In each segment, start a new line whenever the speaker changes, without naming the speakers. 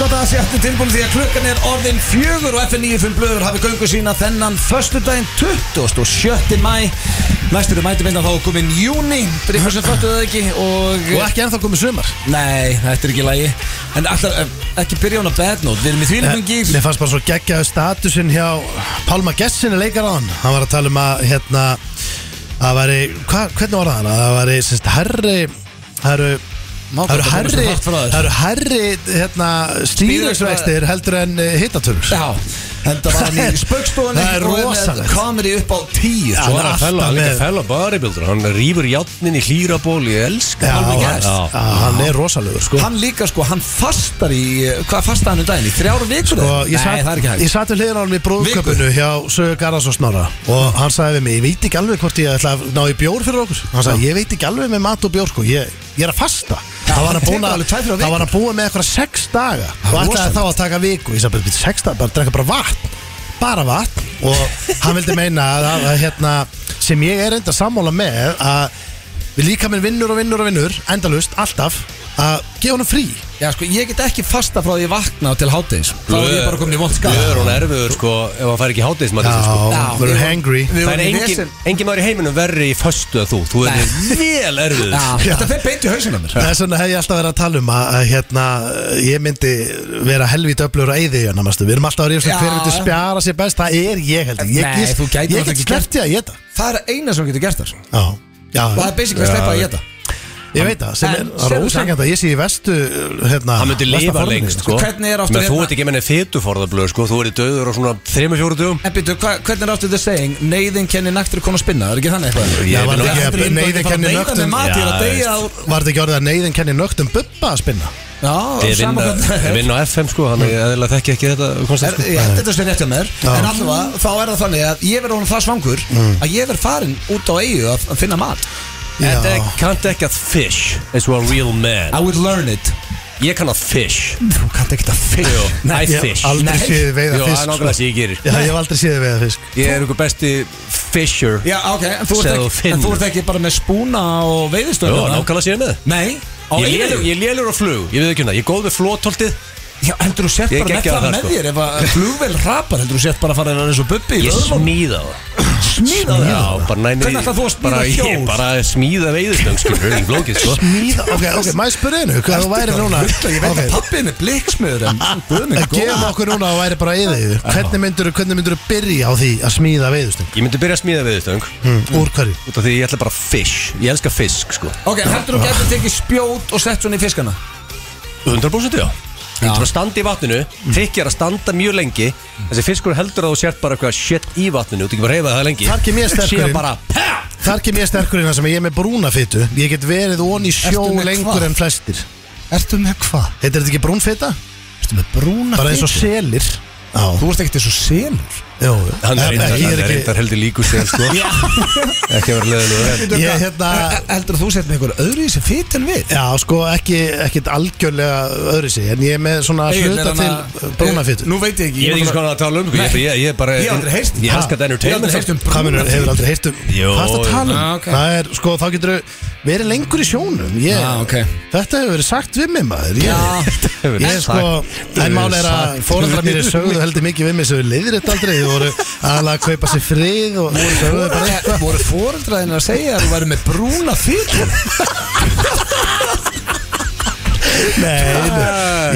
gott að það sé aftur tilbúin því að klukkan er orðin fjögur og FN95 blöður hafi göngu sína þennan föstudaginn 27. mæ Næstur er mæti minna þá komin júni fyrir ykkur sem föttu það ekki og,
Og ekki ennþá komið sumar
Nei, þetta er ekki lægi En alltaf, ekki byrja hún að bad note Við erum í þvílingum gýr
Mér fannst bara svo geggjaðu statusinn hjá Pálma Gessin er leikar á hann Hann var að tala um að hérna að væri, hva, hvernig var það hann? Að það væri, sérst, herri það eru
Má
það eru
gott að koma
herri,
svo hratt frá þér.
það eru herri hérna, stýriksvextir heldur en eh, hittatölur
Já, en það var hann í spöggstofunni
Það er
Og
rosalegt.
með komedi upp á tíu
Já,
svo.
Svo er
alltaf
að fella, hann er ekki
með-
að fella bodybuildur Hann rýfur játnin í hlýraból Ég elska
Já,
Pálma
hann,
Gess.
já, hann er rosalögur sko.
Hann líka sko, hann fastar í Hvað fastar hann um daginn? Í þrjára vikur?
sko,
eða?
ég
Nei, það er ekki
sat,
hægt
ég sat við hliðin á hann í brúðköpunu hjá Sögur Garðars og Snorra og hann sagði við mig, ég veit ekki alveg hvort ég ætla að ná í bjór fyrir okkur hann sagði, ég veit ekki alveg með mat og bjór sko, ég, ég er að fasta
Já,
það var hann
það
búin
tekur
að
alveg tvær, þrjár
það var hann búin með eitthvað sex daga og ætlaði
rosalegt.
þá að taka viku ég sagði, "Bíddu, sex daga, bara drekka bara vatn bara vatn og hann vildi meina að, að, að hérna, sem ég er enda sammála með að við líka minn vinnur og vinnur og vinnur endalust, alltaf, að gefa hann frí
Já, sko, ég get ekki fasta frá því ég vakna til hátins Þá er ég bara komin í vond
Ég er
skala
hún erfiður sko Ef hann fær ekki hátíðismatið
Já,
sko.
Já,
verður
við-
hangry
við-
Það er
vorum í
engin,
vesen.
engin maður í heiminum verri í föstu að þú Þú er
Nei.
vel erfiður
Já, Þetta fyrir beint í hausinn á mér
Þess vegna hef ég alltaf verið að tala um að, að hérna, ég myndi vera helvít öflur á eyði í namastu. Við erum alltaf að ríðast um
Já.
hver myndi spjara sér best, það er ég heldur. Ég,
Nei, þú
ég,
gætir náttúrulega
ég get
ekki
sleppt í að geta.
Það er eina sem getur gert þar Og
Já. Já,
það er basically að
Já,
sleppa að geta
Ég veit það, sem
En
er- það
sérðu
er ósengjand að ég sé í vestu hérna,
Hann myndi
versta
lifa
forminu.
lengst sko
Hvernig er aftur
Men þú
hérna-
ert ekki að menna fytuforðablöð sko Þú ert döður á svona 3-4 dugum
En byrju, hva, hvernig er aftur þau seging Neyðin kenni naktur konu spinna, er ekki þannig eitthvað?
Ég
Já, var
veit
Þetta er
þetta ekki að
nú-
innbæðið
neyðin
bara að
kenni
neyða með
nögtum
mat, ég er
Já,
að deyja á-
Var þetta ekki orðið að neyðin kenni nögtum bubba að spinna?
Já,
Ég vinn
sama
að-
hvernig-
ég vinn á FM sko Þannig að ég þekki ekki þetta
Er-
koncept, sko.
ég held Þetta er sér rétt hjá mér
Já.
En allavega, þá er það þannig að ég verð honum það svangur Að ég verð farin út á eigu að að finna mat
Þetta
Já.
er- kannt ekki að fish As you are a real man
I would learn it
Ég kann að fish
Þú kannt ekki að fisk
Jú,
Nei,
I
Ég
fish
hef aldrei
Nei.
séð þið veiða
Jú, það
fisk
er nákvæmlega sem
sko.
ég gerir
Já, ég hef aldrei séð þið veiða fisk
Ég er einhver besti fisher
Já, ok, en þú, ert
Sem þú
ekki, en þú
finnur.
ert ekki bara með spúna og
Jú,
veiðistöðuna
nákvæmlega sem ég er með
Nei, á
Ég
eigu
lélur, ég lélur á flug, ég veit ekki um það, ég er góð við flótoltið
Já, heldur þú sett
Ég
bara með
geggjaður
það
þar,
með
sko.
þér Ef að flugvel rapar, heldur þú sett bara að fara hérna eins og bubbi í
Ég
vöðvunum?
smíða það
Smíða það
Já, bara næmi
Hvernig ætlar þú að smíða
bara,
hjól?
Ég bara smíða veiðustöng, skilur, ekki flókið, sko
Smíða, ok, ok, maður spyrir einu Hvað þú væri núna
Ég veit
Ok.
að pappin er blikksmiður En guð minn
En gefum
góður.
okkur núna og væri bara í þig Hvernig myndur hvernig myndur byrja á því að smíða veiðustöng?
Ég myndi byrja að smíða veiðustöng
Mm. Úr hverju?
Út af því ég ætla bara fish, ég elska fisk, sko
Ok, heldur þú getur tekið spjót og sett svona í fiskana
100% já Þú getur bara að standa í vatninu,
Mm.
þykjar að standa mjög lengi Þessi fiskur heldur að þú sért bara eitthvað shit í vatninu, þú getur bara að reyfa það lengi
Þar kem ég sterkur
Síðan
inn.
bara, pæ,
Þar kem ég sterkur innan sem ég er með brúnafitu Ég get verið ón í sjó
Ertu með
lengur
hvað?
en flestir
Ertu með hvað?
Heitir þetta ekki brúnfita?
Ertu með brúna
Bara eins og
fitu?
selir Já,
Þú ert ekkert eins og selur
jú
hann er
Ekki-
reyndar-
ég er
hann er
ekki
reyndar heldur líku sér, sko Ekki að vera leðilega
Ég hérna
Heldur þú sett með einhver öðru í þessi fit en við?
Já, sko, ekki, ekkit algjörlega öðri sig En ég er með svona hluta til brúnafitu
Nú veit ég ekki
Ég veit ekki
bara-
svona að tala um, sko, ég,
Nei.
ég, ég er bara
Ég hef aldrei heyrt
Ég elska
Ha?
þetta entertainment
Ég hef aldrei heyrt um
Hvað minnur,
brúnafitu.
hefur aldrei heyrt um
Jó,
Hvað er að tala um?
já, ok.
Það er, sko, þá getur verið lengur í sjónum ég,
Já, ok.
Þetta hefur verið sagt við mig maður ég,
Já.
hefur
Ég
verið
sko,
sagt.
en mál er að
Sagt.
fórandrar mínir sögðu heldur mikið við mig sem við liðir þetta aldrei Þið voru aðalega að kaupa sér frið og sögðu bara
Voru-
eitthvað
Voru fóreldraðin að segja að þú væri með brúna fytu?
Nei, nei,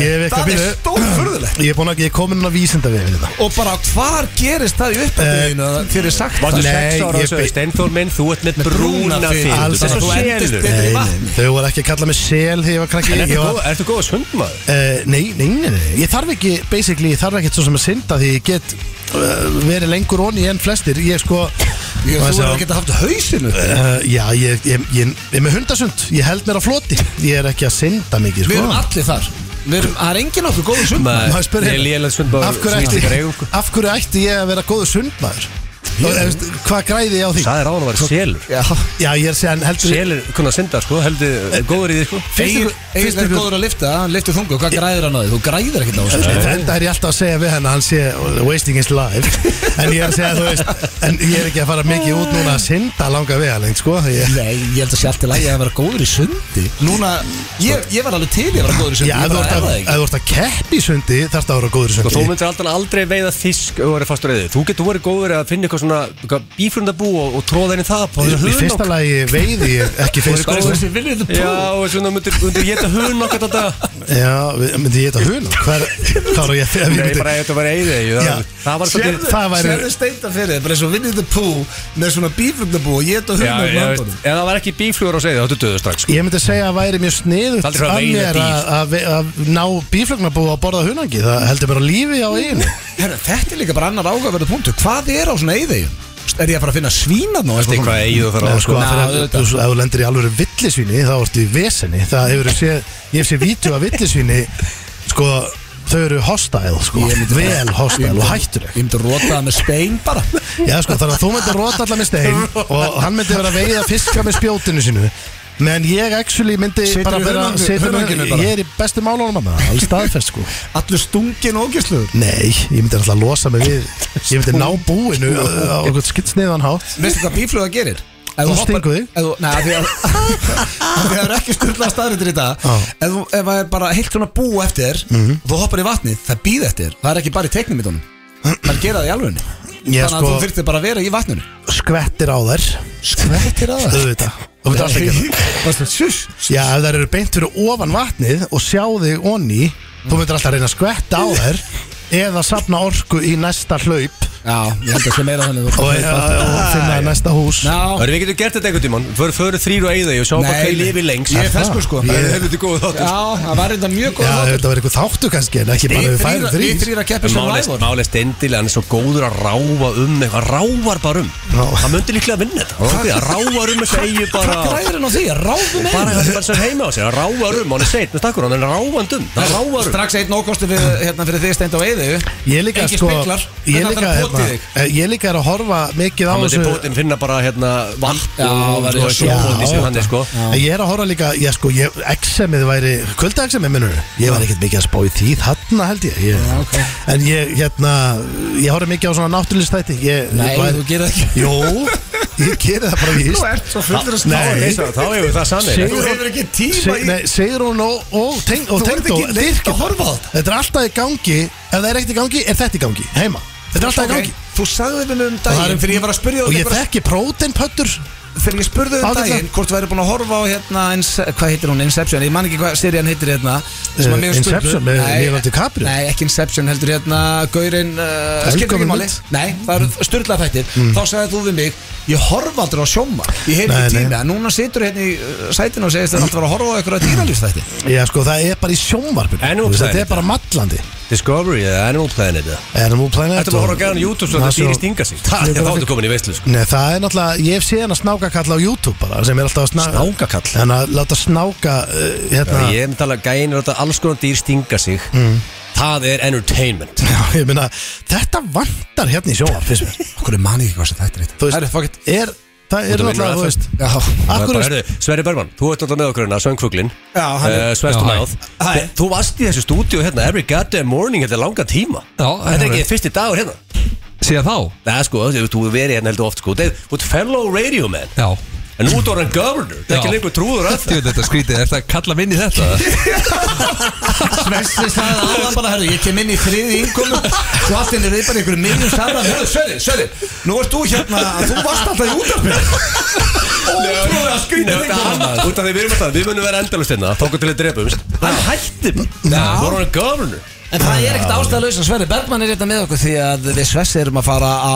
ég hef eitthvað
Það er
býðu
stórfurðulegt
Ég er búin að, ég er komin að vísinda við þetta
Og bara hvar gerist það í
Eh,
uppdeginu að þér er sagt
Vartu
það?
Nei,
sex ára
ég
og sögðu
be-
Steinþór minn, þú ert með brúna
brúna fitu.
fyrir
Alls
Þetta
ekki.
er svo
Þú endist
selur
betur. í
Nei, nei,
vatni.
þau voru ekki að kalla mig sel þegar ég var krakki
En
Ég var-
ertu góð sundmaður?
Eh, Nei, nei, nei, nei, ég þarf ekki, basically, ég þarf ekki svo sem að synda því ég get uh, verið lengur onni en flestir Ég sko,
Ég,
maður
þú
sá-
er ekki að haft hausinu
Uh, já, ég, ég, ég, ég er með hundasund Ég held mér á floti Ég er ekki að synda mikið
Við
sko.
erum allir þar Við erum, það er enginn okkur góður sund
Nei.
Maður spyr
Ég er
hérna,
lélegur sundmaður
af, hverju
sem ég
ætti,
ekki reyði, sko.
af hverju ætti ég að vera góður sundmaður? Og, þú veist, Hvað græði ég á því?
Sæði ráðan að vera selur
Já,
Já, ég er að segja, en heldur
Selur, kunna synda sko, heldur góður í því sko
Fyrst
Egil
ykkur-
Egil
fyrst
er
ykkur-
góður að lifta, hann liftir þungu Hvað græðir hann á því? Þú græðir ekkert á þessu
Þetta er ég alltaf að segja við henn að hann sé oh, wasting his life En ég er að segja, þú veist En ég er ekki að fara mikið út núna að synda langa við hann, sko ég,
Nei, ég held að sé allt í lagi að vera góður í sundi Núna, ég, ég var alveg til í að vera góður í sundi
Já, ef
Ég
þú
bara
ert
er
að,
það
ef
ekki
þú ert að keppi í sundi þarfst að vera góður í
Sko, þú
sundi
myndir aldrei, aldrei veiða fisk og verið fastur eðið. Þú getur verið góður að finna eitthvað svona bífrundabú og, og tróða henni það
Í, í fyrsta lagi veiði ég ekki fisk
Þú ert góður.
sko.
Þessi viljum þú
Já, og svona myndir, myndir geta hún okkur þetta
Já, við- myndi ég þetta hún? Hvað er ég að
Nei,
myndi
bara þetta var eðið
Já.
Það var
Sérðu,
svolítið
það væri-
sérðu steinda fyrir þér, bara eins og vinnið þið pú með svona bífröndabú og geta
Já,
hundar
ég veist, ef það var ekki bíflugur á segið þá ættu döðu strax sko.
Ég myndi segja að væri mjög sniðugt
Aldrei fara að
af
veiða
mér að- að ve- að ná bíflugnabú að borða hunangi Það heldur bara lífi á eiginu
Herra, þetta er líka bara annar áhugaverðu punktu Hvað er á svona eyðegjum? Er ég að fara að finna svínar nú?
Þetta er hvað eigið þú þarf
Nei,
að
sko,
ná,
þegar þú-
auðvitað.
þú- ef þú lendir í alvöru villisvíni þá ertu í vesenni Það hefur séð, ég hef séð vídeo af villisvíni sko, þau eru hostile sko, vel hostile og hættuleg
Ég myndi róta það með stein bara
Já sko þannig að þú myndir róta allar með stein og hann myndi vera að veiða fiska með spjótinu sínu menn ég actually myndi
Situr
bara
í
vera
hunangi-
situr í
hunanginu
hunangi-
bara.
ég er í bestu málunum að það, alveg staðfest sko
Allur stungin og ógjörsluður
Nei, ég myndi alltaf losa mig við ég myndi ná búinu á okkur skitsniðan hátt
Veistu hvað bífluga gerir? Ef
Þú
hoppar-
stingur þig.
ef þú- Nei, af því að af því að það er ekki styrlað staðrindir í dag
Já. Mhm.
Ef þú- ef það er bara heilt svona bú eftir þér og þú hoppar í vatnið, það býð eftir þér. Það er ekki bara í teiknum í tónum Það gera það í alveg
Ég
Þannig að
sko-
þú þurftir bara að vera í vatninu
skvettir á þær
Skvettir að það
auðvitað Þú myndir alltaf gera það. Já, ef þær eru beint fyrir ofan vatnið og sjá þig onni þú myndir alltaf reyna að skvetta á þær eða sapna orku í næsta hlaup
Já, ég held að sé meira þannig
og,
þú-
og, og finna næsta hús
Já,
Hörru, við getum gert þetta einhvern tímann Föru, föru þrýr og eigið og sjá hvað
Nei,
hver
nei.
lifi lengst
Ég er feskur, sko.
Það er þetta góð þáttur
já, það var reynda mjög góð
Já,
þáttur.
þetta var eitthvað þáttu kannski en ekki bara
Þið
við færum
þrír- þið
þrýr
þrýr að um keppa sem ræður
Málega stendilega, hann er svo góður að ráfa um eitthvað, ráfar bara um
Já.
Hann myndi líklega að vinna þetta Hann ákveði að ráfar um þess að eigi bara
Hvað græðir hann á því? Ráðum
Bara hann er bara sem heima á sig, hann ráfar um, hann er seitt með stakkur, hann er ráfand um Hann ráfar um
Strax eitt nókosti fyrir, hérna, fyrir þið steind á eyðu
Ég líka
Engir
sko
speglar. Þetta
ég
þarf
líka,
að pota
hérna,
í þig.
eh, ég líka er að horfa mikið á
Hann myndi
þessu
bótinn finna bara hérna vatn
Já,
og
verður
og
svo-
eitthvað bótinn
Já.
sem hann er sko
En Ég er að horfa líka, ég sko, ég, exemið væri, kvöldaexemið minnur Ég var ekkert mikið að spá í því þarna held ég, ég
Já, ok.
En ég, hérna, ég horfa mikið á svona náttúrlistætti ég,
Nei,
ég væri-
þú gerir það ekki.
Jó, ég gerir það bara víst
ert svo fullur
spá. Nei.
Nei, svo- Þá hefur það sannir
Þú hefur ekki tíma
Sig,
í
nei, Sigrún og, og, teng, og
Þú ert
Tengdó
ekki leitt að horfa á þetta
Þetta er alltaf í gangi, ef það er ekkert í gangi, er þetta í gangi, heima Þetta er alltaf í
Ok,
gangi
Þú sagði mér um
Og það
daginn
er-
Þegar ég var að spurja
Og ég þekki próteinpöttur
Þegar ég spurði um
Ágætlega.
daginn Hvort þú væri búin að horfa á hérna Inse- Hvað heitir hún? Inception Ég man ekki hvað serían heitir hérna sem að mér
Eh,
var spurð.
Inception með
Nei,
Leonardo DiCaprio?
Nei, ekki Inception heldur hérna Gaurinn uh, Skilur ekki
Velkomin
máli
út.
Nei,
Mm.
það eru styrla þættir Þá sagði þú við mig Ég horfa aldrei á sjóma Ég heyri
Nei,
ekki
nei.
tíma En Núna situr hérna í uh, sætinu og segist að alltaf var að horfa á eitthvað dýralýfstætti
Já sko, það er bara í sjónvarpinu
En
Þú veist, Þetta
Planet.
er bara mallandi
Discovery eða Animal Planet eða
Animal Planet
Þetta bara að horfa gæðan á YouTube svo þetta
National-
dýri stinga sig Það er þá ertu komin í veistlu sko
Nei, það er náttúrulega, ég hef séð hann að snáka kalla á YouTube bara, sem er alltaf að snáka
Snákakall?
Þannig að láta snáka, uh, hérna
Ég er með tala gæðin að alls konar dýr stinga sig Það er entertainment
Já, ég meina, þetta vantar hérna í sjónvarp, finnst mér
Okkur er manið ekki hvað sem þetta
Þú veist,
Herru, fuck it.
er, það er
Þú
náttúrulega,
vinnur
þú veist
Já,
Það er
Akkur
bara,
er,
heyrðu, Sverri Bergman, þú ert alltaf með okkur hérna, söngfuglin
Já, hann er-
Sverstu
Já,
náð
hæ.
Eh, Þú- Þú varst í þessu stúdíu hérna every goddamn morning Þetta er langa tíma
Já,
Þetta er ekki fyrsti dagur hérna
Síðan þá?
Nei sko, þú þú hefur verið hérna heldur oft sko Þú þú ert fellow radio man
Já
En nú þú er hann governor, það er ekki
Já.
lengur trúður að
Ég veit þetta skrítið, er þetta að kalla minni þetta?
Svessi sagði áðan bara, herru, ég kem inn í þriði innkomu Svo allt inn er þið bara einhverju minnum saman Hörru, Sverri, Sverri, nú ert þú hérna Þú varst alltaf í útarpinu Ótrúlega skrýta
það Út af því við erum alltaf, við munum vera endalust hérna Tókum til að drepa um Hann hætti bara,
Já.
þú er hann governor
En það er ekkert ástæðalaus að Sverri Bergman er hérna með okkur Því að við Svessi erum að fara á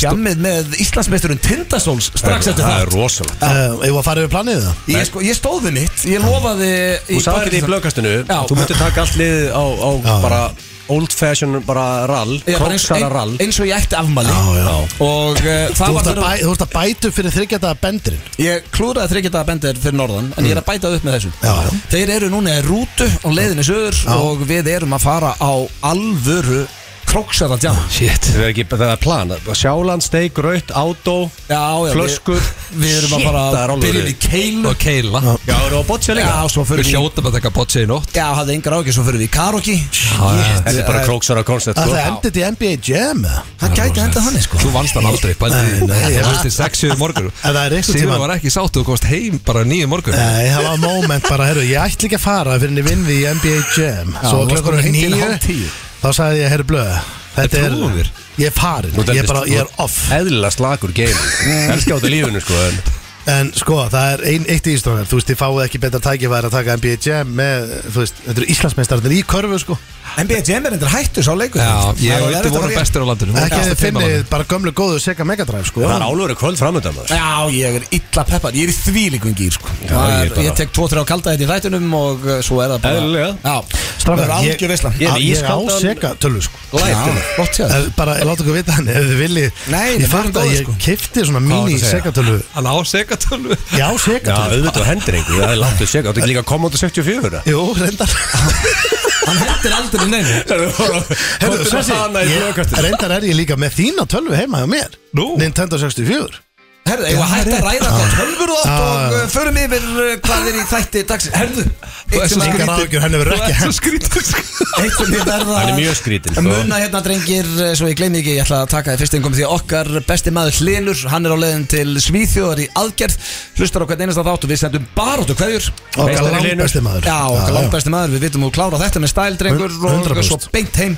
jammið með Íslandsmeisturinn Tindasóls strax eftir
Það er
það
rosalega
uh, ég var að fara yfir planið það
Ég, sko, ég stóði mitt, ég lofaði
Þú sagði þetta í blökastinu
Já.
Þú myndir taka allt liðið á, á bara old fashion bara rall
Já, bara eins,
Kroksara rall
ein, eins og ég ætti afmæli
Já, já.
Og uh,
Þú
það var
ert að
fyrir-
bæ- þú ert að bætu fyrir þryggjataða bendurinn
Ég klúðraði þryggjadaða bendir fyrir norðan En ég er að bæta upp með þessum
Já, já.
Þeir eru núna í rútu á leiðinni sögur Og við erum að fara á alvöru króksar að djama
Shit
Það er ekki, það er plan Sjáland, steik, raut, átó
Já, já,
Flöskur.
Við, við erum að
Shit,
fara
það er
að
alveg
byrja í
verið.
keilu
Og keila
Já, eru á boccia
Já,
líka
svo fyrir
Við
við
hljótum að taka botse í nótt
Já, hafði engar ágjur, svo fyrir við í karaoke
já.
Þetta er bara króksara koncept
Að
sko.
það endið í NBA Jam eða?
Það gæti enda þannig sko
Þú vannst hann aldrei Bælti
Nei, nei,
Þú
ég-
veist þér 6-7 morgun
Ef það er einhvern tímann-
Sigur var ekki sátt Þú komst heim bara 9 morgun
Nei, það var moment bara, herru, ég ætli ekki að fara fyrir en ég vinn við í NBA Jam
þú
Svo
varst
klokkur
komin heim til hálf
nýju
tíu.
Þá sagði ég, herru blöð Þetta
Ég
er,
trúi þér.
ég er farin
Þú
Ég er
dæmdist-
bara, ég er off
Eðlilega slagur game Elskja áttu lífinu sko en
En sko, það er ein, eitt í Íslandar Þú veist, þið fáið ekki betra tækifæri að taka NBA Jam með, þú veist, þetta eru Íslandsmeistarnir í körfu, sko
NBA Jam er endur hættu sá leikur
Já,
Það
ég
er
og Yttu
erfitt að
vorum
fara í-
bestir á landinu
Ekki að þið
Besta fimm á
finnið
landinu.
bara gömlu góðu Sega Megadrive, sko
Það er álöfri kvöld framöndan maður
Já, ég er illa peppar, ég er í þvílíkum gýr sko.
Já,
Það
ég er
er,
bara-
ég tek 2-3 kalda þetta í þættunum og uh, svo er það bara
Eðlilega.
Já, það
Strákar,
er
ég-
algjör veisla
Ég er
Á-
með
Ég á
ískaldan-
Sega tölvu, sko
Já, flott séð
Ef- Eh, Bara, láta okkur vita hann, ef þið viljið
Nei,
Ég
við erum
fatt að
góðir,
ég
sko.
kifti svona
var
mini
það að segja?
Sega tölvu
Hann á segatölu
Já, Sega
Já,
tölvu
auðvitað og hendur einhver Það er langt að segja Áttu ekki líka að koma út á 64 það?
Jú, reyndar
Hann hendir aldrei um neinu
Heyrðu,
Komdu með
Sessi,
hana í
ég-
flugkastið
Reyndar er ég líka með þína tölvu heima hjá mér
Nú?
Nintendo 64
Herðu, ég var hægt að ræða hvað tölfur og allt
Já,
og
já.
uh, förum yfir uh, hvað er í þætti dagsins Herðu, eitt sem
Engar
að-
áhyggjur, henni verður ekki hent
skrítið
eitt sem ég verða
Hann er mjög skrítinn, sko.
sko. Muna hérna drengir, eh, svo ég gleymi ekki, ég ætla að taka þið fyrst einhverjum Því að okkar besti maður Hlinur, hann er á leiðin til Svíþjóðar í aðgerð Hlustar á hvern einasta þátt og við sendum baróttu hverjur
Okkar
Meistari
langbæsti maður
Já, okkar langbæsti maður, við vitum að klára þetta með stæl, drengur og
100%.
svo beint heim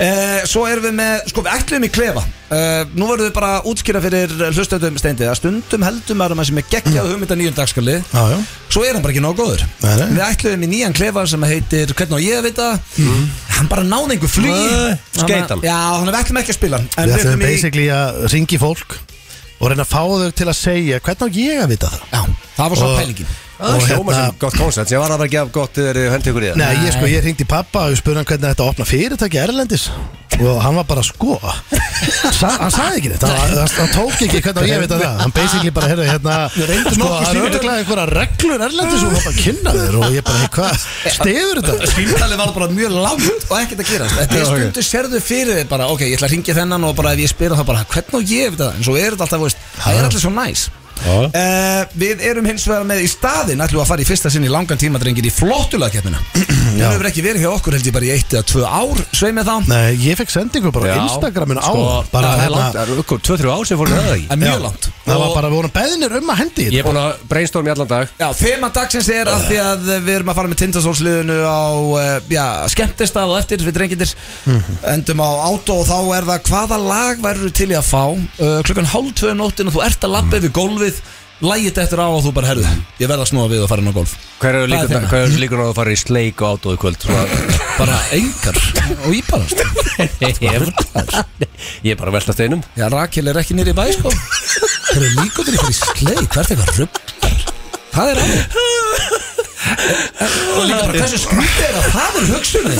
uh, Svo erum við með, sko við ætlum í klefa uh, Nú verðum við bara að útskýra fyrir hlustöndum steindi að stundum heldum maður að maður sem er geggjað hugmynda nýjum dagskalli
Já, já
Svo er hann bara ekki nóg góður
Nei, nei.
Við ætluðum í nýjan klefa sem heitir Hvernig á ég að vita
Mhm.
Hann bara náði einhver flugi
Nei, skeit hann.
Já, þannig að við ætlum ekki að spila hann En
Við
við
ætlum
ætlum í
basically að ringi fólk og reyna að fá þau til að segja hvernig á ég að vita það
Já, það var svo
Og-
pælingin
Það
Og
hljóma
hérna-
sem gott koncept Ég var að bara að gefa gott þegar þið hendur ykkur í það
Nei, ég sko, ég ringdi pappa og spurði hann hvernig þetta opna fyrirtæki Erlendis og hann var bara sko Sa, hann sagði ekki neitt, hann, hann, hann tók ekki hvernig á ég að vita það hann basically bara, heyrðu, hérna sko,
nokkuð
hann
stífur.
örugglega einhverja reglur Erlendis og hann bara kynna þér og ég bara, hey, hvað, stefur þetta?
Svímtalið var bara mjög langt og ekkert að gera Þetta er stundu sérðu fyrir þig bara Ok, ég ætla að ringja þennan og bara ef ég spyr þá bara Hvernig á ég að vita það En svo er þetta alltaf, veist, það er alltaf svo næs
Já.
Uh, við erum hins vegar með í staðin ætlum við að fara í fyrsta sinn í langan tíma drengir í flottulagkeppnina Hún
Já.
hefur ekki verið hjá okkur held ég bara í eitt eða tvö ár sveið með þá
Nei, ég fekk sendingu bara á Instagramin á bara
sko, Það er
hérna,
langt Það eru ykkur 2-3 ár sem fórum við það ekki
En mjög langt
það var bara, við vorum beðinir um að hendi
Ég er búin að brainstorm í allan dag
Já, þema dagsins er að því að við erum að fara með tindastólsliðinu á eh, já, skemmtistað og eftir við drengindir endum á átó og þá er það hvaða lag verður til í að fá uh, klukkan hálf tvö nóttin og þú ert að lappa yfir gólfið lægit eftir á og þú bara herðu ég verð að snúa við og fara inn á gólf
Hver
Það
eru
er
líkur-
þema.
hver eru líkur á að fara í sleik og átóðu kvöld Svona-
bara engar og íbarast
Ég er bara að velta steinum
Já, Rakel er ekki nýri í bæ sko Það eru líkundir ykkur í sleik Hvert eitthvað ruggar Það er alveg Og líka bara hversu skrítið er að það er hugsunni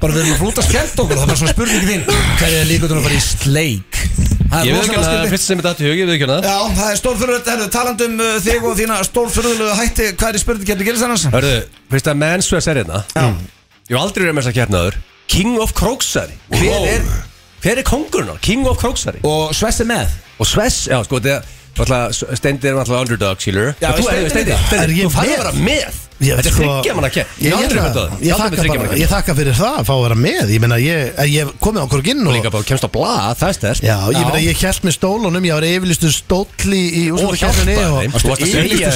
Bara við erum að flúta skemmt okkur Það var svona spurning þín Hver er líkundir að fara í sleik Það er
Ég veit
rosalega
ekki að það er
skrítið
fyrst sem þetta átti í hug Ég veit ekki að það
Já, það er stórfyrðulegt Herðu, talandum uh, þig og þína stórfyrðulegu hætti Hvað er í spurning hérna gerðist annars?
Hörðu, fyrst að mensvers er hérna Ég hef aldrei verið með þess að kérnaður King of Króksari Hver er, hver er kongurinn á? King of Króksari
Og Svessi með
Og Svess, já sko, þetta er Stendir er náttúrulega underdog, skilur
Já,
En þú
Steindi
er
líka.
Stendir,
Er
Stendir,
ég
þú
með?
færði að vera með
Ég
Þetta er
sko-
þryggja manna kemd
Ég-
Ég hef
ég-
aldrei með það
Ég
Ég
þakka
aldrei með þryggja
bara-
manna
ég
kemd
þakka fyrir það að fá að vera með Ég meina, ég, eh, ég hef komið okkur inn og,
Líka bara kemst á blað, það er stærst
Já, ég
Já.
meina, ég held með stólunum Ég var yfirlistu stóll í, í úrslutakeppninni
hjálpaði þeim. Þú
og
varst að segja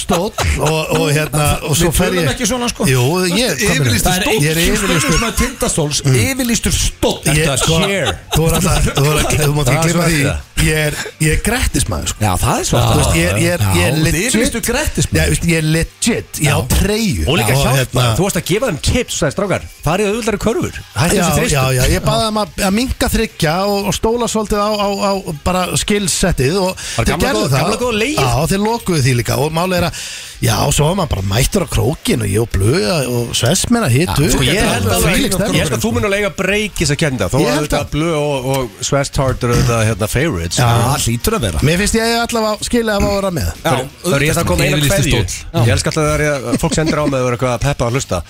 stóll.
Yfirlýstur stóll og, og hérna, og svo
Við
fer
tölum
ég
ekki svona sko
Jú, ég,
Þú ert
kom
yfirlýstur
hérna.
Það er
Ég er
einn
yfirlistu
stundum að tindastóls Yfirlýstur stóll
Ég,
Ertu að
sko,
share?
þú er alltaf, þú er alltaf, þú mátt
Það
ekki
er
glimma því
svarta.
Ég er, ég er grættismæður, sko
Já, það er svart
Þú veist, ég, ég er, ég er legit
Yfirlýstur grættis
Já, veist, ég er legit, ég á treyju
Og líka hjálpa,
hérna-
þú varst að gefa þeim tips, það er strákar Farið auðvöldari körfur Hætti
Já,
þessi þristur
já, já, ég baði þeim að, að minga þryggja og, og stóla svolítið á, á, á bara skilsettið og
Bara gamla góða- gamla góða legið.
Já, þeir lokuðu því líka og málið er að Já, svo var maður bara mættur á krókin og ég og blöða og svesmenn að hitu
Já, sko,
Ég held, alveg,
Fílík
ég held að þú mun að lega breyki þess að kenda Þó
Ég
að
held
þetta
að-
blöð og, og Svest Harder og þetta hérna, favorites
Já, hlýtur að vera
Mér finnst ég allavega skilja að vera með
Já, það er ég að koma eina
Yfirlýsti
hverju
stóll.
Ég elska alltaf þegar ég- fólk sendir á mig að vera eitthvað að peppa að hlusta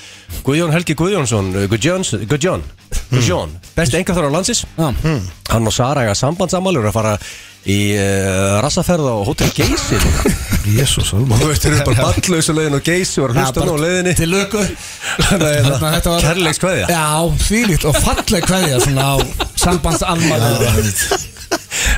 Guðjón Helgi Guðjónsson, Guðjón, Guðjón, Guðjón, besti enga þar á landsins
Já.
Hann og Sara eiga sambandsamali og eru að fara í uh, rassaferð á Hotel Geysi
Jésús, alveg
Þú veist, þeir eru bara ballausa leiðin og Geysi og eru að hlusta nú á leiðinni hérna,
Til löku Þarna, þetta var-
Kærleiks kveðja
Já, þvílíkt og falleg kveðja svona á sambandsalmaður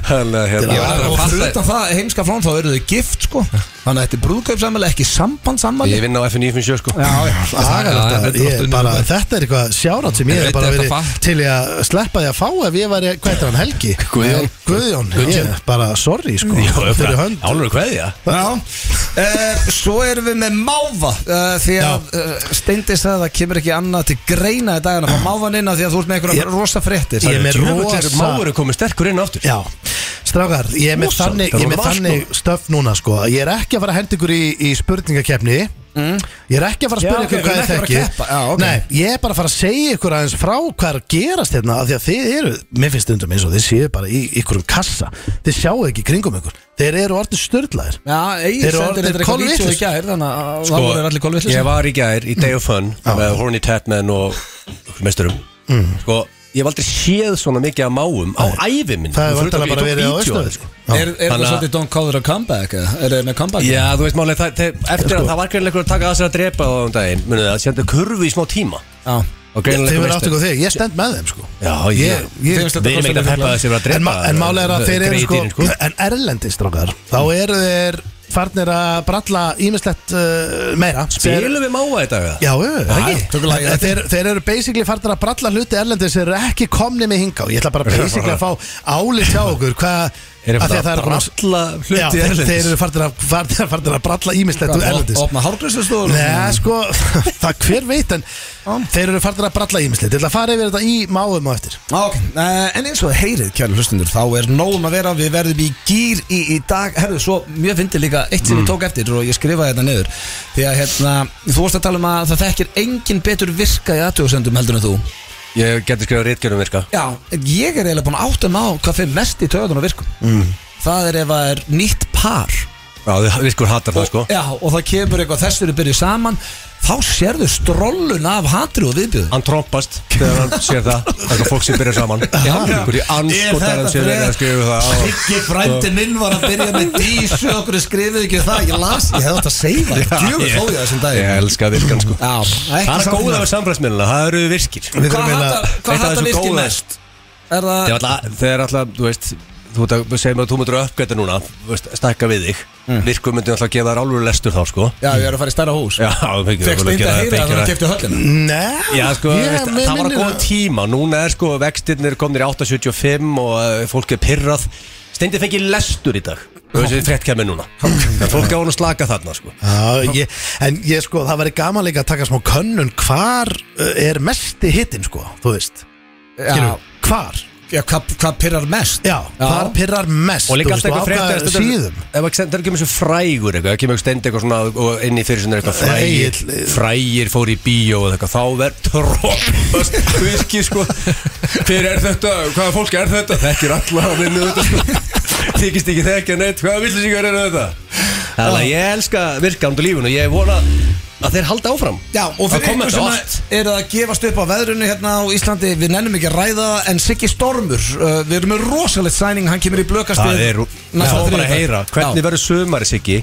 Þannig að
Já,
hérna
og fyrir utan það heimska frám þá eru þau gift sko Þannig að þetta er brúðkaupsamæli, ekki sambandsamæli
Ég vinn á FN957 sko
Já, já
Já, já,
Agalegt,
þetta er
ég
oft
er
unnum
bara,
bara.
þetta er eitthvað sjárat sem ég
Ég
er
veit
bara
þetta
verið
fatt.
til í að sleppa því að fá ef ég væri, hvað er hann, Helgi?
Guðjón.
Guðjón, ég er bara sorry sko, fyrir hönd
Álur kveðja
Já, uh, svo erum við með máva uh, Því að uh, Steindi sagði að það kemur ekki annað til greina í dagana Fá mávan inn að því að þú ert með einhverja rosa fréttir
Ég er með rosa-
Máur er komið sterkur inn aftur
Já, strákar, ég er með
Rosa,
þannig,
þetta
ég er
var
með
margt
þannig stöf núna sko Ég er ekki að fara að henda ykkur í, í spurningakefni Ég er ekki að fara að
Mm. Já,
spyrja
ok,
ykkur
við erum ekki að
hvað ég
fara að
þekki
keppa, já, ok.
Nei, ég er bara að fara að segja ykkur aðeins frá hvað er að gerast hérna af Því að þið eru, mér finnst stundum eins og þið séu bara í ykkurum kassa Þið sjáu ekki í kringum ykkur, þeir eru orðin störðlaðir
Já, Egil
Þeir
sendir
eru orðnir
þetta eitthvað
kolvitlausir.
vítjó í gær Þannig að sko, það voru þeir allir kolvillis
Ég var í gær í Day of Fun
Mm. Já. Mm.
með Horny Tatman og okkur meisturum Sko, ég hef aldrei séð svona mikið af máum á ævi minn
Það er
Fyrir utan
vantanlega bara
ég
verið á
tók vídeó af
austöðu
þeim,
sko.
Er, er það
Þannig að-
svolítið Don't Call It a Comeback? eða? Er það með comeback?
Já, þú veist málega, það, það,
sko-
eftir að það var greinilega einhver að taka að sér að drepa á um daginn Munið það, sendu kurvu í smá tíma
Já.
Og
Þeir
greinilega
eru
einhver
átt ykkur þig, ég stend með þeim sko
Já,
Ég-
ég,
ég-
ég Við erum ekkert að peppa þessi að
En,
drepa
ma en málega er að þeir eru
greyið
sko,
dýrin,
En erlendist rákar Þá eru þeir farnir að bralla Ímislegt uh, meira
Spilum við máa í dag
Já, já, já,
já, tökum lagið
ekki þeir, þeir eru basically farnir að bralla hluti erlendis Þeir eru ekki komni með hinga Ég ætla bara basically að fá álit hjá okkur Hvað
Eru
af því
farnir að
það er komin-
bralla hluti
Já, þeir-
erlendis?
Þeir eru farnir að, farnir, farnir að bralla ímislegt erlendis
Opna hárgræsustofur
Nei, sko, það hver veit en þeir eru farnir að bralla ímislegt Ég ætla að fara yfir þetta í máum á eftir
Ok, uh, en eins og þið heyrið, kjæri hlustundur, þá er nógum að vera, við verðum í gýr í, í dag, herðu, svo mjög fyndi líka eitt
Mm.
sem ég tók eftir og ég skrifaði þetta niður, því að hérna, þú vorst að tala um að það þekkir engin betur virka í aðtjóðsendum heldur en þú.
Ég geti skrifað réttgjörnum virka
Já, en ég er eiginlega búin að átta mig á hvað fyrir mest í töðun og virkum. Mm. Það er ef það er nýtt par.
Já, þið- virkur hattar það sko
Já, og það kemur eitthvað þessur er byrjuð saman, þá sérðu strollun af hatri og viðbjöðu.
hann trompast þegar hann sér það eitthvað fólk sem byrjar saman einhverju anskotar hann sér verið að skrifa það á
Siggi frændi minn var að byrja með dísu okkur skrifið ekki um það, ég las ég hefði átt að seifa,
Já,
djöfum
ég-
þó ég þessum dag
ég elska virkan sko
Já, ekki
það er
samt hérna.
góða
með-
við samfélagsmiðluna, það eru virkir
Við
Hvað
þurfum eiginlega-
hattar-
Eitt af
Hvað hattar
þessu
virki
góða-
mest? Er það
Þegar alltaf- þegar alltaf, þú veist þú ert að segja mig að þú myndir að uppgæta núna þú veist, stækka við þig
Mm.
virkur myndir alltaf að gefa þær alveg lestur þá sko
Já, ég er að fara í stærra hús
já, það fengir
Fekst
alveg
eindi að heyra að það
fengir
var kæfti höllin
Nei,
Já, sko,
ég-
veist,
mér
það var að
minnir
góða tíma Núna er sko vextirnir komnir í 8.75 og uh, fólk er pirrað Steindi fengi lestur í dag Þú veist, við frétt kemur núna Það fólk á hún að slaka þarna, sko
Já, ég, en ég sko, það væri gaman líka að taka smá könnun hvar uh, er mesti hittin sko, þú veist
Já,
Skilur, hvar?
já, hvað hvað pirrar mest?
Já, hvar pirrar mest
Og
þú
líka alltaf eitthvað
veist,
frétt
og á hvaða síðum
Ef ekki sendur kemur svo frægur eitthvað ef Kemur ekki steindi eitthvað svona og inn í fyrir sinna eitthvað frægir
Egill.
Frægir fór í bíó eða eitthvað Þá verð trókast Virki sko Hver er þetta? Hvaða fólk er þetta? Þekkir alla að vinna þetta sko Þykist ekki þekkja neitt Hvaða villisíkar eru þetta? Ah. Þannig að ég elska virkandu lífun og ég vona að þeir halda áfram
Já, og
Það
fyrir
kom
ykkur
þetta
sem
oft.
að- eru að gefast upp á veðrunu hérna á Íslandi Við nennum ekki að ræða það, en Siggi Stormur uh, Við erum með rosalegt sæning, hann kemur í blökastið
Það er Ná
næsta
bara að
þriðjudag.
heyra
Já.
Hvernig verður sömari Siggi?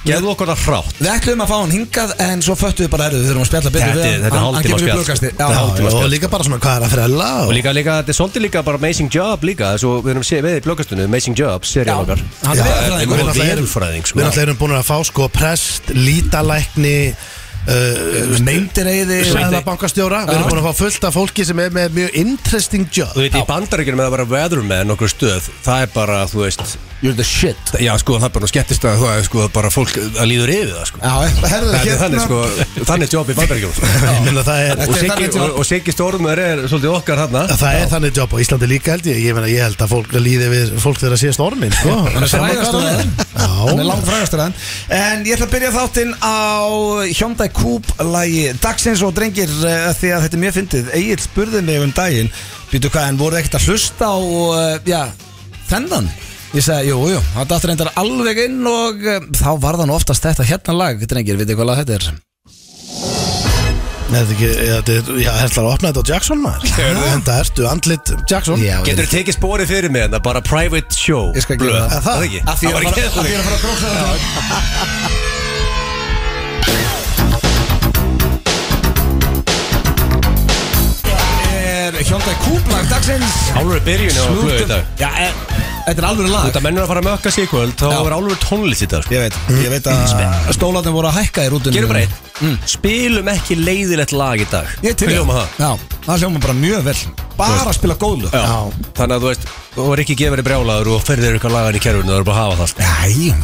Gefðu okkur það hrátt
Við ætlum að fá hann hingað en svo föttum við bara erðu, við þurfum að spjalla betur
Þetta
við
er-
hann.
þetta er
Hann-
hálftíma
Hann kemur í
spjall.
blöðkasti
Þetta er hálftíma.
Já,
Og líka bara svona hvað er að frella
Og líka, líka, þetta er svolítið líka bara Amazing Job líka Svo við erum sé- með í bloggastunni Amazing Job,
já,
serían okkar
hann er
Já, við
veðurfræðingur.
og
náttúrulega erum-
verufræðing, sko.
Við náttúrulega erum búin að fá sko prest, lítalækni uh,
Neindireiði
Sæðabankastjóra Við erum búin að fá fullt af fólki sem er með mjög interesting job
Þú veit, í bandaríkjunum með að vera weatherman okkur stöð Það er bara, þú veist
You're the shit
Já, sko, það er bara skettist að það er sko bara fólk að líður yfir það, sko
Já, herðu
Það er þannig, sko,
hérna
þannig jobb í Bandaríkjum sko.
Ég meina það er
Og
Þetta er
Siggi-
þannig jobb.
og- og Siggi Stórmur er svolítið okkar hann
að Það er þannig jobb á Íslandi líka held ég Ég, meina, ég held að fólk líði við fólk þegar að sé stormin sko.
Hann er
Sama
frægastur
hvað það
að
er.
Hann er
Já.
langt frægastur að En ég ætla að byrja þáttinn á Hyundai Coupe lagi Dagsins og drengir eh, Því að þetta er mjög fyndið Egil spurði mig um daginn Býtu hvað, en voru ekkert að hlusta á eh, Já, þennan Ég sagði, jú, jú, það datt reyndar alveg inn og eh, þá var það nú oftast þetta hérna lag, drengir, veitir hvað lag þetta er?
Nei, þetta er ekki- eða þetta er- Já, ætlar að opna þetta á Jackson maður Þetta ertu andlit Jackson
Já,
Getur þú tekið spórið fyrir mig en það bara private show
Ég skal gera
blöð?
það.
Er Það ekki?
Af því
Það
ég
var
er að
ekki
fara- af því ég er að fara að gróksa þetta er Hyundai Coupe lag dagsins
Álfur byrjun á blöð í
Smooth-
dag
Já, e- þetta er alveg lag
Þetta mennur að fara að mökka sig í kvöld þá
Já.
er Álfur tónlist í dag sko.
Ég veit, ég veit að stólarnir voru að hækka í rútunum
Gerum bara einn Spilum ekki leiðilegt lag í dag
Mm. Ég til
Hljóma það
Já, það hljóma bara mjög vel Bara að spila góðlu
Já. Þannig að þú veist, þú er ekki gefur í brjálaður og ferðir ykkur lagan í kerfinu, það er bara að hafa það sko.
Æ,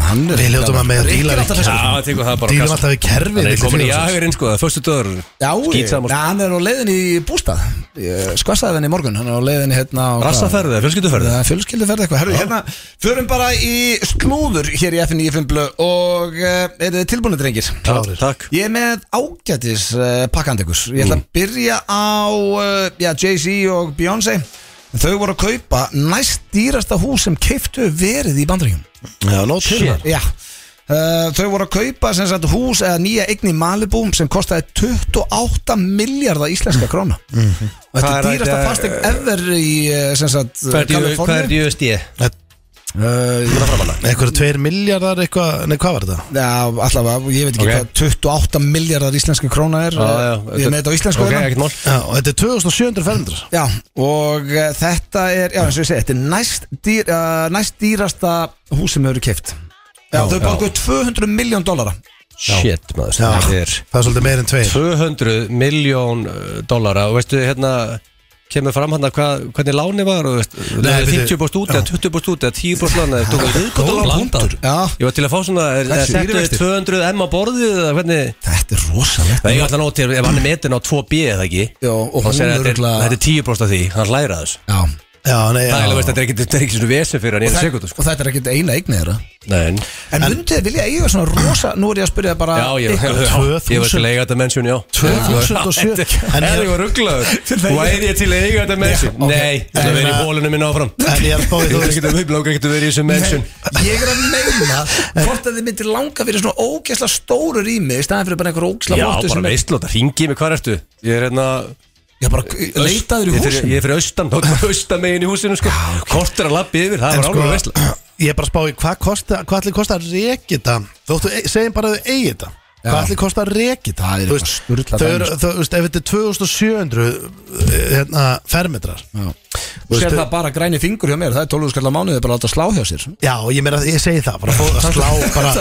hann er
Við hljótum að mega díla
Ríkir
við-
alltaf sko.
Já,
þessu
það tekur það bara
Dýlum alltaf við kerfið
Það er
milli
komin í
fjögur og sex.
jagurinn sko, það er förstu döður
Já, ég-
Skýtsamur
Nei, hann er á leiðin í bústað Ég Skvassaði henni í morgun Hann er á leiðin í hérna á-
Rassaferðu, fjölskylduferðu
Það er fjölskylduferð eitthvað Herru, hérna, förum bara í slúður hér í FNI Fimblu og uh, eru þið tilbúinu, drengir?
Klárir. Takk.
Ég er með ágætis uh, pakkandi ykkur Ég ætla að byrja á uh, já, Jay-Z og Beyoncé Þau voru að kaupa næst dýrasta hús sem keiftu verið í bandaríkjum
Já, nóg til þar
Já Uh, þau voru að kaupa sem sagt hús eða nýja eign í Malibu sem kostaði 28 miljardar íslenska króna og þetta
Mhm. Hvað
er
er
dýrasta
þetta,
fastegn ever í eh, sem sagt Kaliforníu
USD?
uh,
Eitthvað tveir miljardar eitthvað Nei, hvað var þetta?
Já, allavega, ég veit ekki
Ok.
hvað 28 miljardar íslenska króna er eh,
Já, já,
Ég er með þetta á íslensku
Ok,
hérna.
ekkert mál
Já, og þetta er 2700 fermetrar
Já, og uh, þetta er, já eins og ég segi, þetta er næst, dýr, uh, næst dýrasta hús sem hefur keift Já,
Já,
þau
já.
borguðu 200 miljón dollara
Shit maður,
Já,
það er
það er svolítið meir en tveir
200 miljón uh, dollara og veistu hérna kemur fram hann að hvað, hvernig láni var og veist,
Nei, byrju.
50 bóst út eða 20 bóst út eða 10 bóst láni eða tók að viðbóta
Góðan
lán.
punktur.
Já,
Ég var til að fá svona, er- eða
Hversu
settu
stýrivextir?
200 M á borðið eða hvernig
þetta er rosalegt
Það er alltaf nóg til, ef hann er metin á 2B eða ekki
Já, og
þá
hún
segir hann, þetta er
örugglega-
Þetta er 10 bóst af því, hann læra þessu
Já,
Já, nei, já
Það er alveg veist, þetta er ekki- þetta er ekki svona vesen fyrir hann í einu sekundu sko
og þetta er ekkert eina eignið þeirra
Nei,
En myndið þið vilja eiga svona rosa, nú er ég að spyrja þið bara
já, ég
ykkur.
Ég var til að eiga þetta mennsjón, já
2007 En
En ég
ég
var rugglaður Væri ég til að eiga þetta mennsjón?
ok. uh,
Nei, það verið í bólunum minn áfram
En ég er að bóði
Þú
þú veist
veist ekki að við langar ekki að vera í þessu mennsjón
Ég er að meina hvort að þið myndir langa fyrir svona ógæsla stóru rými í staðan fyrir bara einhver ógæsla
Já,
hóttu
bara
sem er
veistlóta, ringi mig, hvað ertu? Ég er hérna
Já, bara leitaður í
Ég er fyrir-
húsinu
Ég er fyrir austan, þá er austan megin í húsinu sko Kortur að lappi yfir, það
En
var
sko,
alveg veistla
ég er bara að spá í hvað kosta, hvað allir kosta að reki þetta Þóttu, e- segjum bara að þau eigi þetta Hvað
Já.
allir kosta að reki þetta
Það er
Þú
eitthvað
veist,
sturlað
Þau
dæmi, sko.
eru, þú veist, ef þetta er 2700 hérna, fermetrar
Þú sér
Veistu-
það bara græni fingur hjá mér, það er 12 skallar mánuði bara að láta slá hjá sér
Já, og ég meira, ég segi það, bara fó, að slá bara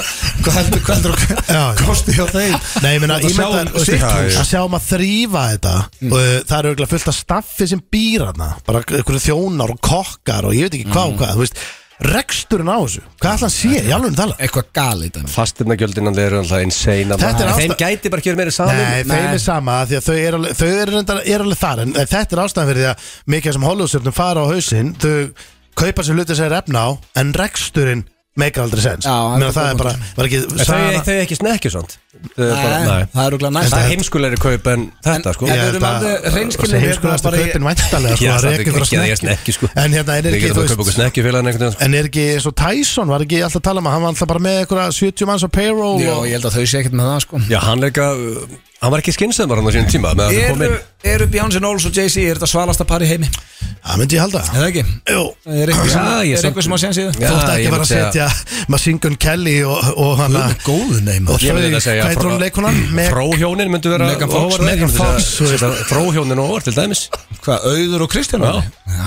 Hvað heldur, hvað
Já.
heldur kosti hjá þeim?
Nei, ég meina,
Þú ert
ég
að sjá Mm.
meina
um
það
sitt
er-
hús.
að sjá um að þrýfa þetta og uh, það eru auðvitað fullt af staffi sem býr hana bara einhverju þjónar og kokkar og ég veit ekki hvað
Mm.
og hvað, þú veist reksturinn á þessu, hvað ætla hann sé, ég alveg um tala
Eitthvað gali þetta
Fastirnagjöldinnan eru alltaf insane að
Þetta er ástæ-
maður- Þeim gæti bara að gera meira
Nei,
salum
þeim er sama, af því að þau eru alveg, þau eru reyndar, er alveg þar en en þetta er ástæðan fyrir því að mikið sem Hollywoodstjörnum fara á hausinn, þau kaupa sér hluti sem er efna á, en reksturinn meikar aldrei sens
Já,
Meina,
þetta er
það er
góð
bara, var ekki
En Þau
sagan-
þau er ekki snekkjusand Það er bara,
Nei,
nei
það er rúglega
Það
næst
er heimskulegri kaup en þetta sko
en
Ég
við
held
erum
að-
alveg hreinskilnir
þessi
hérna
heimskulegasta
bara í-
kaupin væntanlega, sko,
Já,
að
það er
reka ykkur að
ekki að ég
snekju.
snekki sko
En hérna, er
Við
ekki,
getum
þú
að kaupa okkur
veist
snekkjufélagan einhvern veginn sko.
En er ekki eins og Tyson, var ekki alltaf að tala um að hann var alltaf bara með einhverja 70 manns á payroll
Já,
og...
ég held að þau sé ekkert með það sko
Já, hann er ekki að Hann var ekki skynsöðmar hann á sínum tíma með að hann kom
Eru,
inn
eru Beyonce Knowles og Jay-Z, er þetta svalasta par í heimi? Er
Það myndi ég halda
það ekki?
Jú,
Er eitthvað sem,
Já, ég
er
samt-
eitthvað sem að segja síðan?
Já,
þótt ekki
Ah, ég
bara að
myndi
setja Machine Gun Kelly og, og hann að
Góðu neym
Og þau,
Ég myndi að segja
hvað heitir hún
frá-
leikunan?
Fróhjónin myndu vera
Megan Fox,
óvart,
Megan
ég myndi
Fox,
segja-
þú
setja Fróhjónin og til dæmis
Hvað, auður og Kristján?
Já,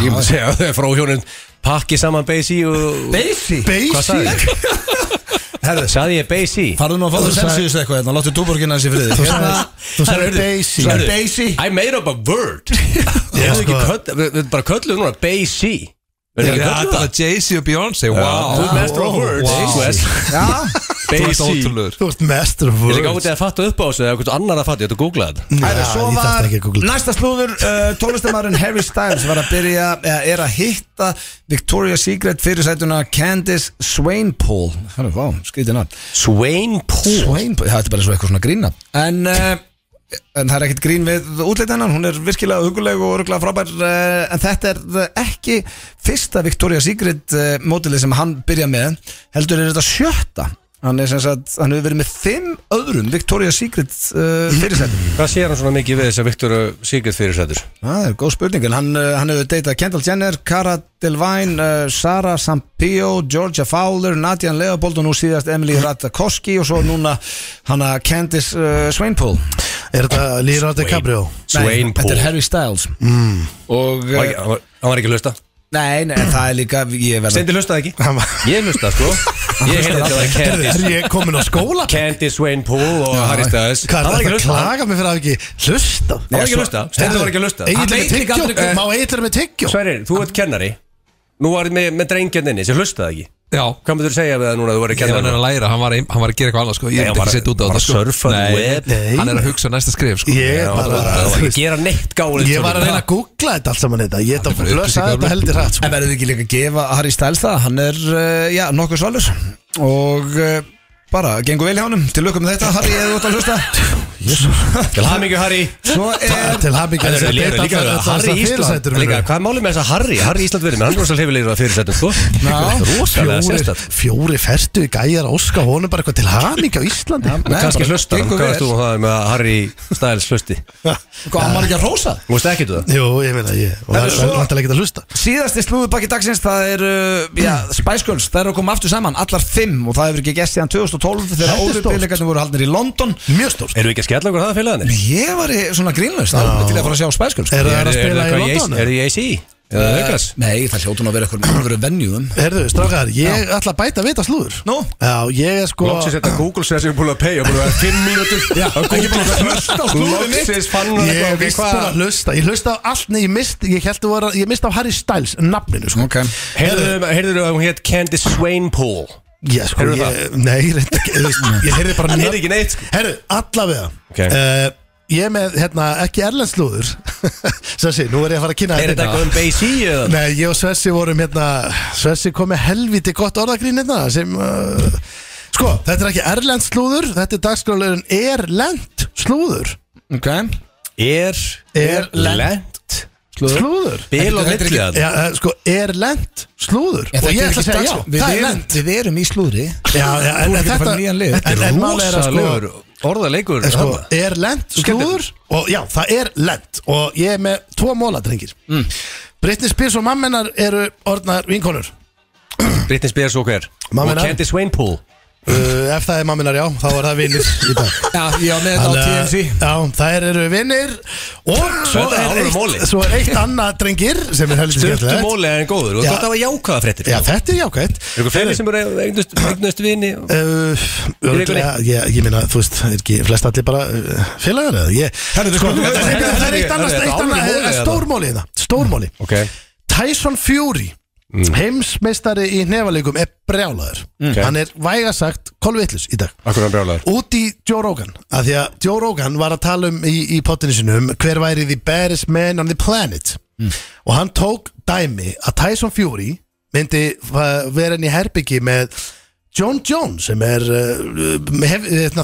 ég myndi segja að fróhjónin pakki saman Beisí og
Beisi
Hvað
Basic
sagði ég? Herðu, sagði ég Beisí?
Farðu nú að fá
Þú
það
sagði-
sensiðist eitthvað hérna, láttu túborginna þessi friði
Þú sagði- þú sagði Beisi.
Sagði Beisi
I made up a word Ég hef
sko.
ekki köll, við, við bara köllum núna Beisi Er það
Ég er
kallað
alltaf
það?
að Jay-Z og Beyoncé, wow
Þú ert master of words Wes.
Þú ert
Jay-Z.
ótrúlegur
Þú ert mestur
Ég er ekki ágætið að fatta upp á þessu eða eitthvað annar að fatta, ég ætla að googla þetta
Næja,
Æra, svo
ég
var
þarf ekki að googla
næsta slúður uh, tónlistamarinn Harry Styles var að byrja eða er að hitta Victoria's Secret fyrirsætuna Candice Swainpool hann er vá, skrítið nátt
Swain Pool
Swainpool, það er bara svo eitthvað svona grína en, uh, en það er ekkert grín við útleit hennar, hún er virkilega huguleg og örgulega frábær uh, en þetta er uh, ekki fyrsta Victoria's Secret uh, mótilið sem hann byrja með heldur er þetta sjötta hann er sem sagt, hann hefur verið með fimm öðrum Victoria's Secret
Mhm.
uh, fyrirsætum
Hvað sér hann svona mikið við þess að Viktor Sigurd fyrirsætur?
Það er góð spurning, en hann, uh, hann hefur deytað Kendall Jenner, Cara Delvine, uh, Sara Sampio, Georgia Fowler, Nadia Leopold og nú síðast Emily Ratajkowski og svo núna hana Candice uh, Swainpool.
Er þetta Líra DiCaprio?
Nei, Þetta er Harry Styles. Og,
Var
uh,
ekki- Hann var- hann var ekki að hlusta
nei, nei, það er líka, ég verða...
Stendi hlustaði ekki
Hann var-
Ég hlusta sko Ég heyrði þetta var
Heyrðu,
Candice
Er ég komin á skóla?
Candice Swain Pool og Harry Styles
Hvað
Hann var
er þetta að
ekki að hlusta
klaga mig fyrir að hafa ekki hlusta?
Hann var ekki að hlusta Stendi var ekki að hlusta
Hann
Egil er
veit
með
líka aldrei
tyggjó
hvað-
Má Egil er með tyggjó
Sverrir, þú ert kennari Nú var með, með drengjarninni sem hlustaði ekki
Já,
Hvað myndur þú segja við það núna að þú verður
ég var hann
kennari?
að læra, hann var, ein, hann var að gera eitthvað annað sko Ég
Nei,
er
hann
ekki
var-
að setja út á
hann
þetta
var
sko
að surfa the web.
Nei, hann er að hugsa næsta skrif sko
Ég er
Já, þú
bara
var
þú
að
veist,
gera neitt gáli
Ég var að reyna að googla þetta allt saman þetta Ég
Það
þetta
er bara
flösaði
upplýsingar-
þetta heldur sko. hrætt
En verður þið ekki líka að gefa Harry Styles það? Hann er, uh, já, nokkuð svalur og uh, bara, gengur vel hjá honum. Til lukkum með þetta, Harry, eða þú ert að hlusta.
Til hamingju Harry
Svo er...
Til hafingar
Það er líka- líka Harry Ísland líka, Hvað er málið með þessa Harry? Harry Ísland verið með hann rosa hlifilegur að fyrirsættum sko
Fjóri,
Rósalega sérstætt
fjóri ferstu gæjar að óska honum bara eitthvað til hamingi á Íslandi
Nei,
Kanski
bara
hlustar hann,
gengur
hvað
vel.
veist þú um það með að Harry Styles hlusti?
Hvað, hann var ekki að rósa?
Þú veist ekki þú það?
Jú, ég meina ég Og
Það er
það er
svo-
vantilega ekki að hlusta
Síðasti slúðubakki dagsins það er uh, já, Spice Girls, það eru að koma aftur saman allar fimm og það hefur ekki gæst síðan 2012 þegar
Þetta er stórt.
óðurbyggleikarnir voru haldnir í London
Mjög stórt
Erum við ekki að skella okkur það félagarnir?
Ég var í svona grínlust þá til að fara að sjá Spice Girls
Er það að spila í
Er
London?
það í AC? Eða Vegas?
Nei, það hljótu nú að vera eitthvað einhverju venjúðum
Herðu, strákar, ég ætla að bæta vita slúður
Nú?
Já, ég er sko
Loksins þetta Google sér sem er búin að pay og búin að vera 5 mínútur að Google
hlusta á slúðrið mitt.
Loksins fann hann
Ég
eitthvað
er
ok,
vist búin
hvað-
að hlusta Ég hlusta á allt Nei, ég mist Ég held þú var að Ég mist á Harry Styles Nafninu, sko
Ok.
Heyrðu- Heyrðu að hún hétt Candice Swainpool
Já, sko
Heyrðu
ég, Nei, ég reyndi ekki þú veist, Ég heyrði bara
Hann
nöfn-
heyrði ekki neitt, sko.
Heyrðu, allavega
Ok.
Eh, Ég er með, hérna, ekki erlenslúður Sessi, nú er ég að fara að kynna
Er þetta eitthvað um Basie eða?
Nei, ég og Svessi vorum hérna Svessi kom með helviti gott orðagrín hérna sem uh, Sko, þetta er ekki erlend slúður Þetta er dagskrálegurinn Erlend slúður
Ok
Er
Er
lent
Slúður,
Bil
Þetta
á
er
milli
ekki-
að
Já, eh, sko, erlend slúður
Ég
Og ég
er
ætla að
ekki
segja já,
dagskrá. Við
það er
erum-
lent
Við erum í slúðri
Já,
Þú
já, en
ert ekki að
þetta
fara í nýjan lið.
en- en málið er að sko-
Rósalegur orðalegur
En sko,
þarna.
er lent slúður og já, það er lent og ég er með tvo móla, drengir mm. Britney Spears og mammenar eru orðnar vinkonur
Britney Spears og hver
Mamma
Og
hennar.
Candice Swainpool
uh, ef það er mammenar, já, þá er það vinnir í dag
Já, ég var með þetta á
Þannig að-
TMC
Já, þær eru vinnir og svo
Þetta er
er,
alvöru móli.
eitt, svo er eitt annað drengir sem er helst
Stöttu
skemmtilegt
mólega en góður Og
Já.
þetta var jákvæða fréttir
Já, þetta er jákvæmt
Er eitthvað fleiri sem eru eignust, eignust vini og-
Uh, örugglega, ég, ég meina, þú veist, er ekki flest allir bara uh, félagar eða ég
Herðu, við
Sko,
skulum-
það sko,
Herðu,
er eitt
herðu,
annað,
þetta
eitt
er
annað,
alvöru móli,
eh, stórmóli
eða?
hérna, stórmóli
Ok
Tyson Fury heimsmeistari í nefalikum er brjálaður
Mm. Ok.
hann er vægasagt kolvitlis í dag
Akkur hann brjálaður
út í Joe Rogan af því að Joe Rogan var að tala um í, í potinu sinum hver væri the baddest man on the planet
Mm.
og hann tók dæmi að Tyson Fury myndi fa- vera inn í herbyggi með John Jones sem er uh,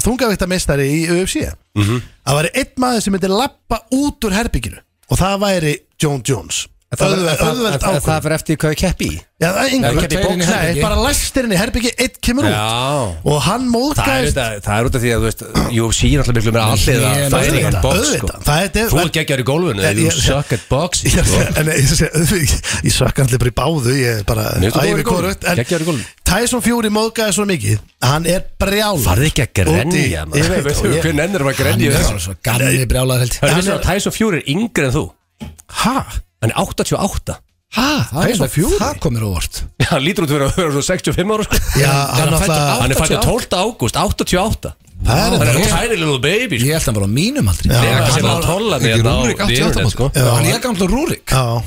þungavíktameistari í UFC
Mhm.
það væri einn maður sem myndi lappa út úr herbygginu og það væri John Jones Auðveld- auðveld ákvörðun.
fyrir eftir hvað ég keppi í
Já, það er
Nei,
engu
keppi í
Nei,
bóks-
Nei, bara læstir henni herbyggi, eitt kemur
Já.
út og hann
Það er,
móðgæðist
þetta- það er út af því að þú veist UFC er alltaf miklu meira
Ég
allir
er
Það er
auðvitað,
eitthvað box sko.
auðvitað. Það er-
Þú er geggjar í Sko. gólfinu
Ég-
Þú
ég-
suck at box
Ég, en, ég, ég, ég, ég sökka allir bara í báðu Ég er bara
Nei,
æfi
þú góður í golfinu.
hvorugt, en
Geggjaður í golfinu.
Tyson Fury móðgæði svo mikið að Hann er brjál
Farði ekki að grenja maður.
Ég veit
Veistu,
og ég-
Hver nennir var að
Ég
grenja í þessu
var svo gamli brjálaður held ég.
Það er þess að Tyson Fury er yngri en þú
Ha?
Hann er 88
Ha, það er
Tyson
svo
Fury?
Það komir óvart
Hann lítur út fyrir að vera svo 65 ára sko
Já, hann
hann
alltaf
Hann er fættur 12. ágúst, 88
Það er
Hann er
þetta.
a tiny little baby sko.
Ég held að hann var á mínum aldrei
Já.
Þegar hann
hann
sem
var-
að tolla
Ekki
mig
Rúrik 88
sko
Hann er gamla Rúrik
Já,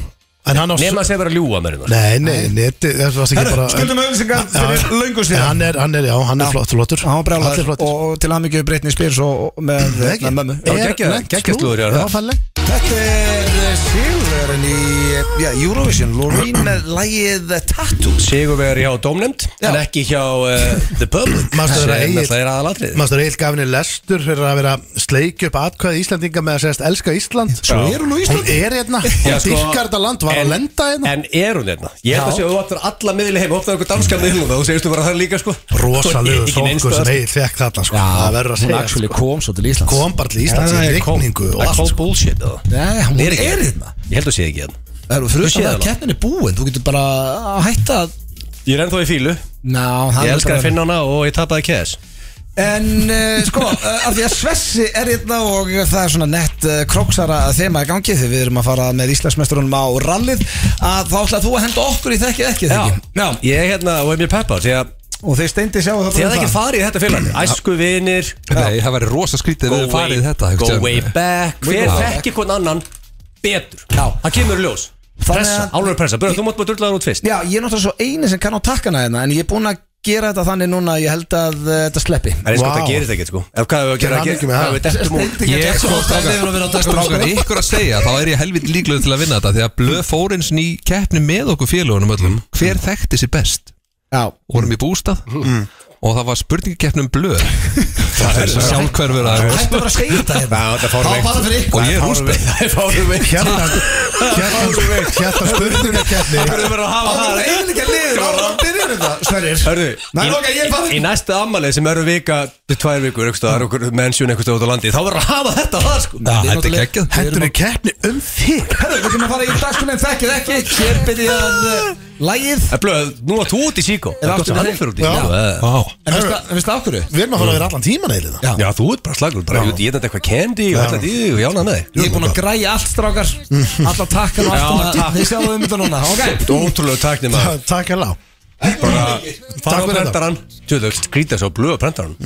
En hann á
Nefn að segja verið að ljúa mér hérna
Nei, nei, neti, það varst ekki
Herru,
bara
skuldum auðlýsingar
Já.
fyrir löngu
En
síðan.
Hann er, hann er, já, hann
Já.
er flott, flottur
Hann var
Allir
brjálæður
flottir.
og til hamingju Brittany Spears og og með
Nei, ekki.
með mömmu
Er
Já,
geggjað-
lent
geggjað
slúður?
slúður, já,
Já,
það.
fælleg
Þetta er Sigurinn í já, Eurovision Loreen með lægið Tattoo
Sigur verið hjá Dómnefnd
Já.
En ekki hjá uh, The Public
Manstu
Sem
þegar Egill-
náttúrulega er aðalatrið
Maður Egil gaf henni lestur fyrir að vera að sleikja upp atkvæði Íslandinga með að segjast elska Ísland
Svo er hún á
Hún
Íslandi
er hérna, hún
Já, sko,
dyrkar þetta land, var
en-
að lenda hérna
En er hún hérna? Ég held
Já.
að séu þú vantar alla miðli heim Opnaðu ykkur danska miðlum og þú segist þú bara það líka sko
Rosalegur
Ekki neins
þókur sem
staðar.
Egil fekk þarna sko. Það verður að segja sko.
kom svo til Íslands
Kom bara til Íslands
Já,
í
já, ég kom.
rigningu og
Það er
allt
cold
sko.
bullshit eða?
Nei, hún
Er
er
ekki
hérna
Ég held að sé ekki hérna
Það eru
Þú séð
fruðsum að
hana?
keppnin er búin Þú getur bara að hætta að
Ég er ennþá í fílu
Ná, það
Ég
er
elskar
bara-
að finna hana og ég tapaði kæs
En uh, sko, uh, af því að Svessi er hérna og það er svona nett uh, króksara þema í gangi þegar við erum að fara með Íslandsmestrunum á rallið að þá ætlaði þú að henda okkur í þekkið ekki
Já,
þekki
já Ég er hérna og hef mér peppar Því að
Og þeir steindi sjá um það
Þið
bara
hafði ekki farið í þetta félag Æsku vinir
Nei, það væri rosa skrítið við farið í þetta
Go
einhvern
way
tímann.
back Hver
go back.
þekki hvern annan betur Já Það kemur í ljós
Þannig
Pressa,
að-
álur pressa Börðu, þú mátt bara drulla það út fyrst
Já, ég er náttúrulega svo eini sem kann á takkana hérna En ég er búinn að gera þetta þannig núna að Ég held að uh, þetta sleppi
Það er eins og
Vá.
það gerist ekkert sko Ef hvað við að
Gerðu
gera
hamingju með
hvað
það.
við dettum úr
Ég er sko Strákar, ykkur að segja, þá er ég helvit líklegur til að vinna þetta Því að blöð fórinsn í keppni með okkur félagunum öllum Hver þekkti sér best?
Já,
Vorum í bústað Og það var spurningakeppnum blöð Mm. Það er sjálfhverfur að
hættu bara að segja þetta hérna
Það er
Það var bara fyrir ykkur
Og ég er húsbegg
Það er fárum við
Hérna, hérna, hérna
Það
spurningakeppni
verður bara að hafa
Það var
það
eiginlega liður, það var að byrja þetta Sverrir
Hörðu,
Nei,
í-
ok, ég er bara-
í næsta ammalið sem eru vika til tvær vikur, einhvers staðar, okkur mennsjun einhvers staðar út á landi, þá verður að hafa þetta það sko
Já, þetta er geggjað
Hendur í keppni um þig
Herru, við komum að fara í dagskunum þekkið ekki Hér byrjað uh, lægið
Það er blöð, nú að þú út í síkó
Er aftur með
að hann
þig?
fyrir út í
Já.
síkó eh.
En veistu það- veistu það okkur?
Við erum að fara að vera allan tíman eða það
Já, þú ert bara slagur, bara ég ég þetta eitthvað candy og alltaf því og jána með þig
Ég er búinn að græja allt strákar Alla takkan og
Já,
allt
takk.
Þið sjáum um þetta núna, ok
Þú er ótrúlega taknir maður
Takk hérna á
bara
Takk
fara á
fyrir þetta.
prendaran Tjóðu, skrýta svo blöð á prendaran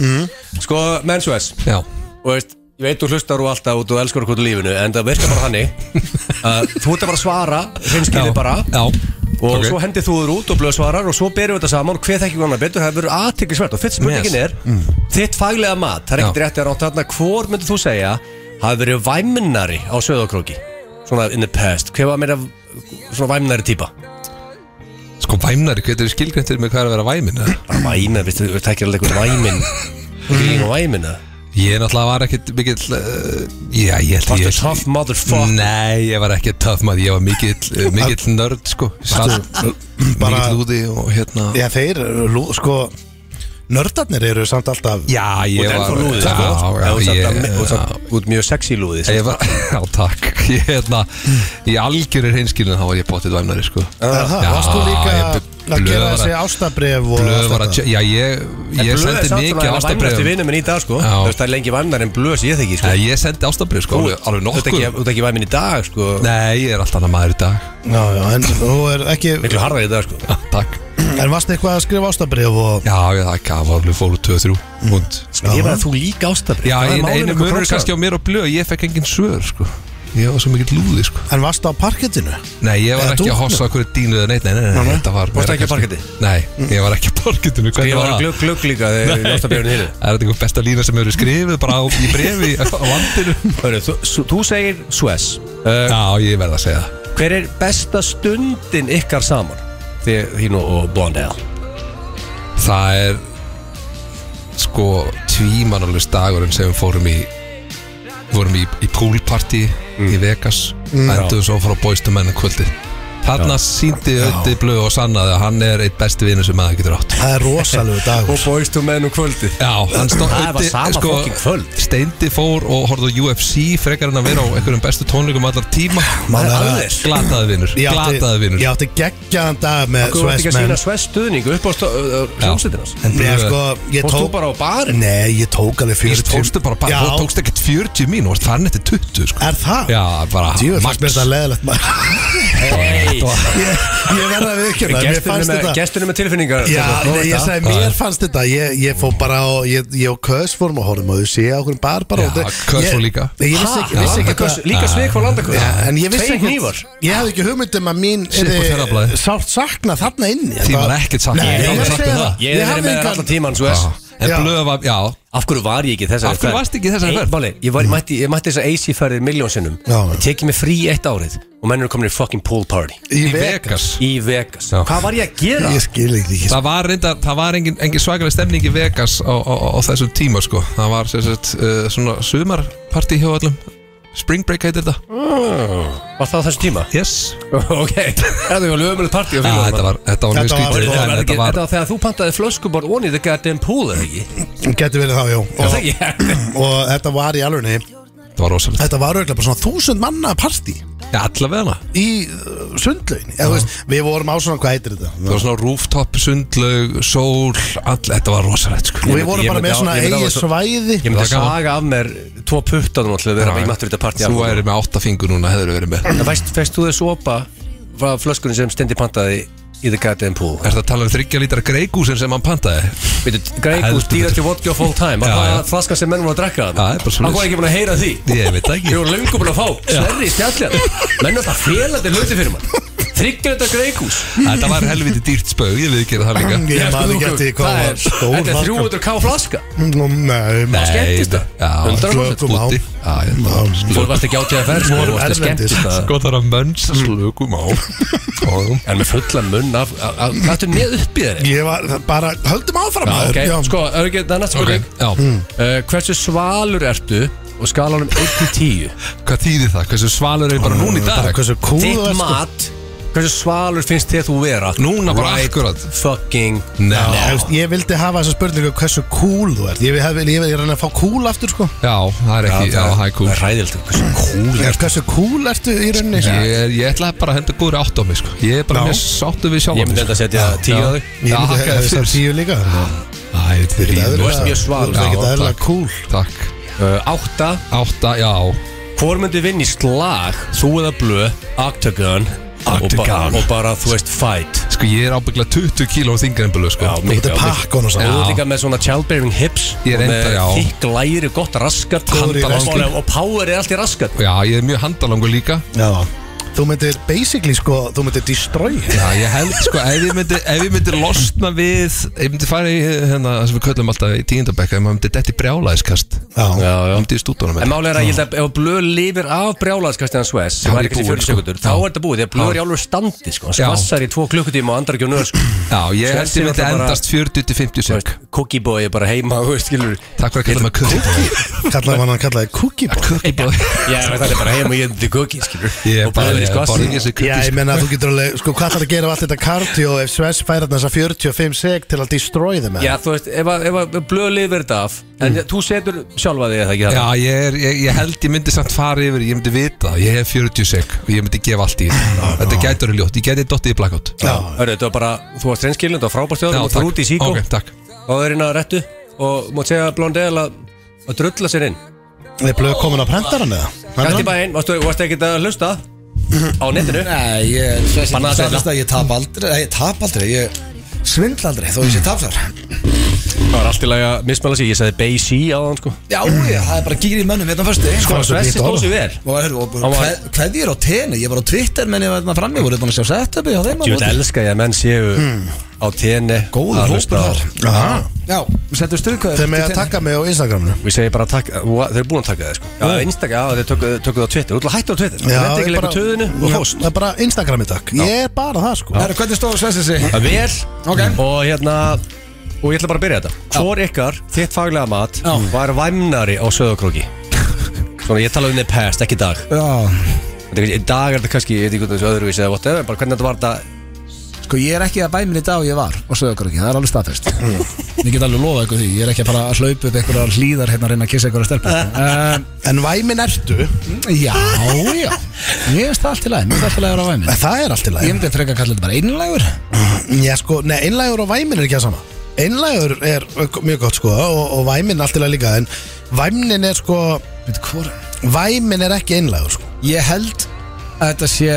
Sko, menn svo þess
Já,
og veist, ég veit þú hlustar og alltaf og þú elskar okkur til lífinu, en það virkar bara þannig að þú ert að bara að svara hreinskilið bara
já
og
Ok.
svo hendið þú þur út og blöð svarar og svo berjum við þetta saman og hver þekki hvernig betur það verður aðtiklisvert og fyrst spurningin
Yes.
er þitt faglega mat, það er ekkert
Já.
rétt að rátt þarna hvor myndir þú segja hafi verið væminnari á söðokróki svona in the past, hver var meira svona væminnari típa
Sko væmnari, hvernig er skilgræntir með hvað er að vera væmin eða?
bara væminn, veistu, þú tekir alveg eitthvað væminn
Mm.
Grín og væminna
Ég náttúrulega var ekkit mikill uh, Já, ég held að
Varstu
ég Mm,
tough motherfucker
Nei, ég var ekki tough maður, ég var mikill, uh, mikill nörd sko Satt,
uh, bara-
mikill úti og hérna
Já, þeir, eru lú- sko Nördarnir eru samt alltaf
Já,
Þú
ég
ert
var
ennþá lúðið
sko.
Já, já, ég, já,
Þú ert mjög sexy sko. lúðið
ég var, já, takk Ég, hérna, í algjörir hinskilin þá var ég bóttið væmnari sko
Er það?
Já,
Varst þú líka
ég-
að
blöð
gera
var að-
þessi ástabref og
Blöð var
allt
að,
þetta?
já, ég, ég sendi mikið
Væmnasti
ástabrið
vinnum minn í dag sko
Já.
Þú veist það er lengi væmnar en blöð sem ég þekki sko
Ég sendi ástabrið sko, alveg, alveg
Þú ert
nokkuð
ekki- Þú ert ekki væminn í dag sko
Nei, ég er allt annað maður í dag
Já, já, en þú er ekki
Miklu harðar í dag sko
Já, Takk
En varst eitthvað að skrifa ástabref og
Já, ég, það gaf alveg fóru 2-3
Mm.
Mund
Ég var að þú líka ástafri
Já, ein, einu mörgur kannski á mér og blöð Ég fekk engin svör, sko Ég var svo mikill lúði, sko
En varst á parkettinu?
Nei, ég var
Eða
ekki að
dúknu?
hossa okkur dínu eða neitt Nei, nei, nei, nei, þetta var
Varstu ekki
meira
á
kannski-
parketti?
Nei, ég var ekki á parkettinu Hvernig
Ég var
var það?
glögg glögg líka þegar ástafriðinu hinn
Er þetta einhver besta lína sem hefur skrifið bara á, í brefi á vandinu?
Hörru, þú- þú- Þú segir Suez Uh,
Já, ég verð að segja það.
Hver er besta stundin ykkar saman? Þið hinn og Blondell
Það er sko tvímanalust dagurinn sem við fórum í vorum í, í poolparty í Vegas enduðum svo frá bóistum mennum kvöldið þarna síndi ötti blöð og sannaði að hann er eitt besti vinnu sem maður getur átt
Það er rosalegu dagur
boystu menn og kvöldi
Já, hann stóð
Það var sama fucking kvöld.
Steindi fór og horfði á UFC frekar en að vera á einhverjum bestu tónleikum allar tíma
Maður er
alveg.
Glataði vinnur
Ég átti-
Glataði vinnur
Ég átti geggjaðan dag með
Þú ert ekki að
Svesmenn
sína Suez stuðning upp á uh, sjómsveitinans
En
Blöð.
ég sko, ég
Fórst þú
tók
bara á barinn?
Nei, ég tók alveg
Þú
40
tókstu bara, bara
Já,
þú tókst ekkert 40 mín og varst farin eftir 20 sko.
er það?
Já, bara
Jú, fannst
max.
mér þetta leðilegt maður
Hey,
Nei.
Ég, ég verða að viðkjöna Mér fannst þetta
Gesturinn með tilfinningar
Já,
Nú
nei,
er
ég
þetta.
sagði, mér fannst þetta Ég, ég fó bara og ég, ég og Kös fórum að horfum og þau sé á okkur bar bara
Já,
og þetta-
Kös
ég-
fór líka.
Nei, Ég vissi ekki, vissi ekki
Landakvöss, líka svik frá landakvöss
Já, en ég vissi
Tveir
ekki
hnífar.
Ég hafði ekki hugmynd um að mín
Sitt hvor
yrði
þeirra blaði.
Sárt sakna þarna inni
Því
Þetta-
var ekkert saknað.
Nei,
Ég
ég
hafði
segi
sagt um
það
það.
Ég er
hafði
með
engan-
allan sko. tíman svo
Já.
þess
En
Já.
blöð var, já
Af hverju var ég ekki þess að
Af hverju varstu ekki í þessari ferð?
Máli, ég, var, ég, mætti, ég mætti þess að AC ferðir miljónsinnum
Já.
Ég tekið mig frí eitt árið Og menn eru komin í fucking pool party
Í
Í
Vegas
Vegas
Í Vegas
Já.
Hvað var ég að gera?
Ég skil ekki ekki
Það var reynda, það var engin, engin svakalega stemning í Vegas á, á, á þessum tíma sko Það var sem sagt uh, svona sumarparti hjá öllum Spring Break heitir þetta
Var það á þessum tíma?
Yes
ok Það var lögumöld party á
Já,
félagum
þetta var, þetta var
Þetta
mjög
var-
skrítið
þetta
en
Var
Þetta
ekki-
var,
Þetta var þegar þú pantaði flöskubor onni the goddamn pool eða ekki?
Gæti verið þá, já
Það
Og,
ekki?
og þetta var í alvegni
þetta var rosalegt
Þetta var auðvitað bara svona þúsund manna partí
Já, allavega hana
Í uh, sundlaun Eða, þú veist, Við vorum á svona, hvað heitir þetta?
Það var svona rooftop, sundlaug, sól, all, þetta var rosalegt sko
Og við vorum
ég
bara
myndi
með
á-
svona
ég myndi á-
eigi svæði
Ég myndi að
Það var gaman.
saga af mér tvo puttanum alltaf þegar ég mættur þetta partí
Þú
alveg.
væri með átta fingur núna, hefur verið með
En veist, fæst þú þessu opa frá flöskunum sem stendi pantaði í The Goddamn Pool?
Er þetta að tala um 30 lítra greikúsin sem hann pantaði?
Veitu, Gregus,
Heldur
dýrast
betur.
í vodka of all time Var
Já,
það
já.
flaskan sem menn voru að drekka það?
Já, það er bara svoleiðis.
Akkur ekki búin að heyra því
Ég veit það ekki
Ég voru löngu búin að fá Sverri í stjalljan Menn er það félandi hluti fyrir maður Þryggjur þetta Gregus
Þetta var helviti dýrt spaug, ég við gera það líka
Ég maður ekki eftir því hvað var stór
Þetta er 300k flaska
Nú, Nei, maður
skemmtist það? 100%.
það? Já, úti Já,
Ná,
ég-
Þú varst ekki á TFR sko,
Vorum
þú varst að
erlendis.
skemmtist það
Sko það er að mönns að slökum á Og
En með fulla munn af af- af- Hvað ertu með upp í þeirri?
Ég var bara, höldum áfram
Já,
maður.
ok,
Já.
sko, er ekki, það er næsta
Ok,
spurning
já
uh, Hversu svalur ertu og skalanum 1-10
Hvað þýðir það? Hversu svalur er ég bara núna í dag?
Bara Hversu cool
Þitt
þú ert, sko.
mat Hversu svalur finnst þið þú vera
Núna bara akkurat
Fucking
Nei
Já, veist, Ég vildi hafa þessa spurningu hversu cool þú ert Ég hef vel, ég vil reyna að fá cool aftur sko
Já, það er ekki, já, það er cool
Það er ræðilt Hversu cool
Ég- Hversu cool ertu í rauninni sko?
Ég, er- ég ætla bara að henda góðri átt á mig sko. Ég er bara
Já.
mjög sáttu við sjálf
Ég myndi enda að setja 10 á þig
Ég myndi
þakka
hefði
þér
þess að
fyrir.
tíu líka sko.
Æ, þetta er
eðlilega-
ríður
Þú ert mjög svalur.
Þú ert ekki
Já,
eðla
takk.
cool
Takk
Uh, Átta
Átta, já
Hvor myndi vinna í slag Þú eða blö Octagon og ba-
Octagon.
Og bara þú veist fight
Sko ég er ábyggla 20 kíló þingar en blöð sko
Þetta er pakkon og
Og þú
svo
ert líka með svona childbearing hips
Ég er
og
enda,
með
já.
Þykk læri, gott raskat
Góður í
handalangur.
wrestling.
Og power er allt í raskat
Já, ég er mjög handalangur líka
Já. Þú myndir basically sko Þú myndir destroy
Já, ég held, sko, ef ég myndi, ef ég myndi losna við Ef ég myndi fara í, hérna, það sem við köllum alltaf í tíundabekka Ef maður myndi detti brjálæðiskast
Já.
Já, myndi í stúdónum
En málega er að ég held að ef Blöð lifir af brjálaðskastiðan Sves sem
Þá er
væri kannski
búin,
40
sko.
sekundur, þá er þetta búið því að Blöð er í alveg standi sko, hann
Já.
skvassar í tvo klukkutíma og andrar ekki á nöð sko.
Já, ég held
Svensi
ég
var
myndi
það bara-
endast 40-50
Þú
sek
veist, Cookie boy er bara heima þú veist, skilur
Takk fyrir að kalla mig kukki
Kallaði hann hann kallaði cookie boy
Kukki bóð
Já, það er bara heima og ég er the cookie skilur
Ég er
og Blöð
bara,
er í
ég er bara í
skvassi
þessu
Já,
kukki
ég menna að þú getur alveg, sko, hvað þarf að gera af allt þetta cardio ef Sves færa þess að 45 seg til að destroy þeim eða?
Já, þú veist, ef, að- ef, ef Blöð lifir þetta af en þú setur sjálfa þig eða ekki það
Mm. Já, ég, er, ég, ég held ég myndi samt fara yfir, ég myndi vita það. Ég hef 40 sek og ég myndi gefa allt í þetta Þetta gætur er ljótt, ég gæti dottið í blackout
Já.
Hörru, þetta var bara, þú varst reynskilin, þú var frábært
Já,
þjóðum og þú út í síkó
Ok, takk
og það er inn að rettu og mátt segja Blondel að, að drulla sér inn
Er blöð komin á prentaran eða?
Gætt í bæinn, varstu, varstu ekkert að hlusta á netinu?
Nei, ég
Bannað að
Sann
sveifla.
að ég tap aldrei Nei, ég tap aldrei Ég svindla aldrei Þó ég sé tap þar
Það var allt í lagi að mismæla sig, ég sagði Bay-C á hann sko
Já, ég, það er bara gýr í mönnum Hérna fyrstu
Sko,
var svo
Svessi
fínt
stóð
orð.
sér vel
Og hérna, og
Hann var-
hvað- hvað ég er á tenni Ég var á Twitter menn ég var þarna frammi Voru búin að sjá setupi á þeim
Ég vil
og-
elska ég að menn séu á tenni
Hmm. Góður
að
hópur
hlusta á.
þar
Aha.
Já, settum styrkvæður
Þeir með að taka mig á Instagraminu
Við segjum bara takk, þau eru búin að taka það sko Já, Instagram, já, þau tökku tökku það á Twitter Þú ætla að hætta á Twitter, þú veit ekki
ég
leikur töðinu og
Já,
host
Það er bara Instagrami takk Ég er bara það sko
Herru, hvernig stóðu Svessi sig?
Það er
Ok.
vel og hérna Og ég ætla bara að byrja þetta Hvor ykkar, þitt faglega mat,
Já.
var væmnari á söðokróki Svona, ég tala um þið past, ekki í dag
Já,
Þetta er kannski- Í dag er þetta kannski, ég veit ekki hvernig þessu öðruvísi eða whatever Bara hvernig þetta var þetta
sko ég er ekki að bæmin í dag og ég var og sögur okkur ekki, það er alveg staðfest Ég get alveg lofað ykkur því, ég er ekki að fara að hlaupa upp einhverjar hlýðar hérna að reyna að kissa einhverjar stelpur um,
En væmin ertu
Já, já Mér finnst það allt í lagi, mér finnst allt í lagi að vera
en
bæmin
Það er allt í
Ég
lagi
myndi frekar að kalla þetta bara einlægur
Já sko, nei, einlægur og væmin er ekki að sama Einlægur er uh, mjög gott sko Og, og væmin allt í lagi líka En væmnin er sko
Veitu hvor?
Væmin er ekki einlægur sko
Ég held að þetta sé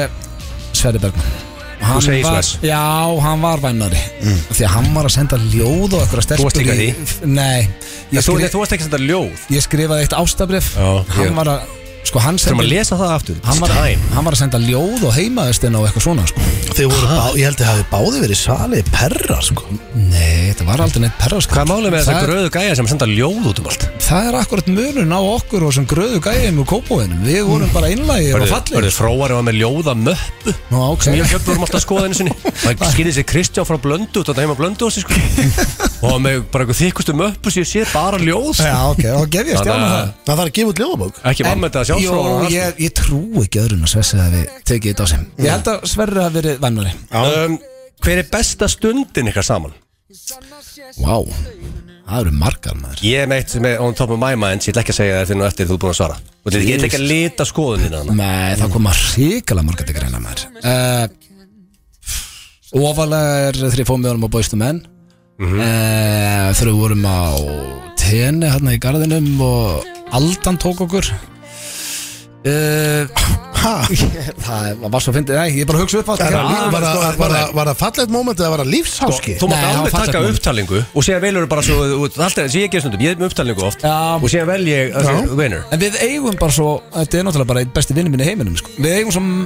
Sverri Bergman Hann
segir
var-
svoleiðis.
Já, hann var vænari Því að hann var að senda ljóð og eitthvað stelpur
varst líka
í- Nei ég,
Þú
skri,
þú varst ekki að senda ljóð
ég skrifaði eitt ástabrif
Já,
Hann
ég-
var að Sko, hann
Þurfum að
sendi
lesa það aftur
Hann var,
Time.
hann var að senda ljóð og heimaðistin og eitthvað svona sko.
Þau voru, bá, ég held að hafi báði verið salið perra sko
Nei, þetta var aldrei neitt perraskap
Hvað er málið með þessa
það,
gröðu gæja sem senda ljóð út um allt?
það er akkurat munun á okkur og sem gröðu gæjum og kópóinum Við
Mm.
vorum bara einlægir og
Verður
fallegir
fróari var með ljóða möppu
Nú, ok
sem ég höfður um alltaf að skoða henni sinni Það skýrði sér Kristján frá Blöndu og þetta heima Blöndu og sko og hann með bara eitthvað þykustu möppu sem ég sé bara ljóð sko.
Já, ok, þá gef ég stjána
Þannig
það
að-
Það þarf að gefa út ljóðabók
Ekki var með þetta
Jó,
sjálfsfróðan
ég, ég trú ekki öðrun að Sversi hafi tekið þetta á sem Ég held að Sverri hafi verið vennari
um, Hver er besta stundin ykkar saman?
Vá, það eru margar maður
Ég er meitt með on top of my mind Ég ætla ekki að segja þér fyrir nú eftir þú er búin að svara Og þetta er ekki að lita skoðunina þarna.
Nei, það koma hrikalega margar til greina maður uh, Ofalega er þegar ég fóð með honum á Boyz II Men uh, Þegar við vorum á tenni hérna í garðinum og Aldan tók okkur uh,
Ha?
Það var svo fyndið, nei, ég bara hugsa upp á
Var
þetta
það- Ah, var það- var það- Sko, var það fallegt moment eða var það lífsháski?
Þú mátt
Nei,
alveg
hann var
taka
fallegt
upptalingu Og séðan velur bara svo þú- þú- Allt er sem ég gerir stundum Ég er með upptalingu oft
Já.
Og séðan vel ég
Já.
Winner
En við eigum bara svo, þetta er náttúrulega bara einn besti vinnum minn í heiminum sko. Við eigum svo m-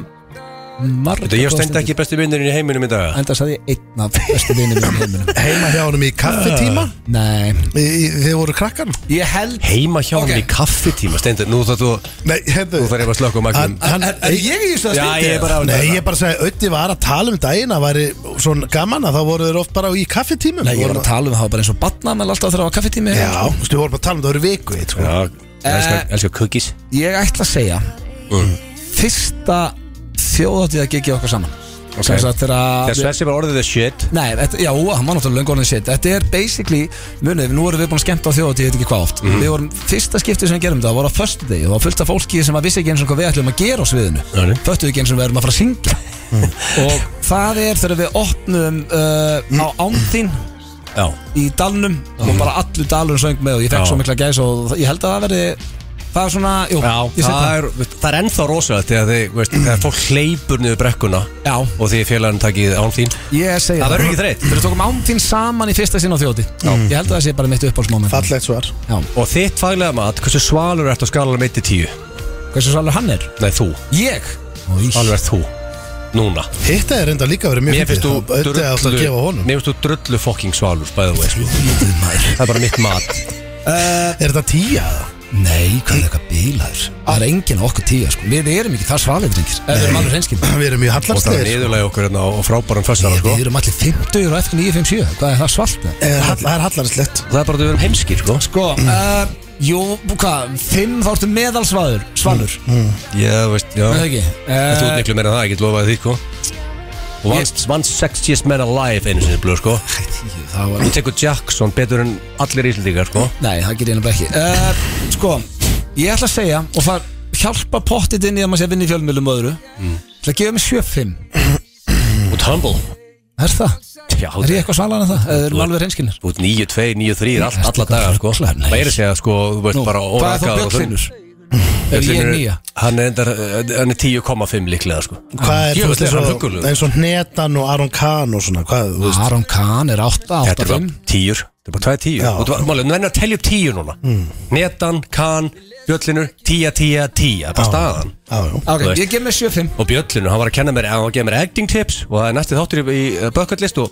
marga
Þetta ég stend ekki besti vinnurinn í heiminum í dag
Enda sagði ég einn af besti vinnum minn í heiminum
Heima hjá honum í kaffetíma?
Nei
Í- í- Þið voru krakkan?
Ég held
Heima hjá
Ok.
hann í kaffitíma Stendur, nú þarf þú Nú
Nei, hérna- hefðu
þarf ég bara að slökka á magnum
Hann- hann-
Er, er ég í þessu að
Já,
stýta?
ég er bara
Nei, ég er bara að segja, Ötti var að tala um daginn að væri svona gaman að þá voru þeir oft bara í kaffetímum
Nei, ég var að tala um það var bara eins og batna með alltaf þegar það var kaffetími
Já, þú veist, við vorum bara að tala um það voru viku eitt, sko.
Já,
Eh.
elskar- elskar cookies
Ég ætla að segja Mm. Fyrsta þjóðáttið að gegja okkar saman okay. Sem sagt þegar að-
Þess þessi var orðið the shit
Nei, þetta, já, hann var náttúrulega löngu orðin shit Þetta er basically, munið, nú erum við búin að skemmta á þjóðatíð, ég veit ekki hvað oft
Mhm.
Við vorum, fyrsta skiptið sem við gerum þetta var á föstu degi og það var fullt af fólki sem að vissi ekki eins og hvað við ætlum að gera á sviðinu
Nei. Mm.
Föttuðu ekki eins og við erum að fara að syngja Og það er þegar við opnum uh, á ánþín
Já
í dalnum og bara allur dalurinn söng með og ég fekk
Mhm. Já.
svo mikla gæs og ég held að það verði, það er svona, jú, ég set
það er, það er ennþá rosalegt þegar þið, veist, þegar fólk hleypur niður brekkuna
Já.
og því félagin takkið án þín
Ég segi
Það verður ekki þreytt.
Þegar við tókum ánþín saman í fyrsta sinn á þjóti Ég held að það sé bara mitt uppáhaldsmoment
Fallegt svar
Já.
Og þitt faglega mat, hversu svalur ertu á skalanum 1-10?
Hversu svalur hann er?
Nei, þú,
Ég?
alveg ert þú Núna
Hitt er reynda líka verið mjög
Mér finnst þú
Ötti að alltaf að gefa honum
Mér finnst þú drullu fokking svalur by the way, sko. Það er bara mitt mat
Er þetta tíja?
Nei, hvað er eitthvað bílaður? Það er enginn á okkur tíu, sko Við erum ekki það svalið, drengir Ef Við erum alveg reynskinn
Við erum mjög
Og það er
hallarslegir sko.
niðurlega okkur hérna á, á frábæran fössara sko.
Við erum allir 50 og eftir 957 Hvað er það svalt? með?
Er hall- Það er hallarslegt
Það er bara að við erum heimskir sko.
Sko, uh, jú, hvað, 5 þá ertu meðalsvalur Svalur,
Já, veist, já
er það ekki?
Þú ert
Uh,
miklu meira en það, ég get lofaði því sko. Og vannst vannst sexiest man alive einu sinni blöð sko.
það var
Þú tekur Jackson betur en allir íslendingar sko.
Nei, það gerir ég nefnilega ekki uh, Sko, ég ætla að segja Og það hjálpa pottit inn í að maður sé að vinna í fjölmjölum öðru Það gefa mig 7-5
Þú ert humble
Er það?
Já,
Er ég eitthvað svalan en það? Eða erum við alveg reynskinnir?
Þú ert 9, 2, 9, 3
Ertu
all, alla
eitthvað
dagar sko
ruglaður, nei.
Það er að segja sko, þú veist
Nú,
bara
hvað er þá
órakaður og
Björn
þunn.
Er
Björn
ég
Hlynur er-
nýja?
Hann er endar, eh, hann er 10,5 líklega sko
Hvað er
Jú,
þú veist
þetta er
eins
hann
og
huggulegur.
eins og Netan og Aron Kahn og svona Hvað, þú veist
Aron Kahn er 8, 8,
Þetta er bara 10, þetta er bara 2, 10
Já.
Og þú var- Máli, nú verður að telja upp 10 núna
Hmm.
Netan, Kahn, Björnlinur, 10, 10, 10 Það er bara staðan
Já, já
Ok,
Þú veist.
ég gef mér 7-5
Og Björnlinur, hann var að kenna mér, hann var að gefa mér acting tips Og það er næsti þáttur í, í bucket list og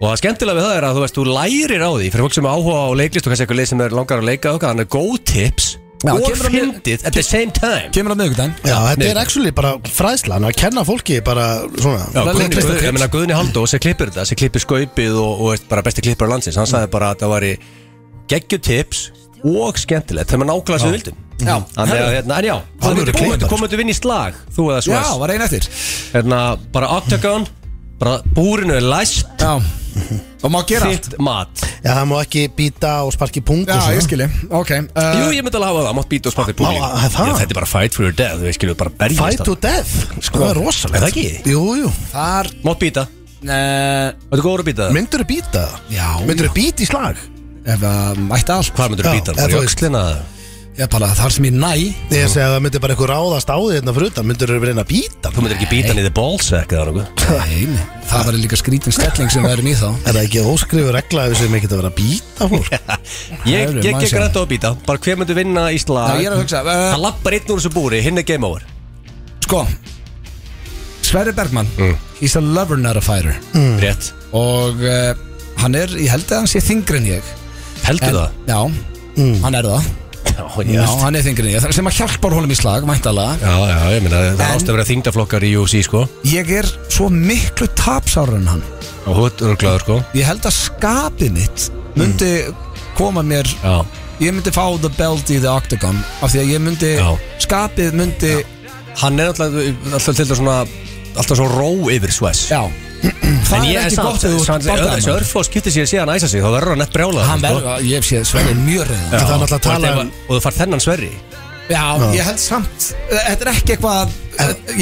Og það skemmtilega við það er að þú veist, þú lærir á því Fyrir fólk sem er áhuga á leiklist og kannski eitthvað leið sem er langar að leika og eitthvað, Þannig að góð tips
Já,
og
kemur á mér-
fyndið at the same time
Kemur á miðugdæn
Já, þetta
Nei.
er actually bara fræðslan að kenna fólki bara svona
Já, Guðni,
leiklistar
Guðni, ég meina Guðni Haldó sem klippir þetta, sem klippir skaupið og, og veist, bara besti klippar á landsins, hann sagði bara að það væri geggjutips og skemmtilegt þegar maður nákvæmlega sem við vildum
Já.
Þannig að, hérna, en já,
Hann
komum
eru
við
klippar.
komum við vinna í slag, þú eða
Já,
svo
var einn eftir
hérna, bara octagon bara búrinu er læst
Já Og má gera allt
þitt mat,
Já, það má ekki býta og sparki punkt og
Já,
svona
ég skilji Ok uh,
jú ég myndi alveg hafa það mátt býta og smátt í búrinu,
Má- að það?
þetta er bara fight for your death, við skilum bara berjast
Fight to
þarna.
death, sko, það er rosalegt
Er það ekki?
Jú, jú,
Þar
mátt býta,
uh,
þetta er góður að býta
myndur þú býta
Já.
Myndur þú býta í slag
Ef að mætti allt
hvað myndur
Já, eða
býta, bara
þú
í
veist.
öxlina
Ég bara þar sem ég næ
Ég segi að það myndi bara eitthvað ráðast á því hérna fyrir utan Myndir þú reyna að býta
Þú myndir ekki býta niður ballsack eða nokkuð
Nei, nei, það var líka skrítin stelling sem við erum í þá
Er það ekki óskrifur regla að við sem ekki að vera að býta fólk?
Ég,
Það eru
ég
maður
gekk
sem-
rætt á að býta Bara hver myndir vinna í slag
Já, ég er að hugsa, eh,
Það lappar einn úr þessu búri, hinn er game over
Sko Sverri Bergman
Mm.
He's a lover not a fighter
Rétt
Og uh, hann er, ég held að hann sé þingri en ég
Heldur það?
Já, hann er það
Já,
Já, hann er þingri en ég Sem að hjálpar honum í slag, væntalega
Já, já, ég meina það
En-
ástu að vera þingdaflokkar í UFC sko
Ég er svo miklu tapsárar en hann
Og hútt örglaður sko
Ég held að skapið mitt Myndi koma mér
Já,
Ég myndi fá the belt í the octagon Af því að ég myndi
Já.
Skapið myndi
hann er alltaf, alltaf til þetta svona Alltaf svo ró yfir Sves
Já, Það er ekki gott ef þú ert bardaðamaður.
Þessi örflóð skiptir sér síðan að æsa sig Þá verður hann nett brjálað
Hann verður, ég hef séð Sverri mjög reyðan
Það er náttúrulega að tala um-
Og þú far þennan sverri
Já, ég held samt Þetta er ekki eitthvað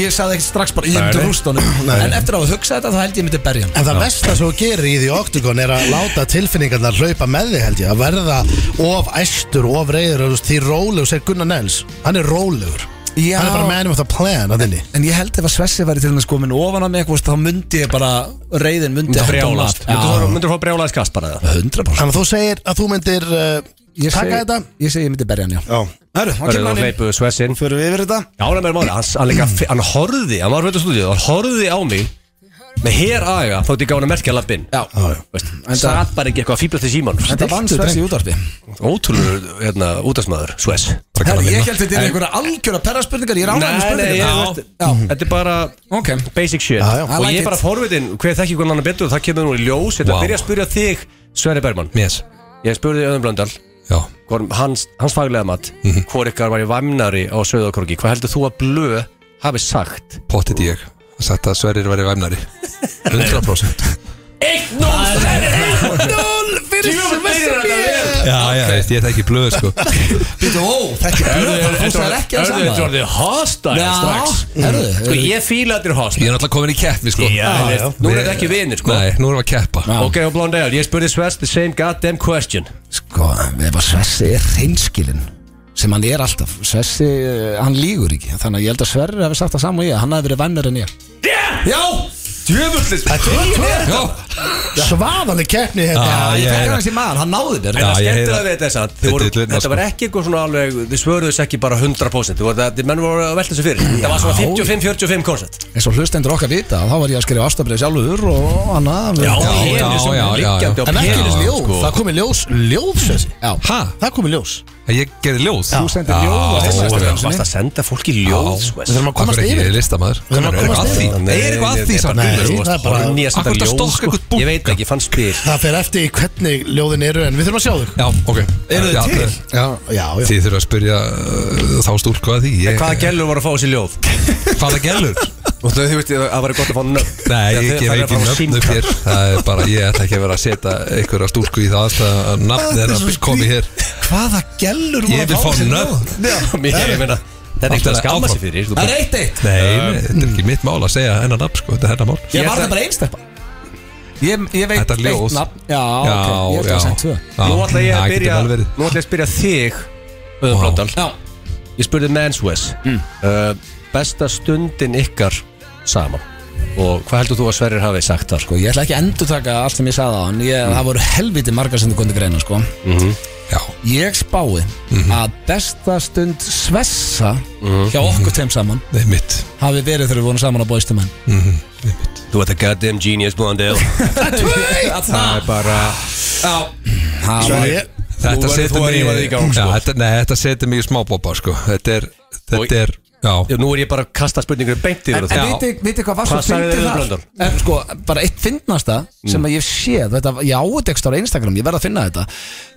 Ég sagði ekki strax bara Ég
Nei,
myndi
nei.
rúst honum En eftir að hugsa þetta Þá held ég myndi berja hann
En það besta sem þú gerir í því oktagon er að láta tilfinningarnar hlaupa með þig held ég að verða of æstur, of reyður og þú veist, því rólegur, segir Gunnar Nels hann er rólegur,
Já.
hann er bara man with a plan að þinni
En ég held ef að Svessi væri til þess komin ofan á mig eitthvað, Þá myndi ég bara Reyðin myndi sko.
Brjálast
Já,
Myndur þú fá brjálaðis kast bara það?
100%
Þannig að þú segir að þú myndir uh,
Ég
taka þetta
segi, ég segi ég myndi berja hann, já
Já.
Hörru, hann
Verður
kemur
þú
hann inn
hleypu Sves inn
Förum við yfir þetta
Já, hann er meira máli, hann, hann, líka, hann horfði, hann var veit á stúdíu, hann horfði á mig með hér aga, þótti ég gá hann að merkja lappin
Já, Enda-
satt bara ekki eitthvað að fýblast í síman
þetta vann Svessi í útvarpi
ótrúlega hérna, útastmaður, Sves
Herru, ég held þetta er einhverja algjöra perraspurningar Ég er
Nei,
ánægð með
nei, ég,
spurningar
veist, þetta er bara
Ok,
basic shit
Já, já.
I
og
like
ég er bara
it.
forvitin, hver þekki hvernig hann betur það kemur nú í ljós, þetta
Wow.
wow. byrja að spyrja þig Sverri Bergman,
Yes
ég spurði Öðum Blöndal
Já
hvor- hans, hans faglega mat
Mhm.
hvor ykkar var í vamnari á Söðakróki hvað heldur þú að blöð hafi sagt
Pottit ég Sagt að Sverrir væri væmnari 100%
1-0 fyrir Svessi
Já, já Veist, Ég þekki blöð sko
Býtu, ó, þetta er blöð Hann fórsar ekki að sama
Þetta orðið hostile strax
herðu
Sko ég fíla þetta er
Ég
hostile
er náttúrulega komin í keppni sko
Já,
Já,
veist,
já.
Nú er þetta ekki vinir sko
Nei, nú erum við að keppa
Ok og Blondale, ég spurði Svers the same goddamn question
Sko, ef að Svessi er hreinskilinn sem hann er alltaf Svessi, eh, hann lígur ekki þannig að ég held að Sverri hefði sagt það saman og ég hann hefði verið vennur en ég Já,
Djöfullist
Já,
svaðaleg keppni hérna
Já,
ég
ég
fekk
heyra.
hans í maður, hann náði mér
Já,
Það
ég
skemmtir
heyra.
að þetta samt Þið
Þetta
voru-
er illa,
Þetta var ekki eitthvað svona alveg Þið svöruðu þess ekki bara 100% Þið voru það, þið menn voru að velta þessu fyrir Það var svona 55-45 koncept
eins og hlustendur okkar vita þá var ég að skrifa ástabrið sjálfur og annað
já,
já,
já, já, já.
Liggjandi á
en ekki eins
Já,
peninu
ljóð,
sko.
það komið ljós ljóð þessi,
já.
Hæ?
það komið ljós
Ég gerði ljóð
Þú sendir ljóð á
Já,
þessa
já.
stöðu.
Þú varst að senda fólki ljóð
Já.
sko.
við þurfum að
Akkur
komast
ekki, ég
yfir
er listamaður
Þurfum að
Akkur
komast yfir.
er eitthvað að því Það er eitthvað að því samt
Nei,
Þú
það
veist,
er bara-
Horfni að senda
Akkur ertu að
ljóð
stokka
sko.
einhvern bunka?
Ég veit ekki, ég fann spil
það fer eftir í hvernig ljóðin eru en við þurfum að sjá þau
Já, ok
Eru þið
Já,
til?
það-
já, já, já.
Þið þurfa að spyrja uh, þá stúlku að því ég,
Hvaða gælur voru að fá þessi ljóð?
Hvaða gælur?
Og þau veist, það var gott að fá nöfn
Nei,
Það-
ég
það-
gef
það er
ekki
bara
nöfn upp
símtal.
hér Það er bara, ég ætla ekki að vera að setja einhverja stúlku í það aðstæða að
Ah,
nafn er að komi hér
Hvaða gellur
Ég vil fá nöfn
Já, mér- ég meina, Þetta er eitthvað að
Áfram.
skamma sig fyrir sko. þú
Það er
bara-
eitt eitt
Nei, nei, þetta er ekki mitt mál að segja hennar nafn, sko, þetta er hennar mál
Um, Ég
Ég
var
ætla-
það bara einstakpa Ég, ég veit
Þetta er ljóð.
eitt nafn Já, ok, ég ætla að senda tvö
Nú ætla ég að
það
byrja
getur vel verið.
Nú ætla ég að spyrja þig Öðum
Vá.
Blóndal
Já,
Ég spurði Manswes uh, Besta stundin ykkar saman Og hvað heldur þú að Sverrir hafi sagt þar?
Sko, ég ætla ekki að endurtaka allt sem ég sagði á hann ég, Það voru helviti margar sem þú kundi greina sko.
Já,
Ég spái að besta stund svessa hjá okkur tveim saman
nei, mitt
hafi verið þegar við vorum saman á bóistumenn
Þú ert að goddamn genius Blondale Það er bara
Svo ég-
Þú
Þetta
verður þú
setur
að
mig
rífa þig í gang,
Já,
sko.
þetta- Nei, þetta setur mig í smábópa, sko Þetta er,
Og-
þetta er, já
Já, Nú er ég bara að kasta spurningur beint yfir
En, en
það
veitir veitir hvað var svo
Hvað sagði
fyndið
þið við
þar?
Blöndal?
En, sko, bara eitt fyndnasta
Mm.
sem að ég sé þetta, Ég áutekst á Instagram, ég verð að finna þetta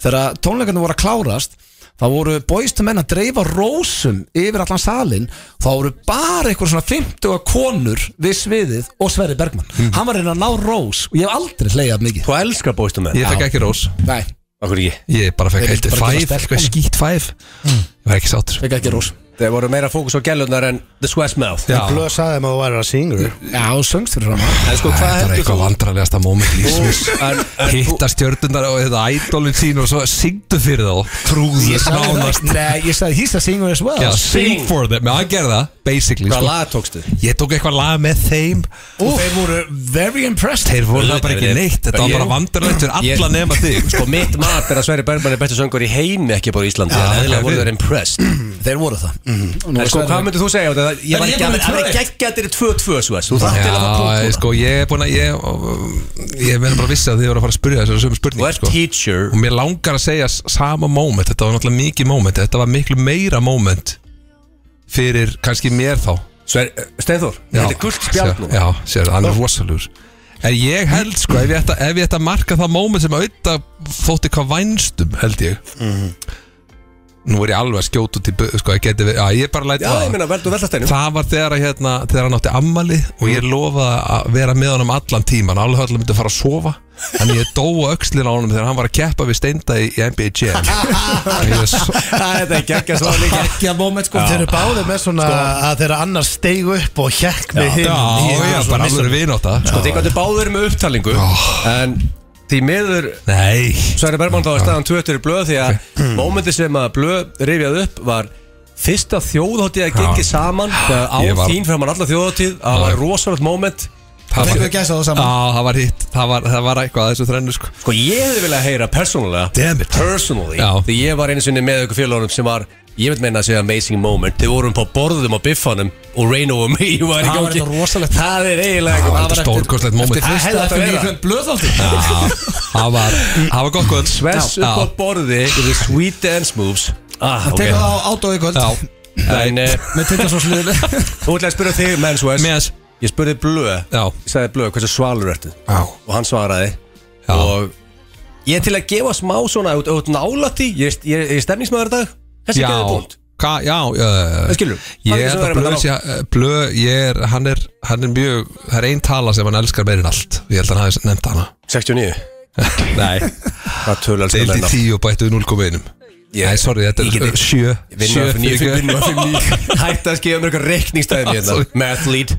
Þegar tónleikarnir voru að klárast þá voru bóistumenn að dreifa rósum yfir allan salin Þá voru bara einhver svona 50 konur við sviðið og Sverri Bergman
Mm.
Hann var að reyna að ná rós og ég hef aldrei hleyjað mikið
Þú elskar bóistu með
Ég fekk ekki rós
Nei,
Akkur ekki
Ég bara fekk
Þeir vildu
heilt
bara gefa
fæf,
stelpunum.
eitthvað skýtt fæf Ég var ekki sátur
fekk ekki rós
Mm. Þeir voru meira fókus á gælunar en The Swash Mouth
Já,
Blöð sagði þeim að þú væri að syngur
Já, þú söngst fyrir fram
En sko, hvað
þetta er
heldur
eitthvað
þú?
vandrarlegasta moment lífsins
En, en,
Hitta stjörnundar og þetta ædolin sín og svo syngdu fyrir þá Trúðu nánast
Nei, ég sagði he's a singer as well
Já, sing for them, já, hann gerði það, basically
hvað
sko.
lag tókstu?
Ég tók eitthvað lag með þeim
Og þeir voru very impressed
Þeir voru það
Auðvitað,
bara ekki
ég-
neitt Þetta var
ég-
bara vandrarlegt fyrir
ég-
alla nema þig
Sko, mitt mat er að Sverri Bergman er bestu söngur í heimi ekki bara í Íslandi En eðlilega voru þeir impressed
Þeir voru það Mhm.
En sko, hvað myndir þú segja? á þetta? Ég var
En ég
ekki
er bara
að
með tvö
vera
eitt.
geggjatir í 2-2 Svass Þú þátt til að það
Já,
punkt
sko, ég er búin að Ég, ég verður bara að vissi að þið voru að fara að spyrja þessar sömu
Þú
spurning
ert
sko.
teacher
Og mér langar að segja s- sama moment Þetta var náttúrulega mikið moment Þetta var miklu meira moment Fyrir kannski mér þá
Sverri, Steinþór,
Já,
þetta er gullt spjald
sér-
núna
Já, sér, hann er rosalur En ég held sko, ef ég ætta, ef ég ætta að marka það moment sem auðvitað þótti hvað vænstum, held ég
Mhm.
Nú er ég alveg að skjóta út í bu- sko, ég geti, já, ég bara læt
Já,
vaða.
ég meina, veldu veldasteinu
Það var þegar, að, hérna, þegar hann átti ammali og ég lofaði að vera með honum allan tíman alveg höll að myndi að fara að sofa en ég dó á öxlina á honum þegar hann var að keppa við steinda í, í NBA Jam Og ég svo-
Þetta er geggjað svo líka
Ekki að moment sko
Þeir eru báðið með svona að þeirra annars steig upp og hjekk með hinn
Já, ég er bara alveg vináta
Sko, þið gætu báður með upptalingu En því miður
Nei
Sverri Bergman þá er staðan 20 í blöð Því að
Hmm.
mómenti sem að blöð rifjað upp var Fyrsta þjóðháttíð að gengi saman þegar Á
Ég var-
þín framan alla þjóðháttíð Það var rosalegt móment
Það
Fengu að gæsa það
Já,
saman
það var hitt, það var, það var eitthvað að þessu þrennu sko
Sko ég hefði viljað heyra persónulega
Damn it.
Personally
Já.
Því ég var einu sinni með ykkur félagunum sem var Ég veit meina að segja amazing moment Þið vorum på borðum á biffanum Og Reino og mig var í
Það var
gangi
eitthvað rosalegt.
Það er eiginlega eitthvað-
var
það var eftir-
stórkostlegt moment.
Eftir
Það hefði
fyrsta
átt að
eftir
vera.
nýjum blöðhaldi
Já, Það var, það var gott kvöld
Svess upp á borði Í the sweet dance moves Ah, ok
Tekur það á átói kvöld
Já,
En eh,
Með tindasónsliðinu
nú ætla ég að spyrja þig menn svo
með þess
Ég spurði Blöð
Já.
Ég sagði Blöð hversu svalur ertu
Já,
Og hann svaraði
Já.
Og ég er til að gefa smá svona Þú ert nálætt því Ég er- ég- ég er stemningsmaður í dag Þessi
já,
geði búnt
ka, já uh,
Það skilur
Ég held að Blöð sé að eh, Blöð, ég er, hann er, hann er mjög Það er ein tala sem hann elskar meirinn allt Ég held að hann hafi nefnt hana
69 Nei Það tölur alls
Deildi í tíu og bættu við 0,1 Nei, sorry, þetta
Ég
er
get
uh, sjö
Vinna
Sjö
fyrir
fyrir
nýju
guð.
Vinna fyrir nýju Hætti að skifa mér eitthvað reikningstæðum hérna
Sorry.
Math lead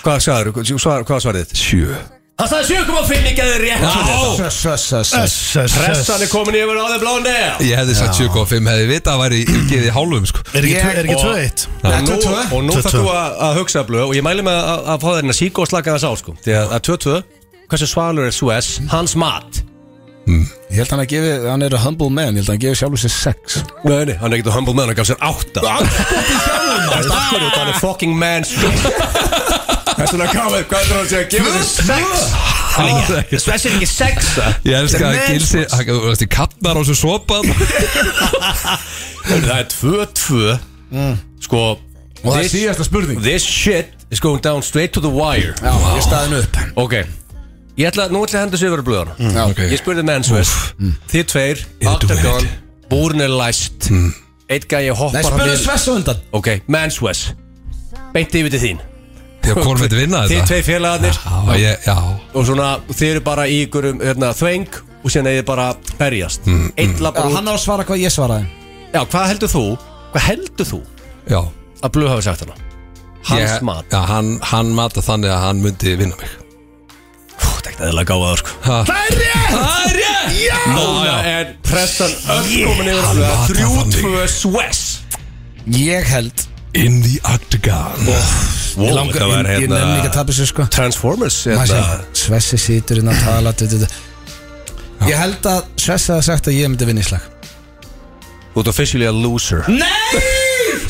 Hvað sagður? Hvað svarði þitt?
Sjö
Það sagði 7,5 ekki að þið rétt fyrir þetta. Pressan
Pressan
er komin yfir á þeim blá neða
Ég hefði sagt 7,5 hefði vitað að væri gefið í hálfum sko
Er ekki
Ég-
tvö- er ekki
og-
2-1?
Og nú,
22.
og nú
22.
þarf þú að, að hugsa blöð og ég mæli með að, að fá þeir inn að síka og slaka þess á sko því að að 22, hversu svalur er Suez hans mat
Ég held hann að gefi, hann er a humble man Ég held hann að gefi sjálfur sér sex
Nei, nei, hann er ekkert að humble man, hann gaf sér 8 Hann er fucking man sko. Þess vegna komið, hvað er það að segja að gefa þér 6 Suez er ekki 6
Ég elska að
Men's
gilsi hann- Þú veist, ég kattnar á svo sopan
sko.
um-
Það er 22 sko,
Og það er
this-
síðasta spurning
this shit is going down straight to the wire
Já, ég staðin upp
Ok Ég ætla, nú ætla ég að henda sig yfir að blöðana
Ok.
Ég spurði með eins og þess Þið tveir, Octagon, búrin er læst Eitt gæi
Nei,
hoppar hann
spurðu
yfir-
Svess á undan
Ok, Manswes Beint yfir til þín
Þegar hvorn veit vinna
Þið
þetta
tvei félagarnir
Já, ég, já
Og svona, þið eru bara í ykkur um hérna, þveng Og síðan eða bara berjast mm. Eitt
Já,
labbar út
hann á að svara hvað ég svaraði
Já, hvað heldur þú? Hvað heldur þú
Já
að blöð hafi sagt hana? Hans
Ég-
mat
Já, hann, hann mata þannig að hann myndi vinna mig
Pú, það er ekki eðla gáðað sko
Ha.
Það er rétt! Það er rétt! Já! Núna er pressan öll komin yfir alveg
Hann var
Þrjú,
það þannig.
tvö, sves
Ég held
In the octagon
Oh. Wow, hérna
Langar, ég, ég nefn ekki að tapa sér sko
Transformers
Maður
hérna.
segir, Svessi situr inn að tala du, du, du. Ég held að Svessi hafa sagt að ég myndi vinna í slag
Þú ert officially a loser
Nei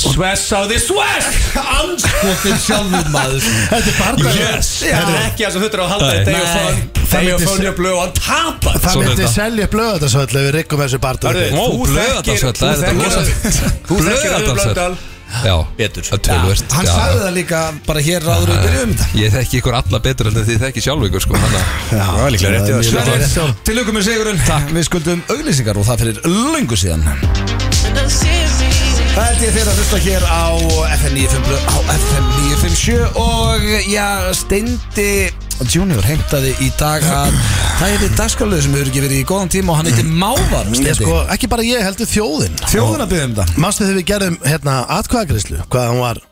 Sves á því Sves
Anskotin sjálfur maður
Þetta er barndag
Yes Það er ekki það sem þú þurftur að halda
Nei.
þetta Þegar fann Þegar
myndi
fann ég blöð og hann tapar
Það
Svona
myndi
þetta.
selja blöðatarsöll ef við riggum þessu barndag
Hörðu,
Ó,
þú
blöðardalsvöll, það er
þekkir-
þetta
þú
rosa-
þekkir- Þú þekkir Rauður
Blöðardalsvöll.
Blöndal
Já
Betur.
Það er tölvöld
Hann sagði það líka bara hér ráður við byrjuðum þetta
Ég þekki ykkur alla betur en þið þekki sjálf ykkur sko Þannig að
Það er líklega rétt í þessu.
Sverrir, til ykkur með sigurinn Takk. Við skuldum auglýsingar og það fyrir löngu síðan Það held ég þeirra að hlusta hér á FM 957 á FM 957 og já, steindi Junior heimtaði í dag að það er því dagskalöðu sem hefur ekki verið í góðan tíma og hann heitir Mávar
Ég sko, ekki bara ég heldur þjóðin
Þjóðuna byggðum það
Manstu þegar við gerðum hérna atkvæðagreyslu Hvað hann var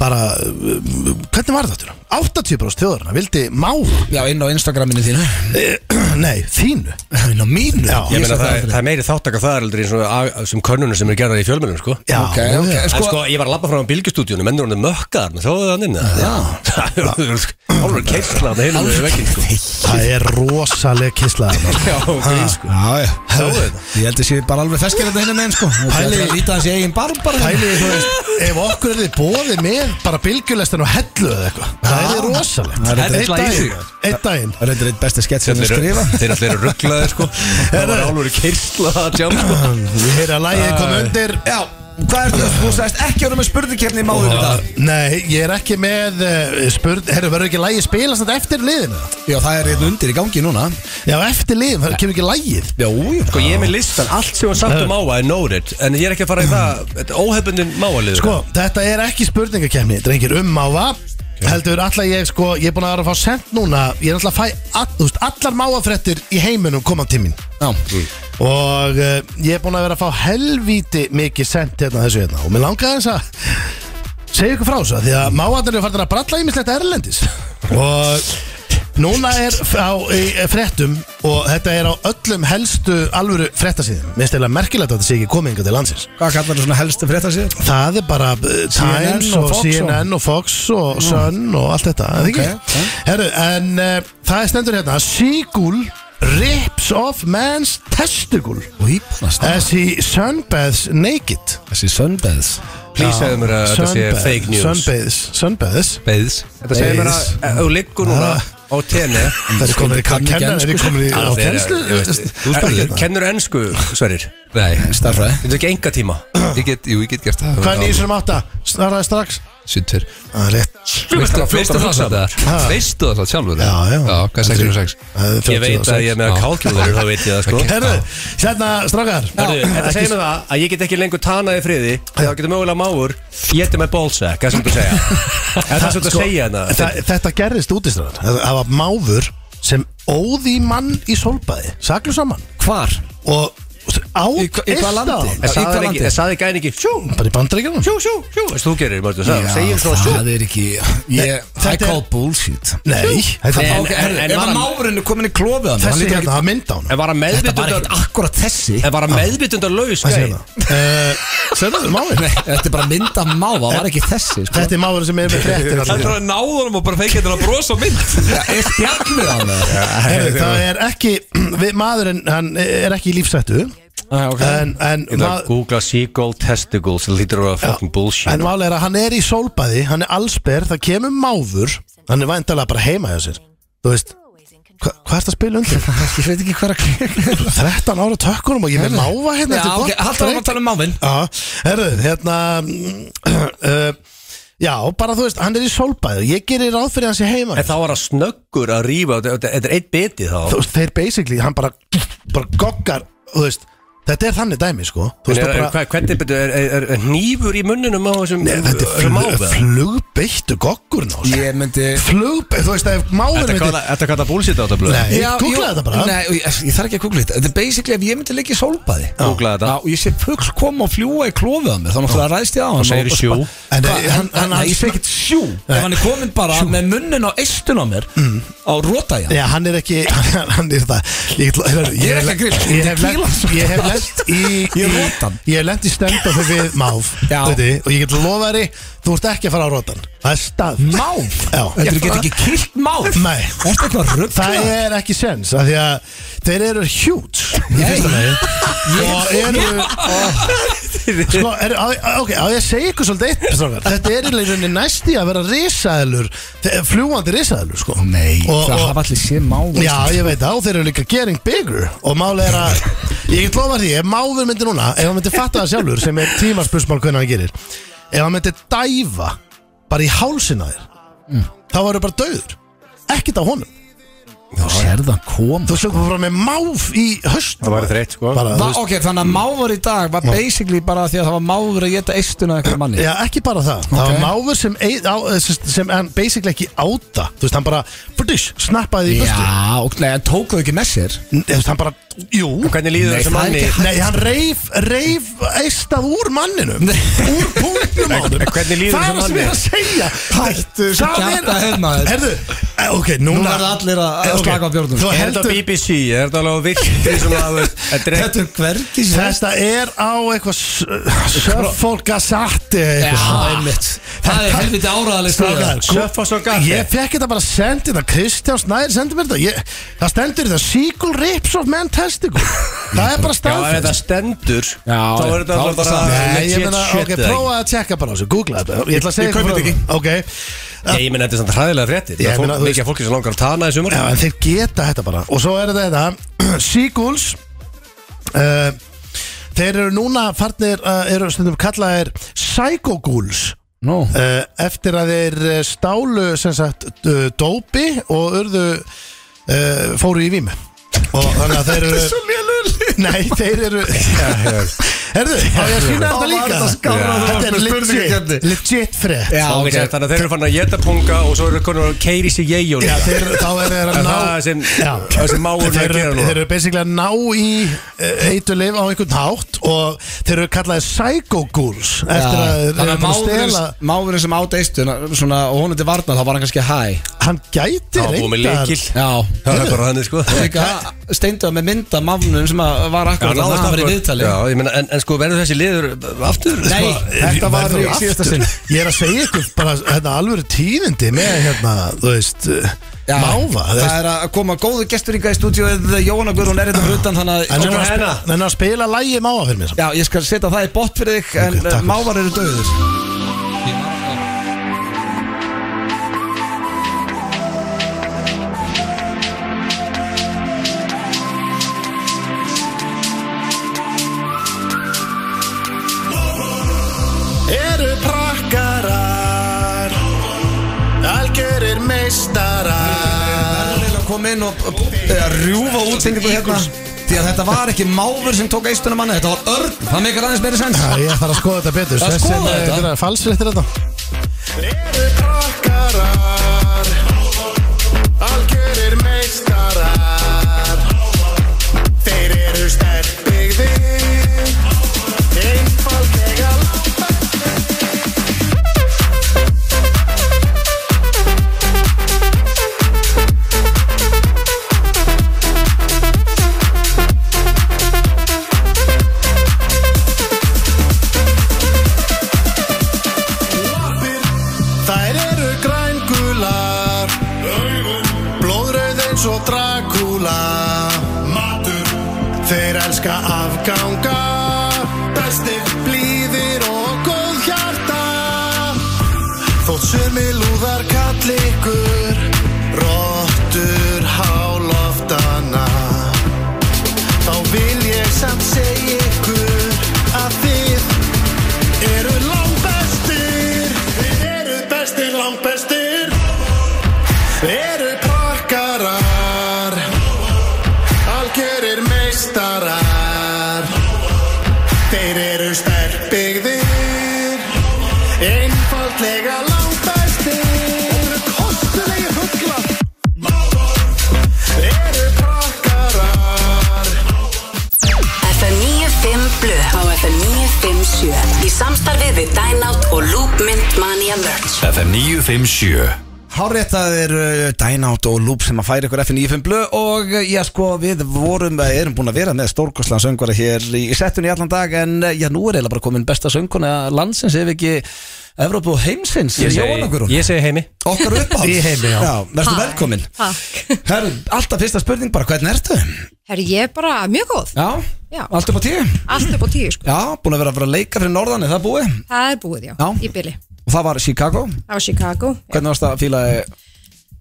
bara, uh, hvernig var þetta? 80% þjóðurna vildi máva
Já, inn á Instagraminu þínu
Nei, þínu
Inn á mínu
Já.
Ég meina
sá
það, er-
aldrei.
það er meiri þáttaka það heldur eins og að- sem könnunum sem er gerðar í fjölmennum sko.
Já,
Ok, ok,
já.
sko,
En sko, ég var að labba fram á bylgjustúdíunum, mennur hann er mökkaðar með þóðu hann inn Já sko- Álfur keirsla það heilum við vekkin sko
Það er rosaleg kisla
Já, ok, sko
Já, já, ég held að sé bara alveg feskir þetta hinn með sko Og Það er að líta hans í eigin barm bara
Pæli, þú veist, ef okkur er þið bóðið með bara bylgjulestin og hellu eða eitthvað Það er þið rosalegt
Það er
Einn
illa í sig.
daginn, einn daginn
Það er eitthvað eitt besti skett sem
Þeir
ég skrifa
eru allir rugglaðir sko Það var álfur keirsla það tjám sko
Ég heyri að lægið kom undir
Já, hvað er það? Þú sagðist ekki að vera með spurningkeppni í máður í dag
Nei, ég er ekki með uh, spurn, herru, verður ekki lægið spilast þetta eftir liðinu?
Já, það er eitthvað undir í gangi núna
Já, eftir liðinu, það kemur ekki lægið
Já, já
Sko ég er með listan, allt sem var sagt um máa er nórit En ég er ekki að fara í það, óhefbundin máalið
Sko, þetta er ekki spurningakefni, drengir, um máva Heldur, allar ég, sko, ég er búin að vera að fá sent núna Ég er alltaf að fæ, all, þú veist, allar máafrettir í heiminum koma til mín
Já,
Og uh, ég er búin að vera að fá helvíti mikið sent hérna þessu hérna Og mér langaði eins að segja ykkur frá þessu af Því að máarnir eru farin að bralla ímislegt erlendis Og núna er á í, fréttum Og þetta er á öllum helstu alvöru fréttasíðum Mér stela merkilegt að þetta sé ekki komið yngar til landsins
hvað kallar það svona helstu frétta sér?
Það er bara uh, Times
og
og,
Fox og- Mm.
CNN og Fox og Sun og allt þetta okay,
Ok,
okay. Herru, en uh, það er stendur hérna Seagull rips off man's testicle
Ípnast
as he sunbathes naked
Þessi söndaðs
Please segðu mér að þetta sé
Sunbath-
fake news
Sunbathes, sunbathes
Beðs
Þetta segir mér að ef þú liggur núna á tenni
Það
Sko,
er komin í
kann ekki
kennar,
ensku,
það er komin í á
Ég veist,
kennslu
Þú hérna. spurði þetta Eh, Kennur ennsku, Sverir?
Nei,
Starfræði
Þetta er ekki enga tíma
ég get, jú, ég get gert það
Hvað er nýjum sem átta? Snarraði strax
Sýttur
Það er rétt
Veistu
fljótar
veistu
að
það
hugsa
samt það? Veistu það samt sjálfur?
Já, já
Já, hvað er 66?
Það er
Ég veit
36.
að ég er með að
Já.
kálkjóður, þá veit ég það sko
Herru, hérna strákar
Herðu, Þetta segir mér það að ég get ekki lengur tanað í friði þá getur mögulega máur Getur með ballsack, það sem þú segja Það er það sem þú
Sko,
segja hérna.
þa-
hana
Þetta gerðist útistræðan Það var máfur sem óði mann í solbæði Saklu saman
Hvar?
Og
Í
át
hva- í hvaða
eitt á
landi?
hann.
Í hvaða landi?
Það saði gæðin ekki Sjú,
Bara í bandaríkjum
sjú, sjú, sjú Veist þú gerir, Mörður, það segir svona sjú
það er ekki ég,
Þetta
I
er-
call bullshit
Nei, þetta
En-
var
Ok, herru,
en
Ef
var
að
hann-
máfurinn er komin í klofið á mér, hann
Þessi
lítur
hérna, það mynd á hann
En var að
ekki- Þetta var ekkert
meðvitund
akkurat þessi
En var að meðvitund laus
Hvað
gæi?
segir það? Sérðu, máfur
Nei, Þetta er bara mynd af máfa, það var ekki þessi sko.
Þetta er máfur sem er með fréttir
Það er
allir.
að náða honum og bara feikja þetta að brosa á mynd
Það er stjarnir á mig
Herru, Það er ekki við- Maðurinn, hann er ekki í lífsættu En, en
Ég ætla að
ma-
googla seagull testicles Það lítur að vera fucking
en
bullshit
máli er að hann er í sólbæði Hann er allsber, það kemur máfur Hann er væntalega bara heima hjá sér Þú veist, hva- hvað er það að spila undir?
Ég veit ekki hvað að klika
13 ára tökkunum og ég með máva hérna
Já,
þetta er
ok,
gott
haldur hann að tala um máfinn
Já, herru, hérna uh, Já, bara þú veist, hann er í solbæðu Ég gerir ráð fyrir hans í heima
En þá var að snöggur að rífa Þetta þetta- þetta er eitt biti þá
Þú veist, þeir basically, hann bara bara goggar, þú veist Þetta er þannig dæmi, sko Þú
En
veist, þú
er- er-
bara,
hvað- Hvernig betur, er- er er hnífur í munninum á þessum
Nei, þetta er flug,
þessum máva?
flugbeittu goggur ná sko.
Ég myndi
Flugbeittu, þú veist, ef máður
Þetta kalla- Þetta kallar bullshit á þetta blöð
Nei,
Já, jú,
googlaði þetta bara
Nei, ég, ég þarf ekki að googla þetta Þetta er basically ef ég myndi leikja í sólbaði
Googlaði þetta.
Já, og ég sé fugl koma og fljúa í klófið á mér Þá náttúrulega ræðst ég á hann
segirðu sjú.
En
En, eh, hann- hann-
Ég segi ekkert sjú Ef hann er komin bara með munnin á eistun á mér Á róta ég
Mm. Já, hann er ekki, hann, hann er það Ég, ætla- heyrðu,
Ég er ekki að grilla,
Ég hef
tequila.
lent, ég hef lent í
Ég er
í-
rotan.
Ég hef lent í stend á þau við máf
Já.
veitu, Og ég get lofað þér Þú ert ekki að fara á rótan Það er stað
Máf
Já.
Þetta er ekki kilt máf
Nei.
Þetta er eitthvað rugg
Það er ekki sens af Því að þeir eru hjút Í
Nei.
fyrsta lagi Og eru og, Sko, er, á, á- ok, á ég að segja ykkur svolítið eitt strákar? Þetta er í rauninni næsti að vera risaðlur Fljúandi risaðlur, sko
Nei,
Og-
það
og-
hafa allir séð máf
Já, ég veit það, og þeir eru líka getting bigger og málið er að, ég get lofa því ef máður myndi núna, ef hann myndi fatta það sjálfur sem er tímarspursmál hvernig hann gerir ef hann myndi dæfa
Mm.
bara í hálsina þér þá varu bara döður, ekkert á honum
Þú sér það koma
Þú slökum bara með máf í höst
Það væri þreytt sko
Va,
bara, þú veist,
ok, þannig að mávar í dag var basically bara því að það var mávar að geta eistuna eitthvað manni
Já, ekki bara það Það var máfur sem, ei- á, eh, sem, sem hann basically ekki áta Þú veist, hann bara british, snappaði í höstu
Já, ok, nei, en tókuðu ekki með sér
Þú veist, hann bara, jú
En hvernig líður
Nei,
þessu
það er
manni
ekki
Nei, hann reif, reif eistað úr manninum Úr punktum á þeim
en hvernig líður
Það
þessum
er það sem ég er að segja
manni?
Hættu þessu
Það er-
kjaftaheyrn, maður.
Herðu, eh, ok, núna
Nú verða allir að- að
Eh, ok,
slaka á bjórnum.
Þú
Er þetta
heldur
BBC, er þetta alveg vilt svona, þú veist, Þetta er ekki
Þetta er hvergi sér
Þetta er á eitthvað Sörfól Gazatti
Já, einmitt Það er helviti áraðaleg
Strákar,
stöðar
Sjöfoss og Gatti.
Ég fekk þetta bara sendið það Kristján Snæri sendi mér þetta ég, Það stendur þetta Sequel Rips of Man Testicle Það er bara
Já, ef þetta
staðfest
stendur
Já,
Þá er
þá
þetta
er
alltaf
þetta
bara
satt.
Nei,
legit
ég meina,
shit,
ok,
eða ekki?
prófaði að tjekka bara á þessu, googla þetta Ég ætla að segja
Ég kaupi þetta
frá- Ok,
Nei, ég meina þetta er samt hræðilega fréttir
Ég
Það er
meina,
fólk-
þú
mikið af fólki sem langar að tana í sumar
Já, en þeir geta þetta bara Og svo er þetta hérna. þetta Seagulls uh, Þeir eru núna farnir uh, eru stundum kallaðir Psychogulls
Nú
uh, Eftir að þeir eh, stálu sem sagt uh, dópi og urðu uh, fóru í vímu Og þannig að þeir eru Nei, þeir eru Herðu, þá ég að sína þetta
Þá var
líka
þetta skárra, þú varst
Þetta er
með
legit,
spurningakeppni.
legit frétt
Já,
Ok,
ok
Þannig að þeir eru fann að geta punga og svo eru konur að keiri sig ég og
Já,
líka
þeir, þá er þeir að
En
ná
það er sem-
Já.
það er sem mágur er að
þeir, eru-
gera núna.
þeir eru basically að ná í eiturlif á einhvern hátt og þeir eru kallaði psychogools eftir að þeir eru búin að stela
Máðurinn sem át eistuna svona, og hún er til varna þá var hann kannski hæ
hann gæti
Það var búið með
reyndar
leikil
Já
Það er bara þannig sko
Líka steinduða með mynd af máðunum sem að var akkur að það var í
akkurat.
viðtali
Já, ég meina, en, en sko verður þessi liður aftur?
Nei, þetta var
Verður
í síðasta
aftur.
sinn
Sko, Ég er að segja ykkur bara hérna, alvöru tíðindi með hérna, þú veist,
Já,
máva þú
Það
veist.
er að koma góðu gestur í stúdíóið Jóhanna Guðrún er hérna. þetta fyrir utan þannig
En
að
hún er að
hennar.
sp- en að spila lægi máva fyrir mér
Já, ég skal setja það í bótt fyrir þig En
takk.
okay, mávar eru döður
Eru prakkarar Algjörir meistarar
Það er að koma inn og eh, rjúfa útsendingu hérna Því að þetta var ekki máfur sem tók eistunum manni Þetta var örn, það meikar aðeins meiri sens
Já, ég þarf að skoða þetta betur
Að skoða
Þessi-
þetta?
er falsréttir þetta
Eru krakkarar Algjörir meistarar Þeir eru sterkbyggðir Einfaldlega
lappir Þær eru grængular Blóðröð eins og Dracula Matur Þeir elska afganga Bestir, blíðir og góð hjarta Þótt sömi lúðar kall ykkur Rottur háloftana Þá vil ég samt segja ykkur að þið eru langbestir Þið eru bestir, langbestir Þið eru prakkarar Algjörir meistarar Þeir eru sterkbyggðir Einfaldlega langbestir Þeir eru kostulegi hugla Þeir eru prakkarar
FM 95 Blu á FM 957 í samstarfið við Dynout og Loopmynd Mania Merch
FM 957
Hárétt það er eh, Dynout og Loop sem að færa ykkur FN95 blö Og eh, já sko, við vorum, eh, erum búin að vera með stórkostlan söngvara hér í í settunni í allan dag En eh, já, nú er eiginlega bara komin besta söngkona landsins Ef ekki Evrópu og heimsins
Sko, Ég
Jóhanna
segi,
Guðrún
ég segi heimi
Okkar uppáhalds
Í heimi, já.
verður velkomin
Takk.
Herru, alltaf fyrsta spurning bara, hvernig ertu?
Herri, ég er bara mjög góð.
Já,
Já.
allt upp á tíu?
Allt upp á tíu, sko.
Já, búin að vera að vera að leika fyrir norðan, er það búið?
Það er búið, já,
Já.
í byli.
Og það var Chicago,
Það var Chicago.
hvernig varst það að fíla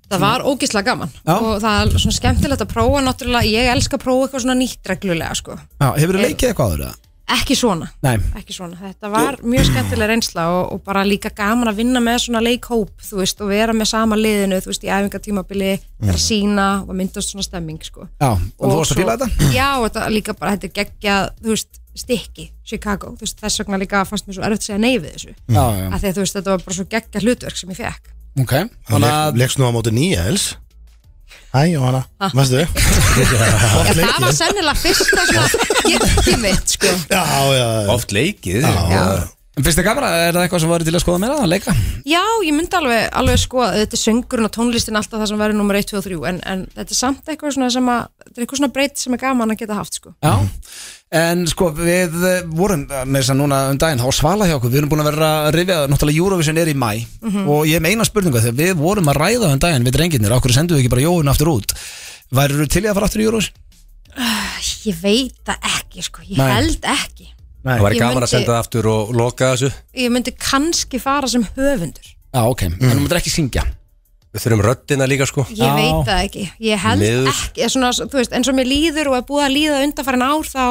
Það var ógislega gaman.
Já.
Og það er svona skemmtilegt að prófa, náttúrulega, ég elska að prófa eitthvað svona nýtt reglulega, sko.
Eh, Já, hefur þú leikið eitthvað áður? eða?
ekki svona,
Nei.
ekki svona. þetta var mjög skemmtileg reynsla og, og bara líka gaman að vinna með svona leikhóp þú veist, og vera með sama liðinu þú veist, í æfingatímabili, vera að sína og myndast svona stemming sko.
Mm. Já, og þú varst að fíla þetta?
Já, og þetta líka bara, þetta er geggjað, þú veist, stikki, Chicago, þú veist, þess vegna líka fannst mér svo erfitt að segja nei við þessu
Já, já,
af því að þú veist, þetta var bara svo geggjað hlutverk sem ég fekk
ok Þannig að,
Leggst nú á móti Níels Hæ, Jóhanna, veistu?
Já, það var sennilega fyrsta svona getið mitt, sko
Já, já,
Oft leikið Já,
en finnst þið gaman, er það eitthvað sem var til að skoða meira að leika?
Já, ég myndi alveg, alveg sko að þetta er söngurinn og tónlistin alltaf það sem verður nummer 1, 2 og 3 en, en þetta er samt eitthvað svona sem að þetta er eitthvað svona breyt sem er gaman að geta haft sko
Já, en sko við eh, vorum eh, með þess að núna um daginn á svala hjá okkur, við erum búin að vera að rifja náttúrulega Eurovision er í mæ og ég hef með eina spurningu þegar við vorum að ræða um daginn við drengirnir, okkur sendum við ekki bara jóun aftur út Værið þú til í að fara aftur í Eurovision?
Ég veit það ekki sko, ég
Nei.
held ekki
Það væri
Ég
gaman að
myndi-
senda það aftur og loka þessu
Ég myndi kannski fara sem höfundur
Já, ok, en þú mútur ekki syngja
Við þurfum röddina líka sko
Ég veit það ekki, ég held
Miður.
ekki eða svona, þú veist, eins og mér líður og er búið að líða undanfærin ár þá,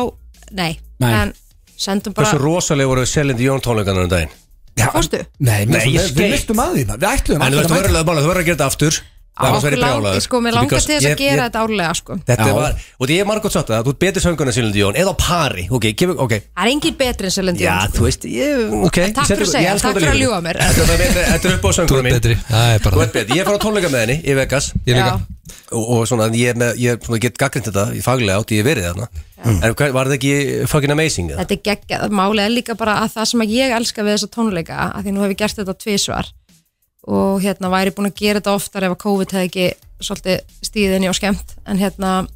nei,
Nei.
en sendum bara,
Hversu rosalega voru Selindi Jón tónleikana um daginn
Já,
fórstu?
Nei,
Nei,
við, við,
ég
við
skeyt.
mistum að því maður. Við ætluðum
En þú
allir
veist,
að
þú
mæta
verður að þú verður að gera þetta aftur
Á,
Annars
okkur
verð ég
lang-
brjálaður.
Sko, mér langar
Because
til þess
ég-
að gera
ég-
þetta árlega sko
Þetta
Já.
var, og því ég er margótt sagt það, þú ert betur söngun en Silindi Jón eða á pari, ok, kemur, ok
Það er engin betri en Selendi
Já, þú veist, ég, ok ég
Takk fyrir
sendi-
að segja,
ég elska
takk
þetta
fyrir að
lífið.
ljúga mér.
Þetta er- þetta er- þetta er upp á
Þú
söngunum
ert
mín
betri Það er
Þú
bara
ert betri, ég fór á tónleika með henni í Vegas
Ég líka.
Já.
og, og svona, en ég, er með, ég er svona, get gaggrind þetta í faglega átti ég verið þarna En hvað- var þetta ekki fucking amazing eða?
þetta er geggjað, málið er líka bara að það sem að ég elska við þessa tónleika að því nú hef ég gert þetta tvisvar og hérna væri búin að gera þetta oftar ef að COVID hefði ekki svolítið stíðinni og skemmt en hérna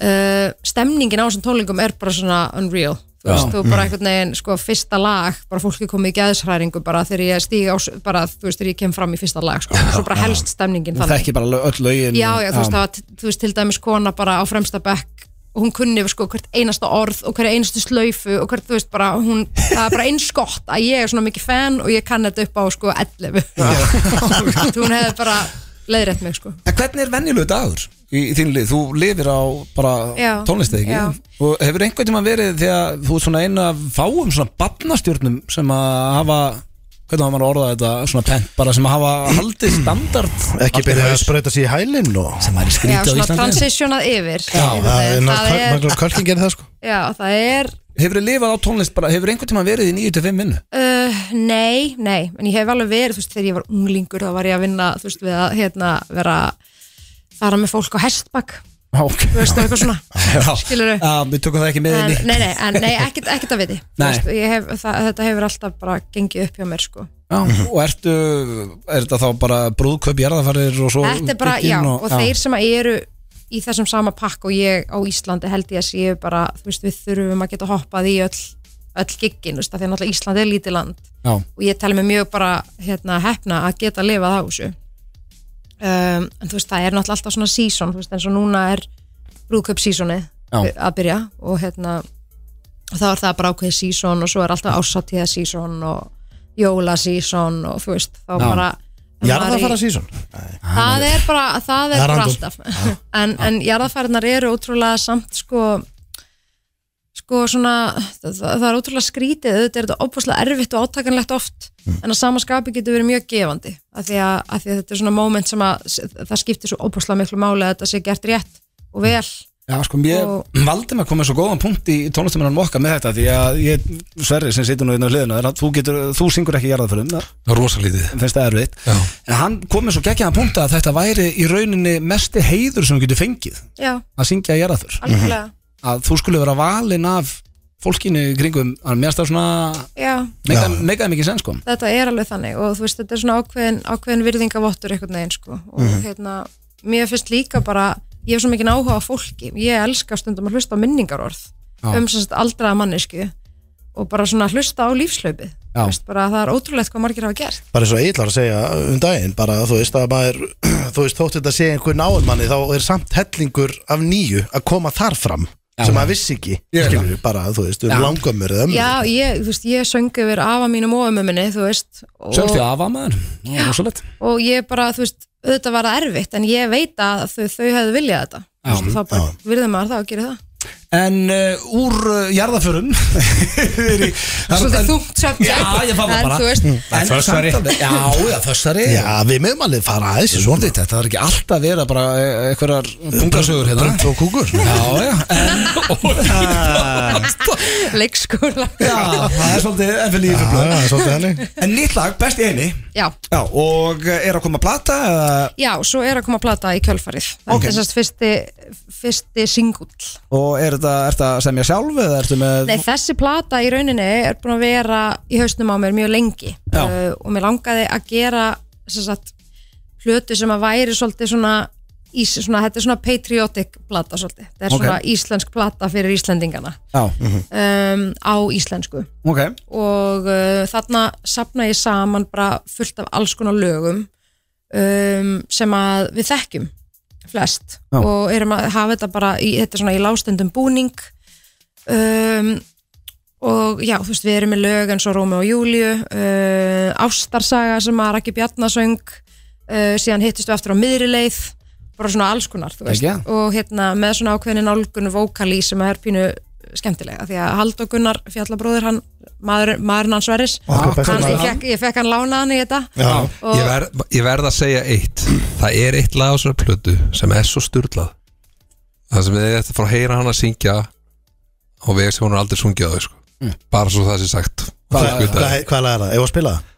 uh, stemningin á þessum tónleikum er bara svona unreal þú veist, þú
Mm.
bara einhvern veginn, sko, fyrsta lag bara fólki komið í geðshræringu bara þegar ég stíg á, s- bara, þú veist, þegar ég kem fram í fyrsta lag, sko, svo bara helst stemningin
Þú
þannig
þekki bara lög- öll lögin
já, já, þú
það
veist, það var, t- þú veist, til dæmis kona bara á fremsta bekk og hún kunni sko hvert einasta orð og hverja einasta slaufu og hvert, þú veist, bara hún, það er bara eins gott að ég er svona mikið fan og ég kann þetta upp á sko 11 Þú, hún hefði bara leiðrætt mig sko
En hvernig er venjulegu dagur í þínu lið? Þú lifir á bara
Já.
tónlistið,
Já.
ekki? Og hefur einhvern tímann verið þegar þú ert svona einu af fáum svona barnastjórnum sem að hafa hvernig hafa maður orðað þetta, svona pent bara sem að hafa haldið standard
ekki byrja að sprauta sér í hælinn og
sem væri
já,
skrítið á
svona
Íslandi
transitionað yfir já,
það er
það er,
náttúrulega kölkin gerir það sko
já, það er
Hefur þið lifað á tónlist bara, hefur einhvern tímann verið í 9-5 vinnu?
Uh, nei, nei, en ég hef alveg verið þú veist, þegar ég var unglingur þá var ég að vinna þú veist, við að hérna, vera fara með fólk á hestbakk
Já, ok
þú veist, og eitthvað svona skilurðu
Já, við tökum það ekki með
en,
inn í
nei, nei, en, nei, ekkert, ekkert að viti Þú
Nei.
veist, ég hef, það, þetta hefur alltaf bara gengið upp hjá mér sko.
Já, og ertu, er þetta þá bara brúðkaup jarðafarir og svo
þetta er bara,
bygginn
já, og,
já.
þeir sem að eru í þessum sama pakk og ég á Íslandi held ég að séu bara, þú veist, við þurfum að geta hoppað í öll, öll giggin, þú veist, af því að náttúrulega Ísland er lítið land
Já.
og ég tala mig mjög bara hérna, hefna að geta lifað á þessu um, en þú veist, það er náttúrulega alltaf svona season, þú veist, eins og núna er brúðkaup seasonið að byrja og hérna og þá er það bara ákveðið season og svo er alltaf ásatíða season og jóla season og þú veist, þá bara
Já, það
maður í-
fara sísón
það er bara, það
Það
er
er
bara
random.
alltaf en, en jarðafærinar eru ótrúlega samt sko sko svona, það, það er ótrúlega skrítið auðvitað er þetta opaslega erfitt og átakanlegt oft en að samaskapi getur verið mjög gefandi af því að, af því að þetta er svona moment sem að það skiptir svo opaslega miklu máli að þetta sé gert rétt og vel
Já, sko, ég
Og-
valdi með að koma með svo góðan punkt í tónlistamennan okkar með þetta því að ég, Sverri sem situr nú inn á hliðina er að þú, getur, þú syngur ekki jarðaförum það
rosalítið
finnst það erfitt
Já.
en hann kom með svo geggjaðan punkt að þetta væri í rauninni mesti heiður sem þú getur fengið
já,
að syngja jarðaför
algjörlega,
að þú skulle vera valinn af fólkinu í kringum að mér stað svona
já
meikaði meika mikið sens sko. kom
þetta er alveg þannig og þú veist þetta er svona ákveðin, ákveðin virðingavottur einhvern veginn sko og
Mhm.
hérna, mér finnst líka bara ég hef svo mikið áhuga á fólki ég elska stundum að hlusta á minningarorð um sem sagt aldraða mannesku og bara svona hlusta á lífslaupið
Já.
Þú veist, bara það er ótrúlegt hvað margir hafa gert
bara eins og Egil var að segja um daginn bara þú veist að maður þú veist þótt þetta sé einhver náum manni þá er samt hellingur af nýju að koma þar fram sem maður vissi ekki skilur við bara þú veist um
Mm.
langömmur eða ömmur
já, ég, þú veist, ég söngu yfir afa mínum og ömmu minni, þú veist og,
söngst ég af að maður Já, rosalegt.
og ég bara, þú veist, auðvitað var það erfitt en ég veit að þau, þau hefðu viljað þetta Þú veist, þá bara virðum maður það og gerir það
En uh, úr uh, jarðaförum yfir í- það er-
Svolítið
en-
þungt subject.
Já, ég fann það
En
bara Mm.
þú veist-
En samt
fössari.
alveg- Já, já, þessari
Já, við meðum alveg fara aðeins í svona
Þetta það er ekki alltaf verið bara eh, einhverjar pungasögur hérna
Brönd og kúkur
Já, já, en,
leikskóla
já, það er svolítið FNI fyrir blöð
Já, svolítið henni
En nýtt lag, best í heimi
já,
Já, og eh, er að koma að plata eða,
já, svo er að koma að plata í kjölfarið það
Ok.
er þessast fyrsti, fyrsti singull
og er þetta, er þetta sem ég sjálf eða ertu með
Nei, þessi plata í rauninni er búin að vera í hausnum á mér mjög lengi
Já.
uh, og mér langaði að gera sem sagt, plötu sem að væri svolítið svona, ís, svona þetta er svona patriotic plata svolítið þetta er
Ok.
svona íslensk plata fyrir Íslendingana
Já,
um, á íslensku
ok
og uh, þarna sapna ég saman bara fullt af alls konar lögum um, sem að við þekkjum flest
Já.
og erum að hafa þetta bara í, þetta er svona í lástendum búning um, og já, þú veist, við erum með lög eins og Rómi og Júliu uh, Ástarsaga sem að Raki Bjarnasöng uh, síðan hittist við aftur á miðri leið bara svona alls konar, þú veist
Ekki?
og hérna með svona ákveðin álgun vókali sem að er pínu skemmtilega því að Halldór Gunnar fjallabróður hann, maður, maðurinn hans veris
Okkar besti
hann, ég,
maður.
fekk, ég fekk hann lánaðan í þetta
Já.
og
Ég, verð, ég verð að segja eitt Það er eitt lag á sér plötu sem er svo sturlað Það sem þið eftir að fara að heyra hann að syngja á veg sem hún er aldrei sungið á þau sko.
Mm.
bara svo það sé sagt
Hvað
Fólk veit
hvað-
að-
hvað lag er það? Ef að spila það?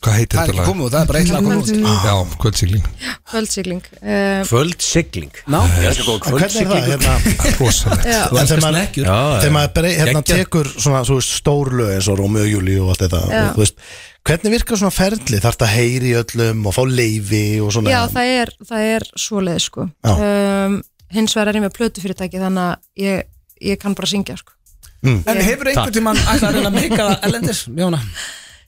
Hvað heitir
Það er
þetta
ekki
lag?
komið út, það er bara eitt lag komið út
Já, kvöldsigling
kvöldsigling uh,
Kvöldsigling
Ná,
En Hvernig er það? Hérna,
Rosalegt
en þegar maður-
snekkjur
þegar maður brei- hérna,
Geggjað.
tekur svona, svo veist, stór lög eins og Rómi og Júli og allt þetta
Já.
og, þú veist, Hvernig virkar svona ferli? Þarf þetta að heyri öllum og fá leifi og svona
já, það er, það er svoleið sko
Já.
um, hins vegar er ég með plötu fyrirtæki þannig að ég, ég kann bara syngja sko
En hefur einhvern tímann ætlað að reyna að meika það ellendis, Jóna?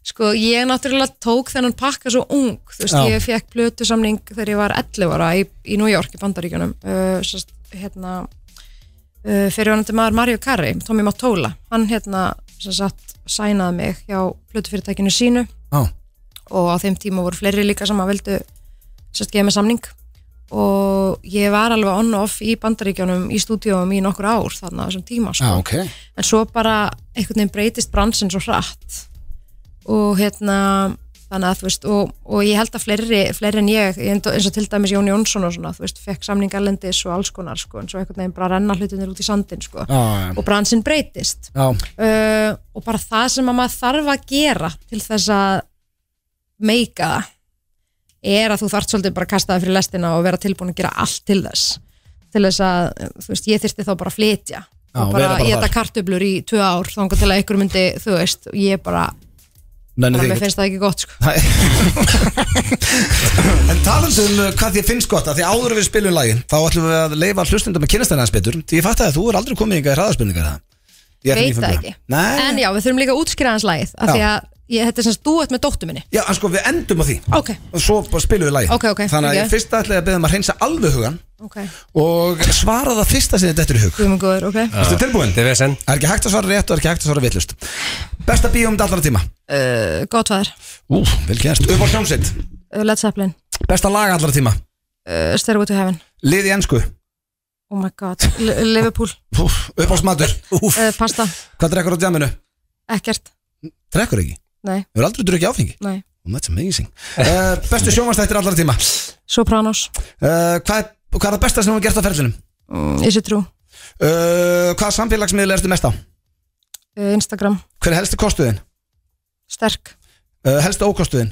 Sko, ég náttúrulega tók þennan pakka svo ung, þú veist,
Já.
ég fekk plötusamning þegar ég var 11 ára í, í New York í Bandaríkjunum, uh, sérst, hérna uh, fyrirvonandi maður Mario Carri, Tommy Mottola hann hérna, sem sagt, sænaði mig hjá plötufyrirtækinu sínu
Já.
og á þeim tíma voru fleiri líka sem að vildu, sérst, gefa mig samning og ég var alveg on-off í Bandaríkjunum, í stúdíum í nokkur ár þarna á þessum tíma, sko en svo bara einhvern veginn breytist bransin svo hratt og hérna þannig að þú veist og, og ég held að fleiri, fleiri en ég eins og eins og til dæmis Jón Jónsson og svona þú veist, fekk samning erlendis og alls konar sko, en svo einhvern veginn bara renna hlutinir út í sandin sko,
Já,
og bransin breytist
já,
uh, og bara það sem að maður þarf að gera til þess að meika það er að þú þart svolítið bara að kasta það fyrir lestina og vera tilbúin að gera allt til þess til þess að, þú veist, ég þyrsti þá bara að flytja og
vera
bara,
bara þar.
ég þetta kartöblur í tvö ár þangar til að ykkur myndi, þú veist, og ég bara,
nenni
bara
þig
mér
ekki
finnst það ekki gott sko.
En talandu um uh, hvað þér finnst gott að því áður en við spilum lagin þá ætlum við að leifa hlustundum að kynast henni aðeins betur því ég fatt að þú er aldrei komið ykkar í hraðarspurningar það Ég
Veit það ekki. en
Nei,
já, við þurfum líka að útskýra hans lagið af
Já.
því að ég, þetta er semst þú ert með dóttu minni
já, en sko við endum á því
ok,
og svo bara spilum við lagin
Ok, ok,
Þannig að
ok.
ég fyrst ætla ég að beða um að reynsa alveg hugan
ok,
og svara það fyrsta sem þetta er í hug
guðum og góður, ok
Ertu tilbúin?
Það er vesen
Það er ekki hægt að svara rétt og er ekki hægt að svara vitlust Besta bíómynd allra tíma
uh, gott fæður,
Ú, vel gert Upp á hljómsveit
uh, Led Zeppelin
Besta lag allra tíma
uh, Stairway to Heaven,
Lið í ennsku
oh my god L Liverpool,
Upp á smatur
uh, pasta,
Hvað drekkur á djaminu?
ekkert
Drekkur ekki?
nei,
Hefur aldrei drukkið áfengi?
nei,
Oh, that's amazing uh, Bestu sjómanstættir allra tíma uh,
Sopranos
hvað, er, hvað er það besta sem þú hefur gert á ferlinum?
mm, Is it true,
Uh, hvað samfélagsmiðl erstu mest á?
uh, Instagram
Hver er helsti kostuðin?
sterk,
Uh, helsti ókostuðin?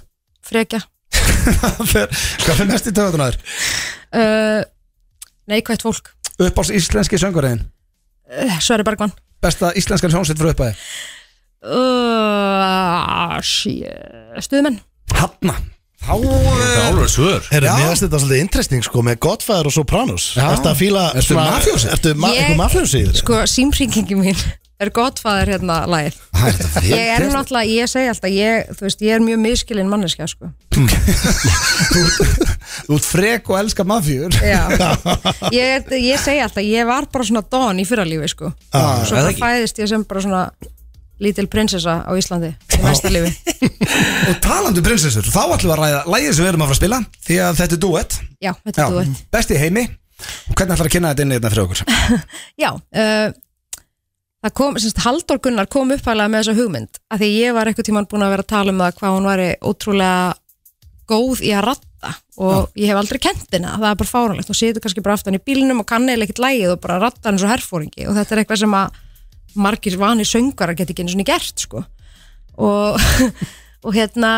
frekja
Hver- hvað er mest í töðunaður?
uh, neikvægt fólk
Upp á íslenski söngurðin
uh, Sverri Bergman
Besta íslenskan sjónsett fyrir uppæði
uh, shit. stuðmenn
Hanna Þá uh,
alveg svör
Herru,
Já.
mér finnst þetta svolítið interesting sko með Godfather og Sopranos
Já.
Ertu að fíla
Ertu
svona-
mafjósi?
Ertu ma-
Ég-
einhver mafjósi? í þér?
sko símringingi mín er gottfæðir hérna lagið
Það er þetta
ég er náttúrulega, ég segi alltaf ég, þú veist, ég er mjög miskilinn manneskja sko.
Þú ert frek og elskar mafjur
Já. ég, ég segi alltaf ég var bara svona don í fyrralífi sko.
Ah,
svo bara fæðist ég sem bara svona lítil prinsessa á Íslandi í næsta lífi
Og talandi um prinsessur, þá ætlum við að ræða lægið sem við erum að fara að spila Því að þetta er duett
já, þetta er þú
Besti í heimi Og hvernig ætlar að kynna þetta inn í þetta fyrir okkur?
Já, uh, það kom, semst, Halldór Gunnar kom upphæðlega með þessa hugmynd að því ég var eitthvað tíman búin að vera að tala um það hvað hún væri ótrúlega góð í að ratta og ég hef aldrei kent henni það er bara fáranlegt, hún situr kannski bara aftan í bílnum og kann eða ekkert lægið og bara rattar eins og herfóringi og þetta er eitthvað sem að margir vani söngvarar geti ekki einu svona gert sko. og, og hérna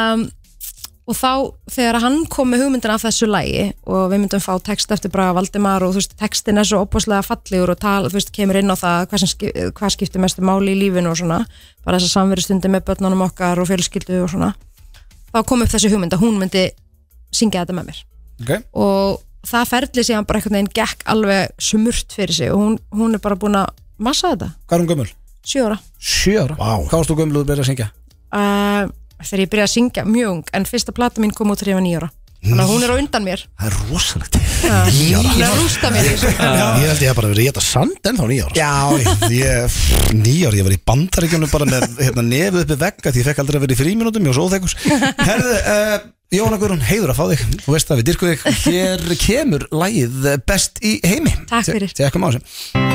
og þá þegar hann kom með hugmyndin af þessu lægi og við myndum fá text eftir Braga Valdimar og þú veist, textin er svo opaslega fallegur og tal, þú veist, kemur inn á það hvað, sem, skip- hvað skiptir mestu máli í lífinu og svona bara þess að samverustundi með börnunum okkar og fjölskyldu og svona þá kom upp þessi hugmynd að hún myndi syngja þetta með mér
Ok.
og það ferli síðan bara einhvern veginn gekk alveg smurt fyrir sig og hún, hún er bara búin að massa þetta,
Hvað er hún gömul?
sjö ára
Sjö ára wow. Hvað varst þú gömul og þú byrjar að syngja?
uh, þegar ég byrjaði að syngja mjög ung en fyrsta plata mín kom út þegar ég var nýja ára þannig að hún er á undan mér
Það er rosalegt
hún er að rústa mér í þessu.
Ég held ég að bara verið rétt að sand ennþá nýja ára
Já, ég- ég, nýjar, ég var í bandaríkjunum bara með hérna, nefið uppi vegga því ég fekk aldrei að vera í fríminútum, ég var svo óþekkus Herðu, uh, Jóhanna Guðrún, heiður að fá þig Þú veist að við dyrkum þig Hér kemur lagið eh, best í heimi
Takk fyrir.
Tekkum á þessu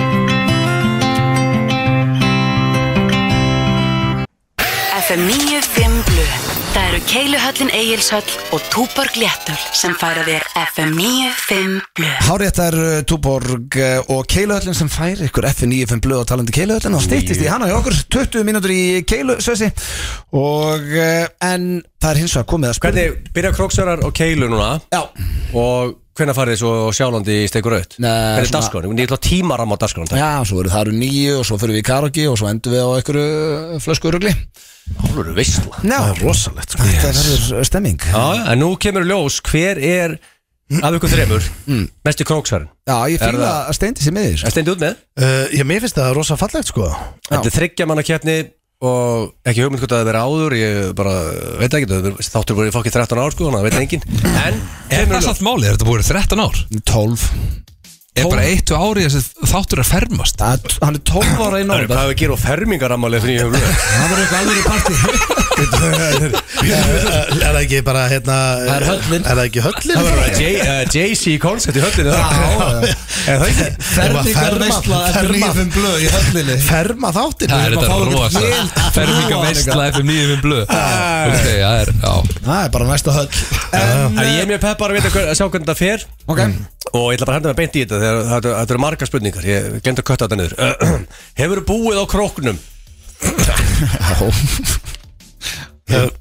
FM 95 Blu Það eru Keiluhöllin Egilshöll og Túborg Léttul sem færa þér FM 95 Blu
Háréttar eh, Túborg eh, og Keiluhöllin sem fær ykkur F95 blöð og talandi Keiluhöllin og stýttist í hana hjá okkur 20 mínútur í Keilusösi og eh, en það er hins vegar komið að spurning
Hvernig byrja króksörar og keilu núna
Já,
og hvenær farið þið svo sjálfandi í steikur auð?
Nei,
Hvernig er
svona-
dagskráin? Ég ætla tímaram á dagskráin
já, svo eru það eru nýju og svo fyrir við í karaoke og svo endur við á einhverju eh, flöskurugli
Hálfur veistla
Ná, það er rosalegt sko. Þetta verður stemming
Já, já, en nú kemur í ljós hver er af ykkur þremur mesti króksarinn
Já, ég
Er
fýla
það-
að steindi sér með því sko.
Það stendi út með
uh, Ég mér finnst það rosa fallegt sko
Þetta er þryggja manna kjarni og ekki hugmynd hvort að það verið áður ég bara veit ekki það hefur- þáttur voru fokkið 13 ár sko þannig að það veit enginn en
Er
kemur
það
í ljós
satt málið? Er þetta búið 13 ár?
12
Er bara eitt og árið þessi þáttur að fermast?
Það er- Hann er 12 ára í
Það er
nóg
hvað hefur gerð og fermingaramalið fyrir ég hefur
Það verður eitthvað alveg í partí
Eh, Er það ekki bara hérna Það
er höllin.
Er það ekki höllin?
eh, Jay-Z koncert í höllinu
Já,
Er það ekki?
Fermingarveisla eftir nýjum blöð í höllinni
Ferma þáttin
Það er
erum að fá
þetta
okkur
rosa
vel-
Ferminga veistla FM 95 blöð Ok, það er, já
Það er bara næsta höll
En ég er mjög peppar að vita hver, að sjá hvernig þetta fer Mm.
Ok
og ég ætla bara að henda mig beint í þetta þegar þetta- þetta eru margar spurningar ég glemt að kötta þetta niður Hefur búið á króknum?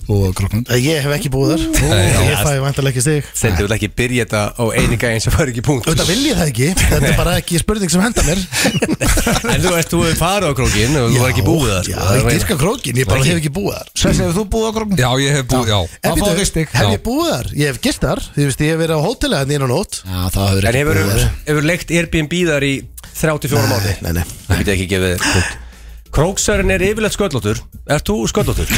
Og krokknum
Eh, Ég hef ekki búið þar Ég fæ vantarlega ekki stig
Stendi vil ekki byrja þetta á eininga eins og fara ekki í punkt
Þetta vil ég það ekki Þetta er bara ekki spurning sem henda mér
En þú veist, þú hefur farið á krókin og þú var ekki búið sko. það
Já, ég dyrka krókin Ég bara hef ekki búið þar
Sessi, hefur þú búið á krokknum?
Já, ég hef búið, já
En
Að fá
býttu,
þig stig.
Hef
Já.
ég búið þar? Ég hef gist þar Ég veist, ég hef verið á hóteli hann innan nótt
Já, það hefur
En hefur, hefur leikt Airbnb þar í 34 mánu
Nei, nei
Það getur ekki gefið þér punkt Króksarinn er yfirleitt sköllóttur Ert þú sköllóttur?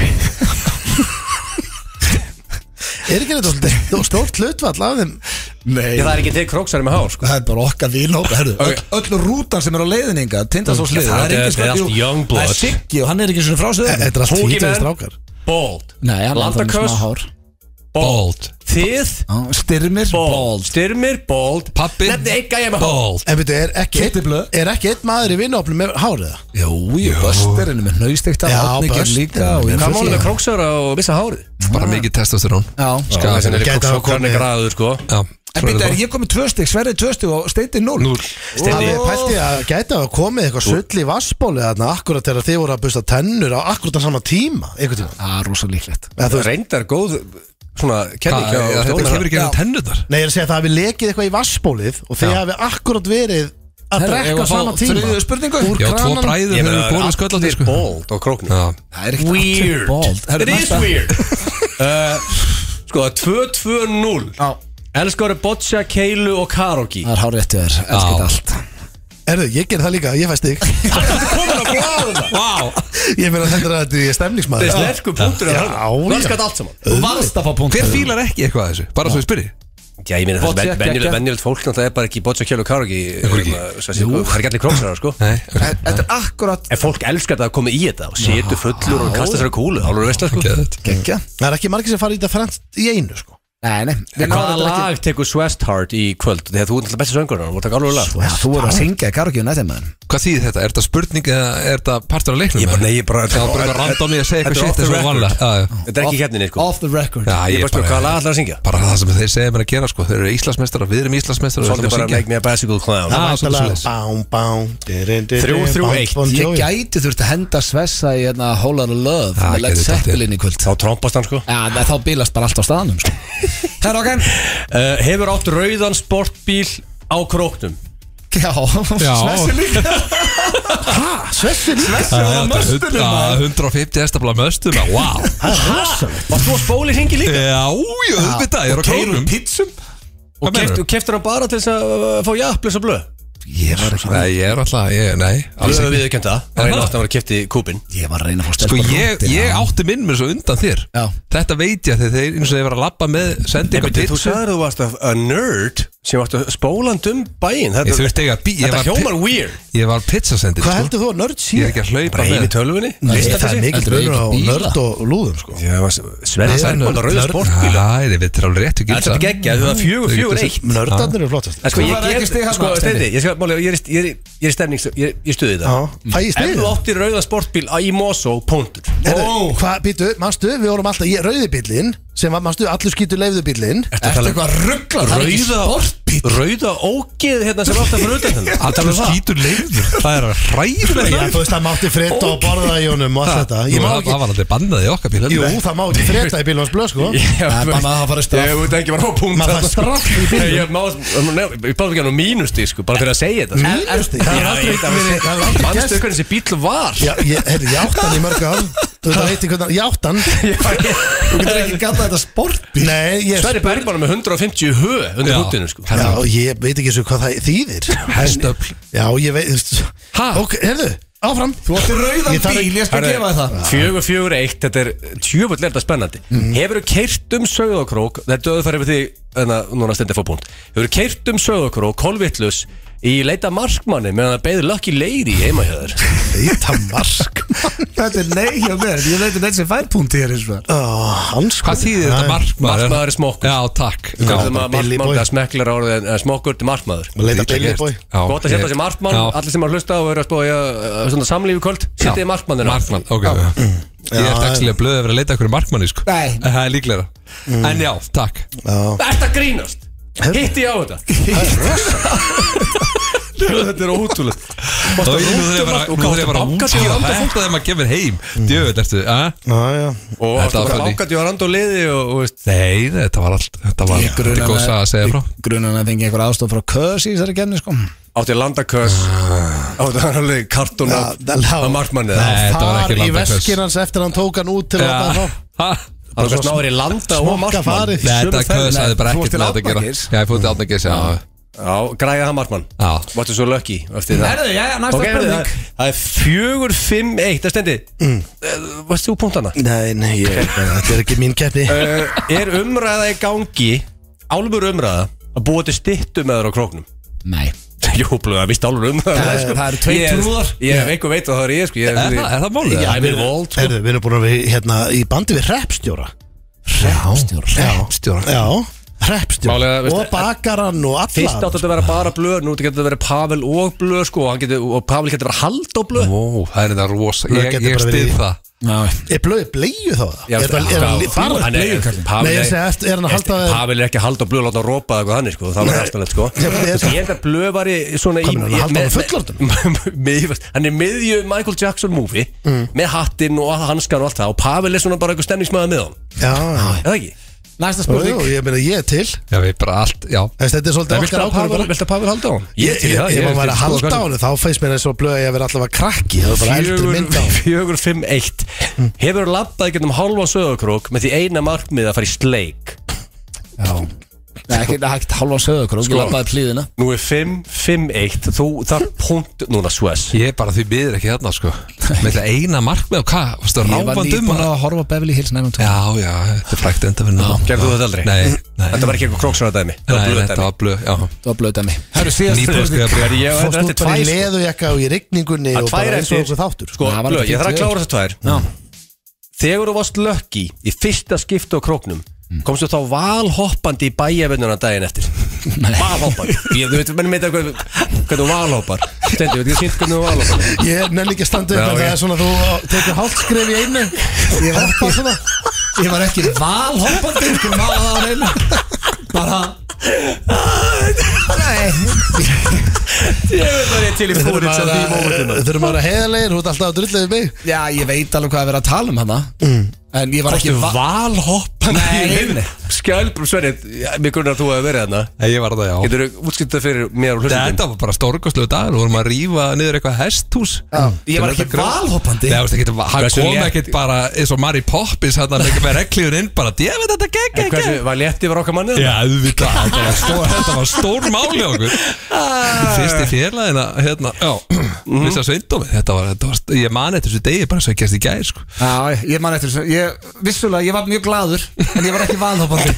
Er ekki þetta svolítið stórt hlutvall af þeim?
Ég það
Nei
er ekki til króksarinn með hár sko.
Það er bara okkar vinópa, herðu öll, öll rútan sem er á leiðninga Tindastóls
Það
leiði
er- þetta er allt young blood.
Það er Siggi og hann er ekki svona frá sig
Þetta er allt
Tóki
hvítaði
menn.
strákar
Bald
Nei, hann er það með
Landaköst
smá hár
Bald
Þið
Já, Styrmir
Bald Styrmir Bald
Pabbi
Nefni eitthvað ég með hár
Bald
En veitu, er ekki einn-
Kittiblöð.
er ekki einn maður í vinnaofnum með hárið það?
Jú, jú, Bösterinn er með hnaustekta
Já,
Átnikir
Busterinn
líka
er
og-
með
Hvað
fullt í
málum með króksara og missa hárið?
Bara mikið testosterón
Já,
Ska-
sko
Þessan Ah. er
gæti hafa
króksarinn
komið-
gráður sko
Já,
En býta, er ég komið tvö stygg, Sverri tvö stygg og Steindi núl?
Núll.
Það
Steindi
er pælt ég að gæta að komið eitthvað sull í vassbóli þarna akkurat þegar þið voru að busta tennur á akkurat á sama tíma einhvern tíma
Ah,
Það er rosa líklegt
Eða, þú veist,
Reyndar góð Svona kenning
Hvað,
hjá-
þetta kemur ekki
Já.
enn tennurnar
Nei, ég er að segja að það hafi lekið eitthvað í vassbólið og þið
Já.
hafi akkurat verið að
Herra, eigum að
drekka
fá
á sama tíma
þriðju spurningu?
Úr
Já, tvo
kranan
bræður
Ég
hefur
meina, það
borðið
er
sköllandi
allir
sko
bald á króknum
Já,
Það er ekkert allir
Weird
bald. Herru,
It is
næsta.
weird uh, Sko, 2-2-0
Já.
Elskar eru boccia, keilu og karaoke
Það er hár réttu þér, elskar þetta allt
Erðu, ég ger það líka, ég fæst þig
Komin að bláða Vá
Ég meina þetta er að þetta er
Það er
stemningsmaður
sterkur punktur
Já, já.
Varskat allt saman
Varst að fá punkt
Hver fílar ekki eitthvað af þessu? Bara svo ég spyrir
Já, ég meina það
Boccia,
er venjulegt
geggjað.
venjulegt fólk Það er bara ekki boccia, keilu og karaoke
Akkur ekki?
hérna, svo að segja, Það er ekki allir króksar sko
Nei, ok
Þetta er akkurat
En fólk elskar það að koma í þetta og setu fullur og kasta sér að kúlu Hálfur veist það sko
Geðveikt.
Gengja
Það er ekki margir sem fara í þetta fremst í einu sko
Nei, nei, við náðum
Hvaða
þetta ekki
lag tekur Swestheart í kvöld? Þegar þú er alltaf besti söngurinn, þú ert að gálur lag
Já, Þú voru að syngja í karaoke um nættum maður
Hvað þýðir þetta? Er þetta spurning eða er þetta partur af leiknum?
Ég bara, nei, ég bara
Það er bara eitthvað random í að segja eitthvað shit eins og vanlega Já, já.
Þetta er ekki hérna, sko
Off the record
Já,
Ég
ég
bara spjóð, hvaða lag ætlar að syngja?
bara það sem þeir segja mér að gera sko þeir eru Íslandsmeistarar, við erum Íslandsmeistarar við
Svolítið
ætlum
bara
að syngja.
Make Me a Bicycle Clown
Já,
Væntanlega,
svolítið svoleiðis.
bám, bám, dirin, dirin,
Þrjú, þrjú,
bám,
eitt.
Bon
Ég
Jovi.
gæti þurft að henda svessa í hérna Whole Lotta Love
Já,
með Led
gerðu þetta.
Zeppelin í kvöld
Þá trompast hann, sko
Já, nei, þá bilast bara allt á staðanum sko. Herra, ok
Uh, Hefur átt rauðan sportbíl á króknum
Já,
Já.
svessi líka
Já, þetta er hund- 150 hestabla möstum wow.
Var þú að spóli hringi líka?
já, jú, auðvitað, ég er á kónum
pítsum Og
Hvað meinarðu?
keftur keft hann bara til þess að uh, fá jafnlis og blöð
Ég var,
nei, ég er alltaf, ég, nei
Alveg
alls
að
ekki.
viðkjönda það Það
Er
er einu
það?
átt að vera keft í kúpin
ég var að reyna að fá
sko
stelpa
ég, ég átti minn mér svo undan þér
Já.
þetta veit ég að þeir eins og þeir vera að labba með sendinga
Þú
pítsu
sagður þú varst að a nerd sem varst að spóland um bæinn
ég
Þetta,
þurfti ekki að bí, ég
þetta
var, pi-
hjómar weird
ég var pizzasendin
Hvað
sko.
heldur þú að nörd
ég er
sé?
ekki að hlaupa
Bara heim í
með
tölvunni
Nei, Það
Lista
er
þessi?
mikill
Heldur þú
munur á
ekki bíla?
nörd og lúðum sko
Já, Sverða Sækmund á rauðu sportbíl
það er vitt alveg rétt
Þetta er geggja, þú var fjögur, fjögur, eitt
Nördarnir eru flottast
En sko,
Þú
ég
færð ekki stig
get,
þarna,
sko,
Steindi.
stendi Ég skal, máli, ég er í- ég er í- ég er í stemning sko. Ég ég stuði
Já,
það
fæ ég
Ef
stegið
þú átti rauða sportbíl á- í Mosó, punktur
Herðu, Hvað, býtu, mannstu, við vorum alltaf í rauðibillin sem var, mannstu, allur skýtu leifðubillin
Ertu eitthvað
um
rugglar? Rauða, rauða ógeð hérna sem átti að fyrir utan þennan
að tala um skítur leifður það er
Já,
hræðilega
þú veist, það mátti fretta og borða í honum og allt þetta Ég má
það
ekki,
var aldrei bannað í okkar bíl
jú, það má ekki fretta í bílum hans blöð, sko
Ég
Maður það fara straff
veit ekki var á punkt
Maður það straff í
Ég
bílum
ég má, nef- ég báði ekki hann á mínusti sko, bara fyrir að segja þetta sko.
Mínustig, það er
Já,
aldrei
ég- það var-
það er aldrei
Manstu
gerst.
hvernig þessi bíl var?
Já, ég, heyrðu, ég átt hann í mörg ár Þú veit að veitir hvernig, ég átt hann
Þú getur ekki gallað þetta sport
Nei, ég,
Sverri Bergmann með 150 hö undir
Já.
húttinu sko
já, ég veit ekki svo hvað það þýðir
Hestöfl.
Já, ég veit, þú veist Ok, heyrðu, áfram Þú
Þetta er rauðan
Ég þarf
bíl,
ekki-
ég skal
Herðu,
gefa þér það
Fjögur, fjögur, eitt, þetta er tjöfull er þetta spennandi
Mhm.
Hefur þú keirt um sögðokrók Þetta er döðfæri við því en að núna stendir fór punkt Hefur þú keirt um sögðokrók, kolvittlus Í leita markmanni meðan það beður Lucky Lady heima hjá þér
veit að mark
Þetta er nei hjá mér, ég veit um þetta sem fær punkt hér eins og það.
Ó, hans
hvað þýðir þetta markmaður
Markmaður er smokkur
já, takk
Hvað er
Já.
það maður-
Billy Boy.
Markmaður, það smeklar orðið en- en smokkur til markmaður
Maður leita
Illa
Billy
gert.
Boy
Gótt
Já,
að hérna
ég-
setja sér markmann,
Já.
allir sem að hlusta og eru að spója samlífi kvöld,
Já.
setja þið markmannina
Markmann, ok já. Ég er dagslega blöðið að vera að leita ykkur markmanni sko.
Nei.
En Það er líklega En já, takk
Þetta grínast Hitti ég á þetta Þetta er ótrúlega
Þá er ég nú þegar bara- nú þegar ég bara útskýra Handa fólk að þeim að gefa mér heim Djöfell, ertu að?
Já, já
Og
Þetta
þetta
var
var
funny.
bankandi og rand og liði og, og veist,
Nei, þetta var allt Þetta var, þetta er góð saga að segja frá
Grunan að fengi einhver aðstof frá köðs í þessari kemni sko
átti landakös átti hann alveg kartun
Já, það lá-
af markmanni
Ah. Nei, þetta var
Far
ekki
í
landaköss.
veskin hans eftir hann tók hann út til að láta
Já.
hann fá
Ha?
Það var svona árið landa og
smokka
markmann
farið.
Nei, Þetta
Sömu ferð,
köðs
nei,
aði bara
þú
ekkert
varst
með þetta að
til
gera
Árnagils.
Já, ég fótti átnagis Já,
Já, græði það markmann
já
Vartu svo lucky eftir það
Herðu, jæja, næsta
Ok, herðu,
spurning.
það- Það er fjögur, fimm, eitt Það stendi Eh, Varst þú punktana?
Nei, nei, ég, þetta er ekki mín keppni
Uh, er umræða í gangi Álfur umræða að búa til styttu með þér á króknum?
Nei
Jú, blöða, vist álfur umræða
Það
sko.
það eru tveir
Ég-
trúðar.
Ég hef einhver veit að það er ég sko Ég
Er það- er það málið?
Já, ég er vold sko.
Herðu, við erum búin að vera í- hérna, í bandi við hreppstjóra Hreppstjóra Hreppstjóra Já, hreppstjóra
Málega, veistu,
Og bakarann og alla
Fyrst átti þetta að vera bara blöð, nú getur þetta að vera Pavel og blöð sko og, hann getur, og Pavel getur að vera hald og blöð
Ó, það er þetta rosa
Það
Ég,
getur
ég
bara
stið
verið í-
það
Er blöðið bleið þá það? Er það er það bara
sko, Hann er-
bleið Nei,
Pavel
ég segi
er-
eftir, er hann að halda það
Pavel er ekki að halda á blöð og láta hann rópa eða eitthvað þannig sko, það var rastalegt sko
Ég- ég-
Ég held að blöð var í svona
Hvað meinar, hann halda á
með-
honum fullorðnum?
með- með- Hann er miðju Michael Jackson movie
Mm.
með hattinn og hanskan og allt það og Pavel er svona bara eitthvað stemningsmaða með hann
Já, já
Eða ekki?
Næsta
Jú,
spurning
jú, ég meina ég er til Þess,
Já, við bara allt Já
Þetta er svolítið okkar ákvörðu bara
Vilt að Pavel halda á hann?
Ég, ég, ég, ég var að
sko,
halda á hennu, þá feist mér eins og blöði að vera alltaf að krakki Það var bara eldri mynd á Mm. hennu
Fjögur, fimm, eitt Hefur labbað getum halvan söðakrók með því eina markmið að fara í sleik
Nei, ekki, ekki halva söðukrú,
Sko.
ég lappaði plíðina
Nú er fimm, fimm, eitt Þú þarf punkt núna, Sves
Ég er bara því miður ekki þarna sko Með þetta eina markmið og hvað Varstu
Ég var
ráfandi um
nýbúin
að
að horfa á Beverly Hills 902
Já, já, þetta er frækt enda fyrir
Gerðu þú þetta aldrei?
Nei, nei
Þetta var ekki eitthvað króksarðardæmi
Nei, þetta var blöð, já
Það var blöðið að mig
Herru, síðast
Þegar ég var
Fórst
þetta
út bara í
tvær sko.
leðujekka og í rigningunni
Að
og
tvær
bara eins og okkur
eftir.
þáttur
Sko,
Það var
blöð,
alveg
ég þarf að
fínt
klára þetta tvær Þegar þú varst lökki í fyrsta skipta á króknum komstu þá valhoppandi í bæjavinnuna daginn eftir valhoppandi ég, þú veit, menn meita hvað- hvernig þú valhoppar stendi, veit ekki sýnt hvernig þú valhoppar
Ég nenni ekki að standa upp
Já,
en
ok.
það er svona þú tekið hálft skref í einu Ég hoppa svona
Ég var ekki valhoppandi Sko maður það á reyna Bara
ég veit það er til í
Þurfum
fórið sem því mómentum
að- þurfum að vera heiðarlegir, þú ert alltaf að drullið mig
Já, ég veit alveg hvað að vera að tala um hana En ég var ekki va Nei, nei.
valhoppandi skjálbrum sverri mér kunnar þú að vera þarna
Nei, Ég var það, já
getur þú útskiptað fyrir mér og hlustundum
Þetta var bara stórkostlegu dagur Við vorum að rífa niður eitthvað hesthús
Ég var ekki valhoppandi
Nei, þú veist ekki, hann
Mm. Hversu
kom
létt-
ekkert bara eins og Mary Poppins hann að leika með reglífun inn bara, ég veit þetta gegg, gegg, gegg
hversu var létti var okkar mannið
Já, auðvitað, þetta var stór, þetta var stór máli okkur Fyrst í félagina, hérna, já, vissi að sveindómið, þetta var, þetta var, ég mani eftir þessu degi bara svo ekki eftir gæði, sko
Já, ég man eftir þessu Ég, vissulega, ég var mjög gladur En ég var ekki valhoppandi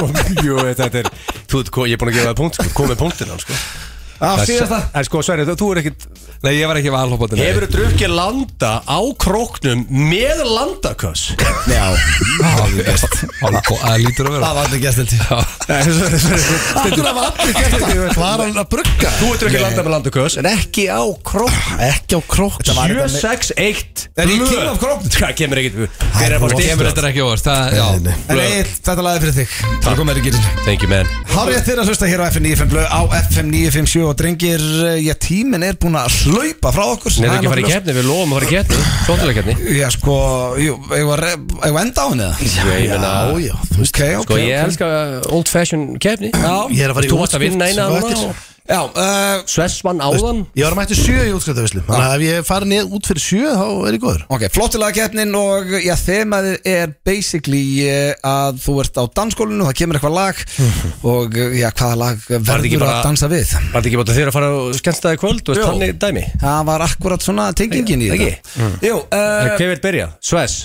Jú, þetta er, þú veit, ég er búin að gefa það punkt, sko, komið punktin hann, sko.
Á síðast það
En sko, Sverri, þú er ekkit,
Nei, ég var ekki valhópandi
hefur þú drukkið landa á króknum með landaköss?
Það lítur að vera
var allir gestildi
Nei, Sverri, Sverri,
Akkur af allir gert þetta Hvað er hann að brugga?
þú er drukkið landa með landaköss, en ekki á króknum.
Ekki á krók
761
En ég
blöð.
kemur af króknum.
Hvað kemur ekkit, við erum að fá
Kemur
stifta.
þetta ekki óvast, það, já
En Egil, þetta laði fyrir þig Það kom með ekki
Thank you, man.
Hárið þér að hlusta hér á FM 95 blöð á FM 957 og drengir, eh, já tíminn er búin að hlaupa frá okkur
Nei,
Það
það er ekki að fara í
náttúrulega-
keppni, við lofum að fara í keppni. Svontulega keppni.
Já sko, jú, eigum við að re- eigum við að enda á henni eða?
Ég meina,
Já, já, þú veist
Ok, ok,
Sko, ég
ok.
elska old fashion keppni.
Ég er að fara í
Þú varst að
útskrift
vinna eina
á
núna
eftir.
og
Já, uh,
Svess vann áðan.
Ég var mættu sjö í útskriftafislu Þannig að ef ég fari niður út fyrir sjö þá er ég góður
ok, flottilega keppnin og já, þemaðið er basically eh, að þú ert á dansskólinu það kemur eitthvað lag og eh, já, hvaða lag
þetta ekki
verður
bara-
að dansa við
Var þetta ekki bátt að þeirra að fara og skemmst það í kvöld og þannig dæmi?
Það var akkurat svona tengingin í
Ekki?
þetta Jú,
En
uh,
Hver vil byrja? Sves?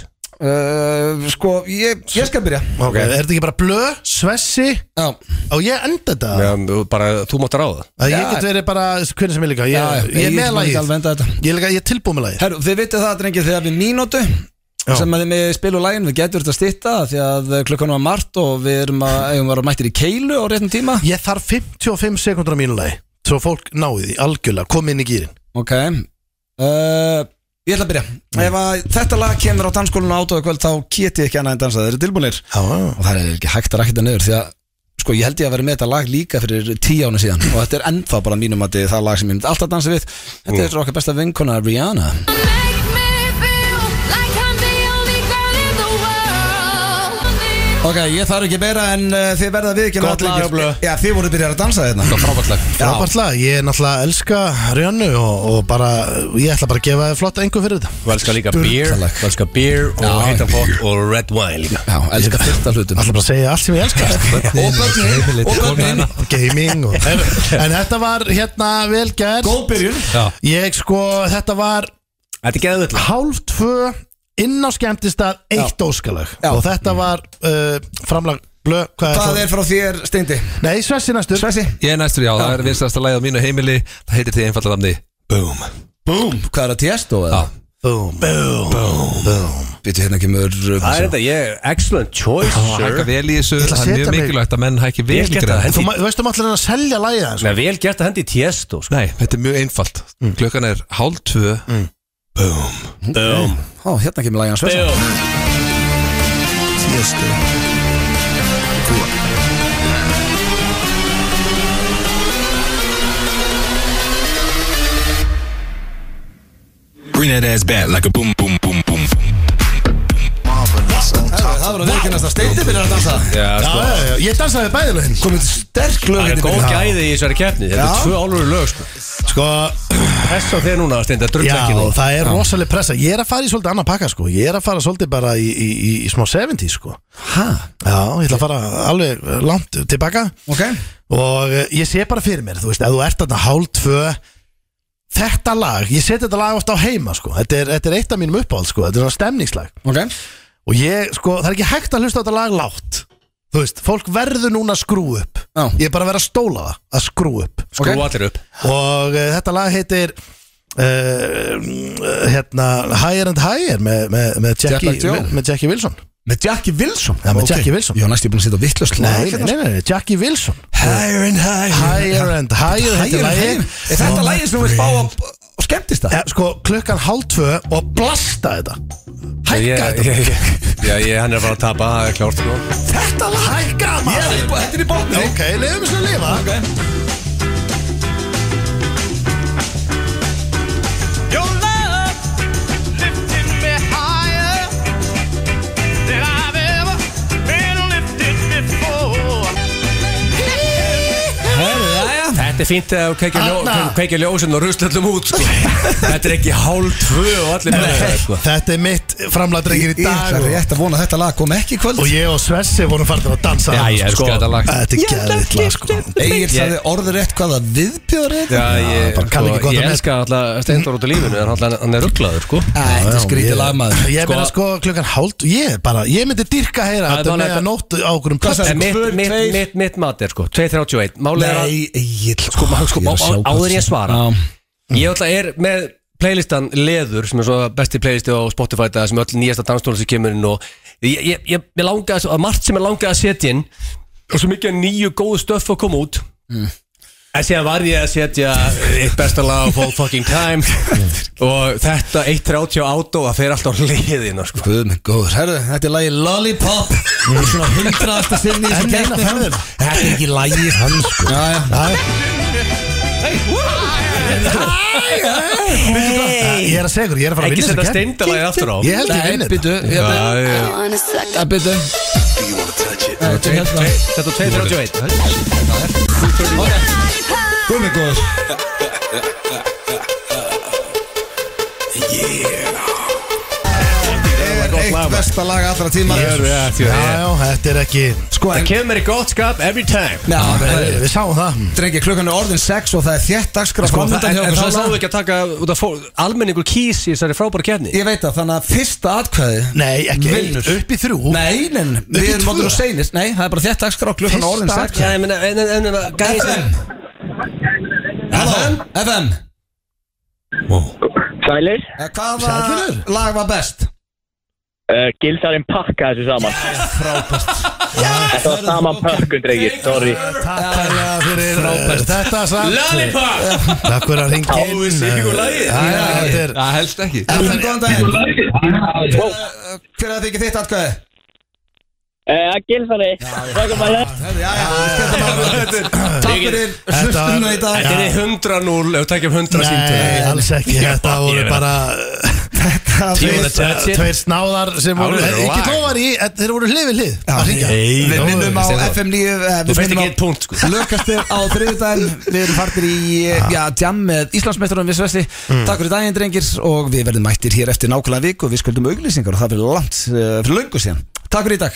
uh, sko, ég, ég skal byrja
Ok, Er þetta ekki bara blöð, svessi
Já
og ég enda þetta?
Já, þú- bara, þú mátt ráða
Að ég
Já.
get verið bara hvernig sem ég líka
Já, já,
Ég, ég er
ég
með
skal ekki alveg enda
lagið
þetta.
Ég er líka- ég er tilbúið með lagið
Herru, þið vitið það, drengir, þegar við mínútu sem að þið með spil og lægin, við getur þetta að stýtta því að eh, klukkan var margt og við erum að, eigum að vera mættir í keilu á réttum tíma
Ég þarf 55 sekundur á mínu lagi Svo fólk náði því algjörlega, komið inn í gýrin
Ok uh, Ég ætla að byrja Ef að þetta lag kemur á danskólinu átóðu kvöld þá get ég ekki annað en dansa, þeir eru tilbúinir
Já,
og það er ekki hægt að rækta niður því að sko ég held ég að vera með þetta lag líka fyrir tíu áni síðan og þetta er ennþá bara mínum að það lag sem ég myndi alltaf dansa við Þetta er okkar besta vinkona Rihanna Ok, ég þarf ekki meira en uh, þið verða við ekki
Gott lag, Blöð.
Já, þið voru byrjar að dansa hérna
Það var frábært lag
frábært lag, ég er náttúrulega elska Rjannu og, og bara, ég ætla bara að gefa þið flott engum fyrir þetta
Þú elskar líka beer Þú elskar beer og heita fólk og red wine líka
Já, elska fyrta hlutum
Ætla bara að segja allt sem ég elska
Og börnin, og
hérna.
börnin
Gaming og En þetta var hérna vel gert
Góð byrjun
Ég sko, þetta var
Þetta er geðvöld
hálf tvö inn á skemmtistað eitt óskalag
Já.
og þetta var uh, framlag blö, hvað
Hvað
er það?
er frá þér, Steindi?
Nei, Svessi næstur
Svessi?
Ég er næstur, já, það er vinstast að á mínu heimili Það heitir því einfallega namni Boom
Búm Hvað er að tjestu?
Já.
Boom, boom, boom, boom.
Býtu hérna kemur
Það er þetta, ég, excellent choice
Það hækka
sir
vel í þessu,
Ég ætla að
það er
setja
mjög
mig-
mikilvægt að menn hækki vel
Ég
í
geta það,
greina
En þú, ma- þú veist um allir að selja lagið sko. hans
Nei, vel gert að hendi í tiesto sko.
Nei, þetta er mjög einfalt Klukkan er hálf tvö
Boom
Ó, hérna kemur lagið hans Svessi
Boom
Bring that ass back like a boom, boom, boom, boom.
Það voru viðkennast að Steindi byrjar að dansa
Já,
Já,
sko
já, já, ég dansaði bæði lögin
Komið sterk lög
Það er
hérna í
góð
byrjun.
gæði í þessari keppni Þetta er
Já.
tvö álur lög sko.
Sko,
Press á þér núna, Steinda, drull
já,
ekki nú
það er rosalega pressa Ég er að fara í svolítið annað pakka, sko Ég er að fara svolítið bara í, í, í, í smá 70, sko
Ha?
Já, ég ætla að fara alveg eh, langt tilbaka
Ok
Og eh, ég sé bara fyrir mér, þú veist, ef þú ert þarna hálf tvö Þetta lag, ég seti þetta lag oft á heima, sko Þetta er, þetta er eitt af mínum uppáhald, sko Þetta er svona stemningslag
Ok
Og ég, sko, það er ekki hægt að hlusta á þetta lag lágt Þú veist, fólk verður núna að skrú upp
Já.
Ég er bara að vera að stóla það, að skrú upp
Skrú allir upp
Og uh, þetta lag heitir uh, hérna, Higher and Higher með, með, með, Jackie,
Black Joe.
með Jackie Wilson
Með Jackie Wilson
Já, með Jackie Wilson.
Já, næst ég er búin að setja á Hérna vittlust
Nei, nei,
sko.
nei, nei, Jackie Wilson
Higher and higher
Higher and higher, þetta er
Higher and
lagið.
higher Er þetta lagið sem þú vilt fá á á skemmtista?
Eh, Sko, klukkan hálf tvö og blasta þetta Hækka
Ég-
þetta
ég- ég- Já, ég, hann er að fara að tapa, það er klárt sko.
Þetta lag Hækka
Ég er
maður
í bo- Þetta er í botni
Ok, leiðum við sér að lifa
Your love lifted me higher than I've ever been lifted before.
Þetta er fínt að kveikja ljó-
Arna.
kveikja ljósin og rusla öllum út sko. Þetta er ekki hálf tvö og allir með þetta sko.
Eh, Þetta er mitt framlæðdrengir í
Ég
dag
ætla
og-
rétt að vona að þetta lag kom ekki í kvöld
Og ég og Svessi vorum farin að dansa sko.
Já, ég elska þetta lag.
Þetta er gæðið lag sko
Egil sagði orður rétt hvaða viðbjöður er
Já, ég,
bara kann ekki
sko,
gott
ég
að
elska alltaf Steindor út af lífinu en hann, hann er rugglaður sko.
Æ, Þetta er skrítið lagmaður
Ég meina sko klukkan hálf Ég bara, ég myndi dyrka að heyra
Það
þetta
var
með
þetta-
að nóttu á okkur um kvöld
En mitt, mitt, mitt, mitt mat er sko 2.31 Málið er að
Nei, Egil
sko, má- sko, má- á- áður en ég svara
Já.
Ég ætla er með playlistan Leður sem er svo besti playlisti á Spotify það sem öll nýjasta danstóla sem kemur inn og ég, ég, ég, ég langa að margt sem ég langa að setja inn og svo mikið af nýju góðu stöff að koma út en síðan var ég að setja eitt besta lag of all fucking time og þetta 1.30 á átó að fer alltaf á leiðina sko.
Guð minn góður, herðu, þetta er lagi Lollipop Það er svona hundraðasta sinni í þessu
Mm. En eina
keppni.
ferðin.
Þetta er ekki lagi hann sko Já, já,
Eh, Ég er að segja ykkur, ég er að fara að
ekki
vinna
setja
þessa keppni.
steindalagi aftur á
Ég held ég vinni
Nei,
þetta
byttu,
Já, ég-
já, byttu Þetta er hérna
Þetta er 2.31
Guð minn góður Yeah Eitt besta lag allra tíma
Já, já, þetta er ekki Eh,
Sko,
Það
en
kemur mér í gott skap every time
Já, það er-
Við sáum það
Drengi, klukkan er orðin 6 og það er þétt dagskrá
Sko,
framundan
en,
hjá
en
okkur,
það
Sæsa.
náðu ekki að taka út af fólk Almenningur kýs í þessari frábæra kefni
Ég veit það, þannig að fyrsta atkvæði
Nei, ekki
Vinnur.
Upp í þrjú
Nei, nei, nei, við
Upp í
erum
tvö.
orðin og seinist Nei, það er bara þétt dagskrá klukkan er orðin
Fyrsta
6
Já, ég meina, en, en, en, en gæs,
FM Halló, FM
Sælir,
Eh, Hvaða lag var best?
uh, gildarinn pakka þessu saman Þetta var saman pökkun, drengir, sorry
Takk hella fyrir Frábært Þetta samt Lollipop Takk fyrir að ringa inn Óvist ykkur lagi Þetta er
Það helst ekki
FM, góðan daginn Eh, Hver að þykir þitt atkvæði?
uh, Gildarinn, takk um að það
Herðu, Já, já, við skellum bara á. Takk fyrir
Þetta var-
hlustuna í dag
Þetta er 100 núl ef við tekjum 100
Nei,
síntöð
alls ekki Þetta voru bara Tveir, tveir snáðar sem voru
Alveg
Ekki
lag.
tóvar í en Þeir voru hlifið hlið Að ringa
Við minnum á
Steindór.
FM 9 eh,
Þú
Við
feist
minnum
ekki
á
eitt punkt sko
Lökastir á þriðudaginn Við erum fartir í eh, já, jam með Íslandsmeistarum við Svesti Takk fyrir daginn drengir og við verðum mættir hér eftir nákvæmlega viku Við skuldum auglýsingar og það fyrir langt eh, fyrir löngu síðan Takk fyrir í dag